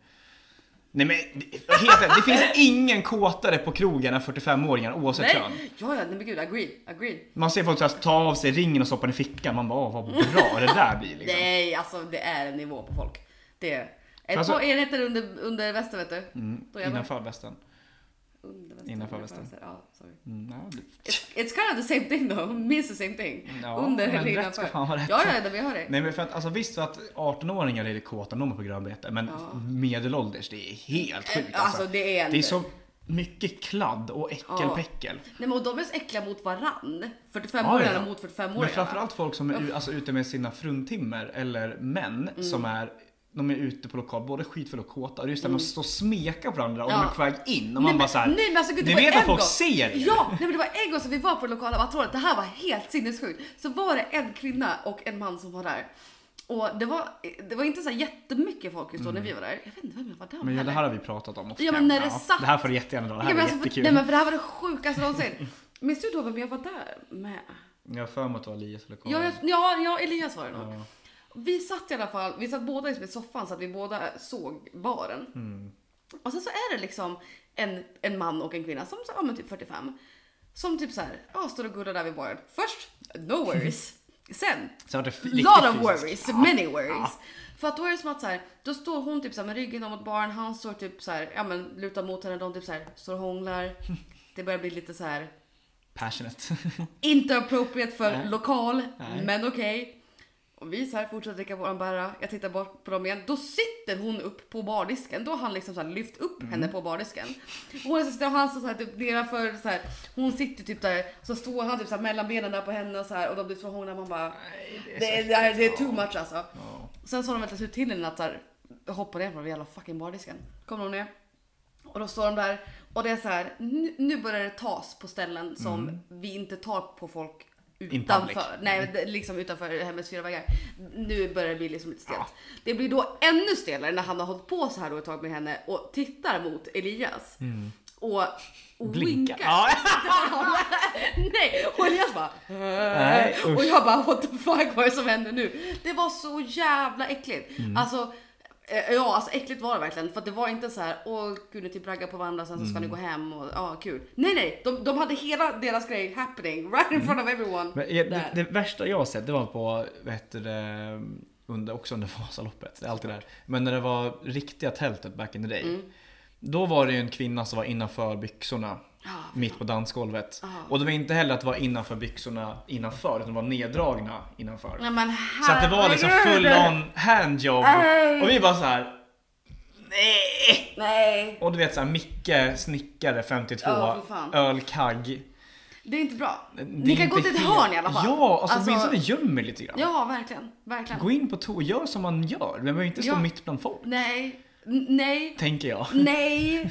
Speaker 2: Nej men, det- helt ärligt, det
Speaker 1: (laughs)
Speaker 2: finns ingen kåtare på krogen än 45-åringar oavsett kön.
Speaker 1: Nej, ja, ja, nej men gud, agreed, agreed.
Speaker 2: Man ser folk så här, ta av sig ringen och stoppa den i fickan, man bara "Åh, vad bra det där blir liksom.
Speaker 1: Nej, alltså det är en nivå på folk. Det är ett
Speaker 2: Alltså-
Speaker 1: par enheter under, under västen vet du.
Speaker 2: Mm,
Speaker 1: Då jävlar.
Speaker 2: innanför västen.
Speaker 1: Under västen,
Speaker 2: Innanför
Speaker 1: under
Speaker 2: västen.
Speaker 1: västen. Ja, sorry.
Speaker 2: Mm, ja,
Speaker 1: (laughs)
Speaker 2: det-
Speaker 1: It's, it's kind of the same thing though, minst the same thing.
Speaker 2: Ja,
Speaker 1: under
Speaker 2: men
Speaker 1: eller
Speaker 2: rätt
Speaker 1: innanför.
Speaker 2: ska fan vara rätt.
Speaker 1: Ja, ja, det- vi har det.
Speaker 2: Nej men för att, alltså visst att 18-åringar är kåta när de är på grönbete, men
Speaker 1: Ja.
Speaker 2: medelålders, det är helt sjukt
Speaker 1: Alltså, det är
Speaker 2: Det är
Speaker 1: inte-
Speaker 2: så mycket kladd och äckelpäckel.
Speaker 1: Nej, men och de är så äckliga mot varann.
Speaker 2: Ja,
Speaker 1: 45-åringarna
Speaker 2: ja.
Speaker 1: mot 45-åringarna.
Speaker 2: Men framförallt folk som är u- alltså, ute med sina fruntimmer eller män
Speaker 1: Mm.
Speaker 2: som är de är ute på lokal, både skitfulla och kåta. Och det är just det, man står och smekar på varandra och
Speaker 1: Mm. Ja.
Speaker 2: de är på väg in. Och man
Speaker 1: Nej, men-
Speaker 2: bara såhär,
Speaker 1: nej, men alltså, gud, det
Speaker 2: ni
Speaker 1: var
Speaker 2: vet
Speaker 1: en
Speaker 2: att folk
Speaker 1: gång.
Speaker 2: ser er.
Speaker 1: Ja, nej, men det var en gång som vi var på det lokala vattenhålet. Det här var helt sinnessjukt. Så var det en kvinna och en man som var där. Och det var, det var inte så här jättemycket folk just då när vi var där. Jag vet inte vem jag var där
Speaker 2: Mm. Men ja,
Speaker 1: med.
Speaker 2: det här har vi pratat om ofta.
Speaker 1: Ja, men när det satt-
Speaker 2: det här får du jättegärna dra, det här
Speaker 1: Ja, men
Speaker 2: är
Speaker 1: alltså, för,
Speaker 2: jättekul.
Speaker 1: nej, men för det här var det sjukaste någonsin. Minns du då vem jag var där med?
Speaker 2: Jag har för mig att det var Elias eller Karin.
Speaker 1: Ja, jag, ja, ja Elias var det nog.
Speaker 2: Ja.
Speaker 1: Vi satt i alla fall, vi satt båda liksom i soffan så att vi båda såg baren.
Speaker 2: Mm.
Speaker 1: Och sen så är det liksom en, en man och en kvinna som så, ja, men typ 45. Som typ så här, ja, står och gullar där vid baren. Först, no
Speaker 2: (laughs)
Speaker 1: worries. Sen,
Speaker 2: Så har det f- riktigt
Speaker 1: lot of
Speaker 2: fysiskt. Ah.
Speaker 1: worries, many worries. För att då är det som att så här, då står hon typ så här med ryggen om mot baren, han står typ så här, ja men lutar mot henne, de typ så här står och
Speaker 2: (laughs)
Speaker 1: hånglar. Det börjar bli lite så här
Speaker 2: Passionate.
Speaker 1: inte appropriate för lokal,
Speaker 2: Nej.
Speaker 1: men okej. Och vi så här fortsätter dricka våran bära. Jag tittar bort på dem igen. Då sitter hon upp på bardisken. Då har han liksom så här lyft upp henne på bardisken. Och Hon sitter och han står så här typ nedanför så här. Hon sitter typ där. Så står han typ så här mellan benen där på henne och så här. Och de blir så hånglar. Man bara. Det är, det är, det är too much alltså. Sen så har de väl ut till henne att så här, hoppa ner från den jävla fucking bardisken. Kommer de ner. Och då står de där och det är så här. Nu, nu börjar det tas på ställen som vi inte tar på folk
Speaker 2: Mm. public. Mm.
Speaker 1: utanför. Nej, det- liksom utanför hemmets fyra väggar. Nu börjar det bli liksom lite stelt. Det blir då ännu stelare när han har hållit på så här då ett tag med henne och tittar mot Elias. Och, och
Speaker 2: Blinka.
Speaker 1: winkar.
Speaker 2: Mm. Ja,
Speaker 1: (laughs) Nej, och Elias bara
Speaker 2: Nej, usch.
Speaker 1: Eh, Och jag bara what the fuck vad är det som händer nu? Det var så jävla äckligt.
Speaker 2: Mm.
Speaker 1: Alltså eh, Ja, alltså äckligt var det verkligen. För att det var inte så här, åh gud ni typ raggar på varandra sen så
Speaker 2: Mm.
Speaker 1: ska ni gå hem och ja, kul. Nej, nej, de, de hade hela deras grej happening right in front of everyone.
Speaker 2: Mm. Men jag, det,
Speaker 1: Där.
Speaker 2: det värsta jag har sett det var på, vad heter det, under, också under (laughs) Vasaloppet. Det är alltid där. Men när det var riktiga tältet back in the day.
Speaker 1: Mm.
Speaker 2: Då var det ju en kvinna som var innanför
Speaker 1: Ah,
Speaker 2: byxorna. mitt på dansgolvet. Och det var inte heller att vara innanför byxorna innanför, utan de var neddragna innanför.
Speaker 1: Nej, men
Speaker 2: Så att det var liksom
Speaker 1: herregud.
Speaker 2: full on handjob.
Speaker 1: Nej.
Speaker 2: Och vi bara så här. Nej!
Speaker 1: Nej,
Speaker 2: Och du vet såhär Micke, snickare 52,
Speaker 1: Ja, för fan.
Speaker 2: ölkagg.
Speaker 1: det är inte bra.
Speaker 2: Det är
Speaker 1: Ni kan
Speaker 2: inte
Speaker 1: gå till ett
Speaker 2: helt-
Speaker 1: hörn i alla fall.
Speaker 2: Ja, alltså åtminstone göm er lite grann.
Speaker 1: Ja, verkligen, verkligen.
Speaker 2: Gå in på toa, gör som man gör. Men man behöver inte stå
Speaker 1: Ja.
Speaker 2: mitt bland folk.
Speaker 1: Nej, n- nej.
Speaker 2: Tänker jag.
Speaker 1: Nej!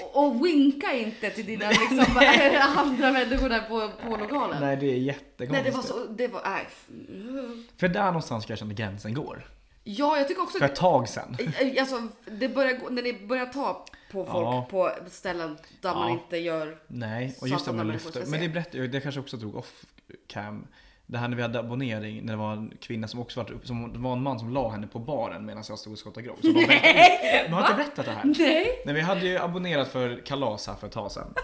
Speaker 1: Och, och winka inte till dina liksom, (laughs) andra människor där på, på lokalen. Nej,
Speaker 2: Nej det är jättekonstigt.
Speaker 1: det var så... Det var, nej. Mm.
Speaker 2: För där någonstans ska jag känna gränsen går.
Speaker 1: Ja, jag tycker också...
Speaker 2: För ett tag sedan.
Speaker 1: Alltså, det börjar, gå- när ni börjar ta på folk
Speaker 2: Ja.
Speaker 1: på ställen där man
Speaker 2: Ja.
Speaker 1: inte gör...
Speaker 2: Nej, och
Speaker 1: Så
Speaker 2: just
Speaker 1: att
Speaker 2: det
Speaker 1: andra
Speaker 2: man
Speaker 1: människor
Speaker 2: lyfter.
Speaker 1: ska
Speaker 2: Men
Speaker 1: se.
Speaker 2: det berättade jag, det kanske jag också drog off cam. Det här när vi hade abonnering, när det var en kvinna som också var uppe, som det var en man som la henne på baren medan jag stod och skottade grov. Så de
Speaker 1: (laughs)
Speaker 2: Nej! har inte berättat det här.
Speaker 1: Nej!
Speaker 2: Nej, vi hade ju abonnerat för kalas här för ett tag
Speaker 1: (laughs)
Speaker 2: sedan.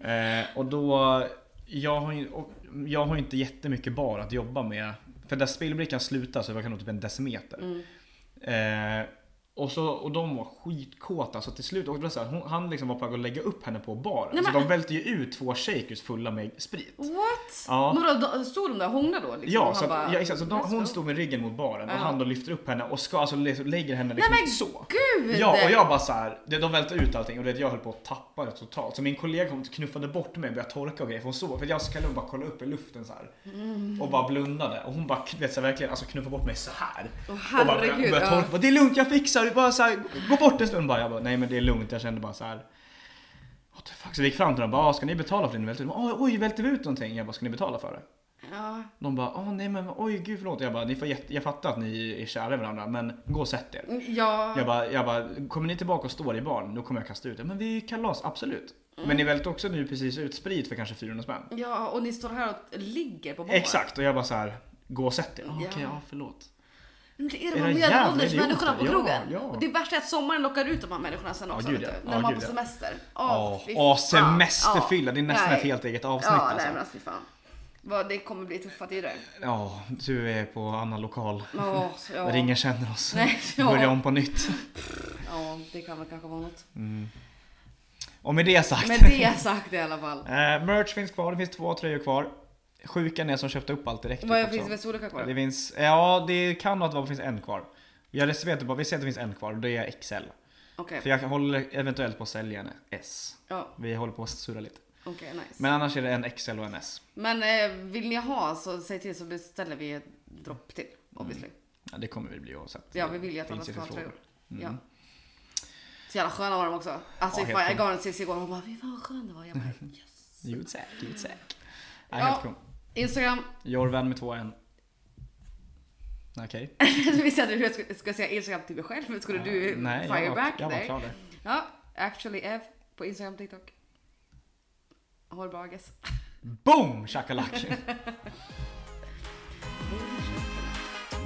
Speaker 2: Eh, och då, jag har, ju, och jag har ju inte jättemycket bar att jobba med. För där spillbrickan slutar så det var kanske typ en decimeter.
Speaker 1: Mm.
Speaker 2: Eh, och, så, och de var skitkåta så till slut, och det var så här, hon, han liksom var på väg att lägga upp henne på baren.
Speaker 1: Nej,
Speaker 2: Så
Speaker 1: men-
Speaker 2: de välte ju ut två shakers fulla med sprit.
Speaker 1: What?
Speaker 2: Ja.
Speaker 1: Men då, då, stod de där och hånglade då? Liksom, och
Speaker 2: Ja,
Speaker 1: han
Speaker 2: så,
Speaker 1: bara,
Speaker 2: att, ja exakt, så de,
Speaker 1: "Let's go."
Speaker 2: hon stod med ryggen mot baren och
Speaker 1: Ja.
Speaker 2: han då lyfter upp henne och ska, alltså, liksom, lägger henne
Speaker 1: Nej
Speaker 2: liksom
Speaker 1: men
Speaker 2: så.
Speaker 1: gud!
Speaker 2: Ja, och jag bara så här, det- de välte ut allting och det, jag höll på att tappa det totalt. Så min kollega kom och knuffade bort mig och började torka och grejer för hon såg. För jag så kan nog bara kolla upp i luften så här.
Speaker 1: Mm.
Speaker 2: Och bara blundade. Och hon bara du vet, så här, verkligen alltså, knuffade bort mig så här.
Speaker 1: Åh,
Speaker 2: och bara
Speaker 1: herregud,
Speaker 2: började
Speaker 1: ja.
Speaker 2: torka. Bara, det är lugnt, jag fixar det. Bara så här, gå bort en stund bara. Jag bara, nej men det är lugnt. Jag kände bara så här. What the fuck? Så vi gick fram till dem och bara, "Ah, ska ni betala för det ni välte ut? De bara, "Ah, "Oj, Oj, välte vi ut någonting? Jag bara, ska ni betala för det?
Speaker 1: Ja.
Speaker 2: De bara, åh nej men oj gud förlåt. Jag bara, ni får, jätte- jag fattar att ni är kära i varandra men gå och sätt er.
Speaker 1: Ja.
Speaker 2: Jag bara, jag bara, kommer ni tillbaka och står i barn, då kommer jag kasta ut er. Men vi är ju kalas, absolut.
Speaker 1: Mm.
Speaker 2: Men ni välte också nu precis ut sprit för kanske 400 spänn.
Speaker 1: ja, och ni står här och ligger på baren.
Speaker 2: Exakt, och jag bara så här, gå och sätt er. Ah, Okej,
Speaker 1: Ja.
Speaker 2: ja förlåt.
Speaker 1: Men det är de
Speaker 2: Era
Speaker 1: här
Speaker 2: jävla
Speaker 1: medelålders
Speaker 2: idioter.
Speaker 1: människorna på
Speaker 2: Ja,
Speaker 1: krogen.
Speaker 2: ja.
Speaker 1: Och det värsta är att sommaren lockar ut de här människorna sen också.
Speaker 2: Ja, gud,
Speaker 1: vet du,
Speaker 2: ja.
Speaker 1: när
Speaker 2: Ja,
Speaker 1: man
Speaker 2: gud,
Speaker 1: på
Speaker 2: ja.
Speaker 1: semester.
Speaker 2: Åh,
Speaker 1: Åh, fy
Speaker 2: åh,
Speaker 1: fan.
Speaker 2: semesterfylla.
Speaker 1: Ja.
Speaker 2: Det är nästan
Speaker 1: Nej.
Speaker 2: ett helt eget avsnitt
Speaker 1: Ja, nej
Speaker 2: alltså.
Speaker 1: men alltså fy fan. Vad, det kommer bli tuffa tider.
Speaker 2: Ja, du är på annan lokal.
Speaker 1: Åh, så- ja.
Speaker 2: Där ingen känner oss. (laughs)
Speaker 1: Nej, ja.
Speaker 2: Börja om på nytt.
Speaker 1: ja, det kan väl kanske vara något.
Speaker 2: Och med det sagt.
Speaker 1: Med det sagt i alla fall.
Speaker 2: Eh, merch finns kvar, det finns två tröjor kvar. Sjukan är som köpte upp allt direkt. typ,
Speaker 1: Vad
Speaker 2: också.
Speaker 1: finns det för storlekar kvar?
Speaker 2: det finns, ja, det kan vara att det finns en kvar. Jag reserverar bara, vi säger att det finns en kvar och det är XL.
Speaker 1: Okej,
Speaker 2: För jag håller eventuellt på att sälja en S.
Speaker 1: ja,
Speaker 2: Vi håller på att surra lite.
Speaker 1: okej nice.
Speaker 2: Men annars är det en XL och en S.
Speaker 1: Men eh, vill ni ha så säg till så beställer vi ett dropp till. Obviously.
Speaker 2: Ja, det kommer vi bli oavsett.
Speaker 1: Ja, vi vill ju att alla
Speaker 2: Mm. Finns
Speaker 1: ska ha
Speaker 2: förfrågan.
Speaker 1: tröjor. Ja. Så jävla sköna var de också. Alltså
Speaker 2: Mm. Ja,
Speaker 1: fan,
Speaker 2: helt
Speaker 1: jag
Speaker 2: Mm.
Speaker 1: gav den sist igår och hon bara "Fy fan vad skön det var. Jag bara yes.
Speaker 2: You'd sack, you'd sack. Ja,
Speaker 1: Ja.
Speaker 2: helt cool.
Speaker 1: (laughs) Instagram. (laughs)
Speaker 2: Jorven med två N. Okej.
Speaker 1: Visst hade du hur jag skulle, skulle säga Instagram till mig själv? men Skulle du
Speaker 2: Eh, Nej, jag var,
Speaker 1: fireback
Speaker 2: jag var
Speaker 1: dig?
Speaker 2: klar där.
Speaker 1: Ja, actually Ev på Instagram, TikTok. Har bra guess. (laughs)
Speaker 2: Boom shakalak!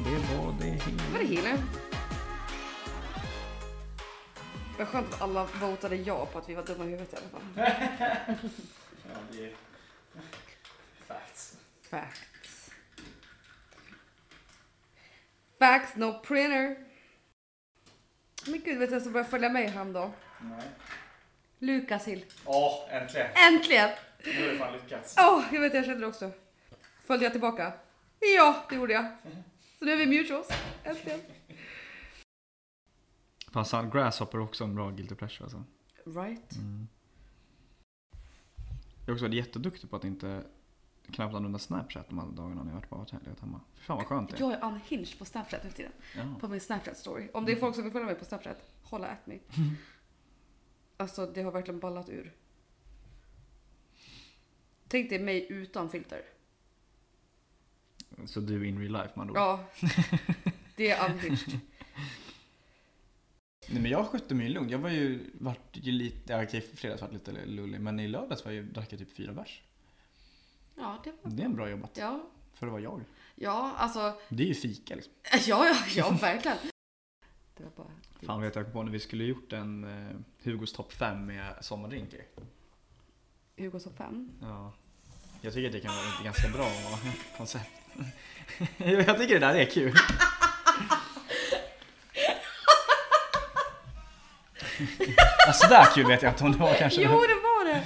Speaker 2: det var det
Speaker 1: Var det healer? Vad skönt att alla votade ja på att vi var dumma i huvudet i alla fall.
Speaker 2: Facts.
Speaker 1: Facts. Facts no printer. Men gud, vet du vem som börjar följa mig han då?
Speaker 2: Nej.
Speaker 1: Lukas Hill.
Speaker 2: Ja, äntligen.
Speaker 1: Äntligen!
Speaker 2: Nu har du fan lyckats.
Speaker 1: Åh, jag vet jag kände det också. Följde jag tillbaka? Ja, det gjorde jag. Så nu är vi mutuals. Äntligen.
Speaker 2: Fast han, Grasshopper är också en bra guilty pleasure alltså. Mm.
Speaker 1: Right.
Speaker 2: Jag har också varit jätteduktig på att inte knappt använda Snapchat de här dagarna när jag har varit bara legat hemma. Fy fan vad skönt det är.
Speaker 1: Jag är unhinged på Snapchat nu för tiden.
Speaker 2: Ja.
Speaker 1: På min Snapchat-story. Om det är folk som vill följa mig på Snapchat, hålla at (laughs) me. Alltså, det har verkligen ballat ur. Tänk dig mig utan filter.
Speaker 2: Så du in real life man
Speaker 1: (laughs)
Speaker 2: då.
Speaker 1: Ja, det är unhinged.
Speaker 2: Nej men jag skötte mig lugnt. Jag var ju, vart ju lite, ja, okej i fredags vart lite lullig men i lördags var jag, ju- drack jag typ fyra bärs.
Speaker 1: Ja, det var...
Speaker 2: Det är en bra jobbat.
Speaker 1: Ja,
Speaker 2: För att vara jag.
Speaker 1: ja alltså... (laughs)
Speaker 2: Det är ju fika liksom.
Speaker 1: Ja, ja, ja, verkligen. Det var bara...
Speaker 2: Fan vet jag på när vi skulle gjort en eh, Hugos topp 5 med sommardrinker.
Speaker 1: Hugo topp 5.
Speaker 2: Ja. Jag tycker att det kan vara ett ganska bra (laughs) koncept. (laughs) jag tycker det där är kul. alltså där kul vet jag inte om det var kanske.
Speaker 1: Jo, det var det!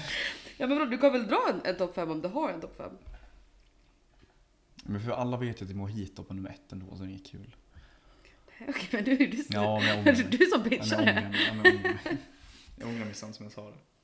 Speaker 1: Ja, men vadå, du kan väl dra en, en topp 5 om du har en topp 5?
Speaker 2: Men för alla vet ju att det är mojito på nummer ett ändå så det är inget kul.
Speaker 1: (laughs) Okej, men nu är du...
Speaker 2: Ja men jag
Speaker 1: (laughs) Du
Speaker 2: ångrar mig.
Speaker 1: är som bitchar
Speaker 2: Ja, men Jag ångrar
Speaker 1: här.
Speaker 2: mig. Ja, men Jag ångrar mig sen som jag sa det.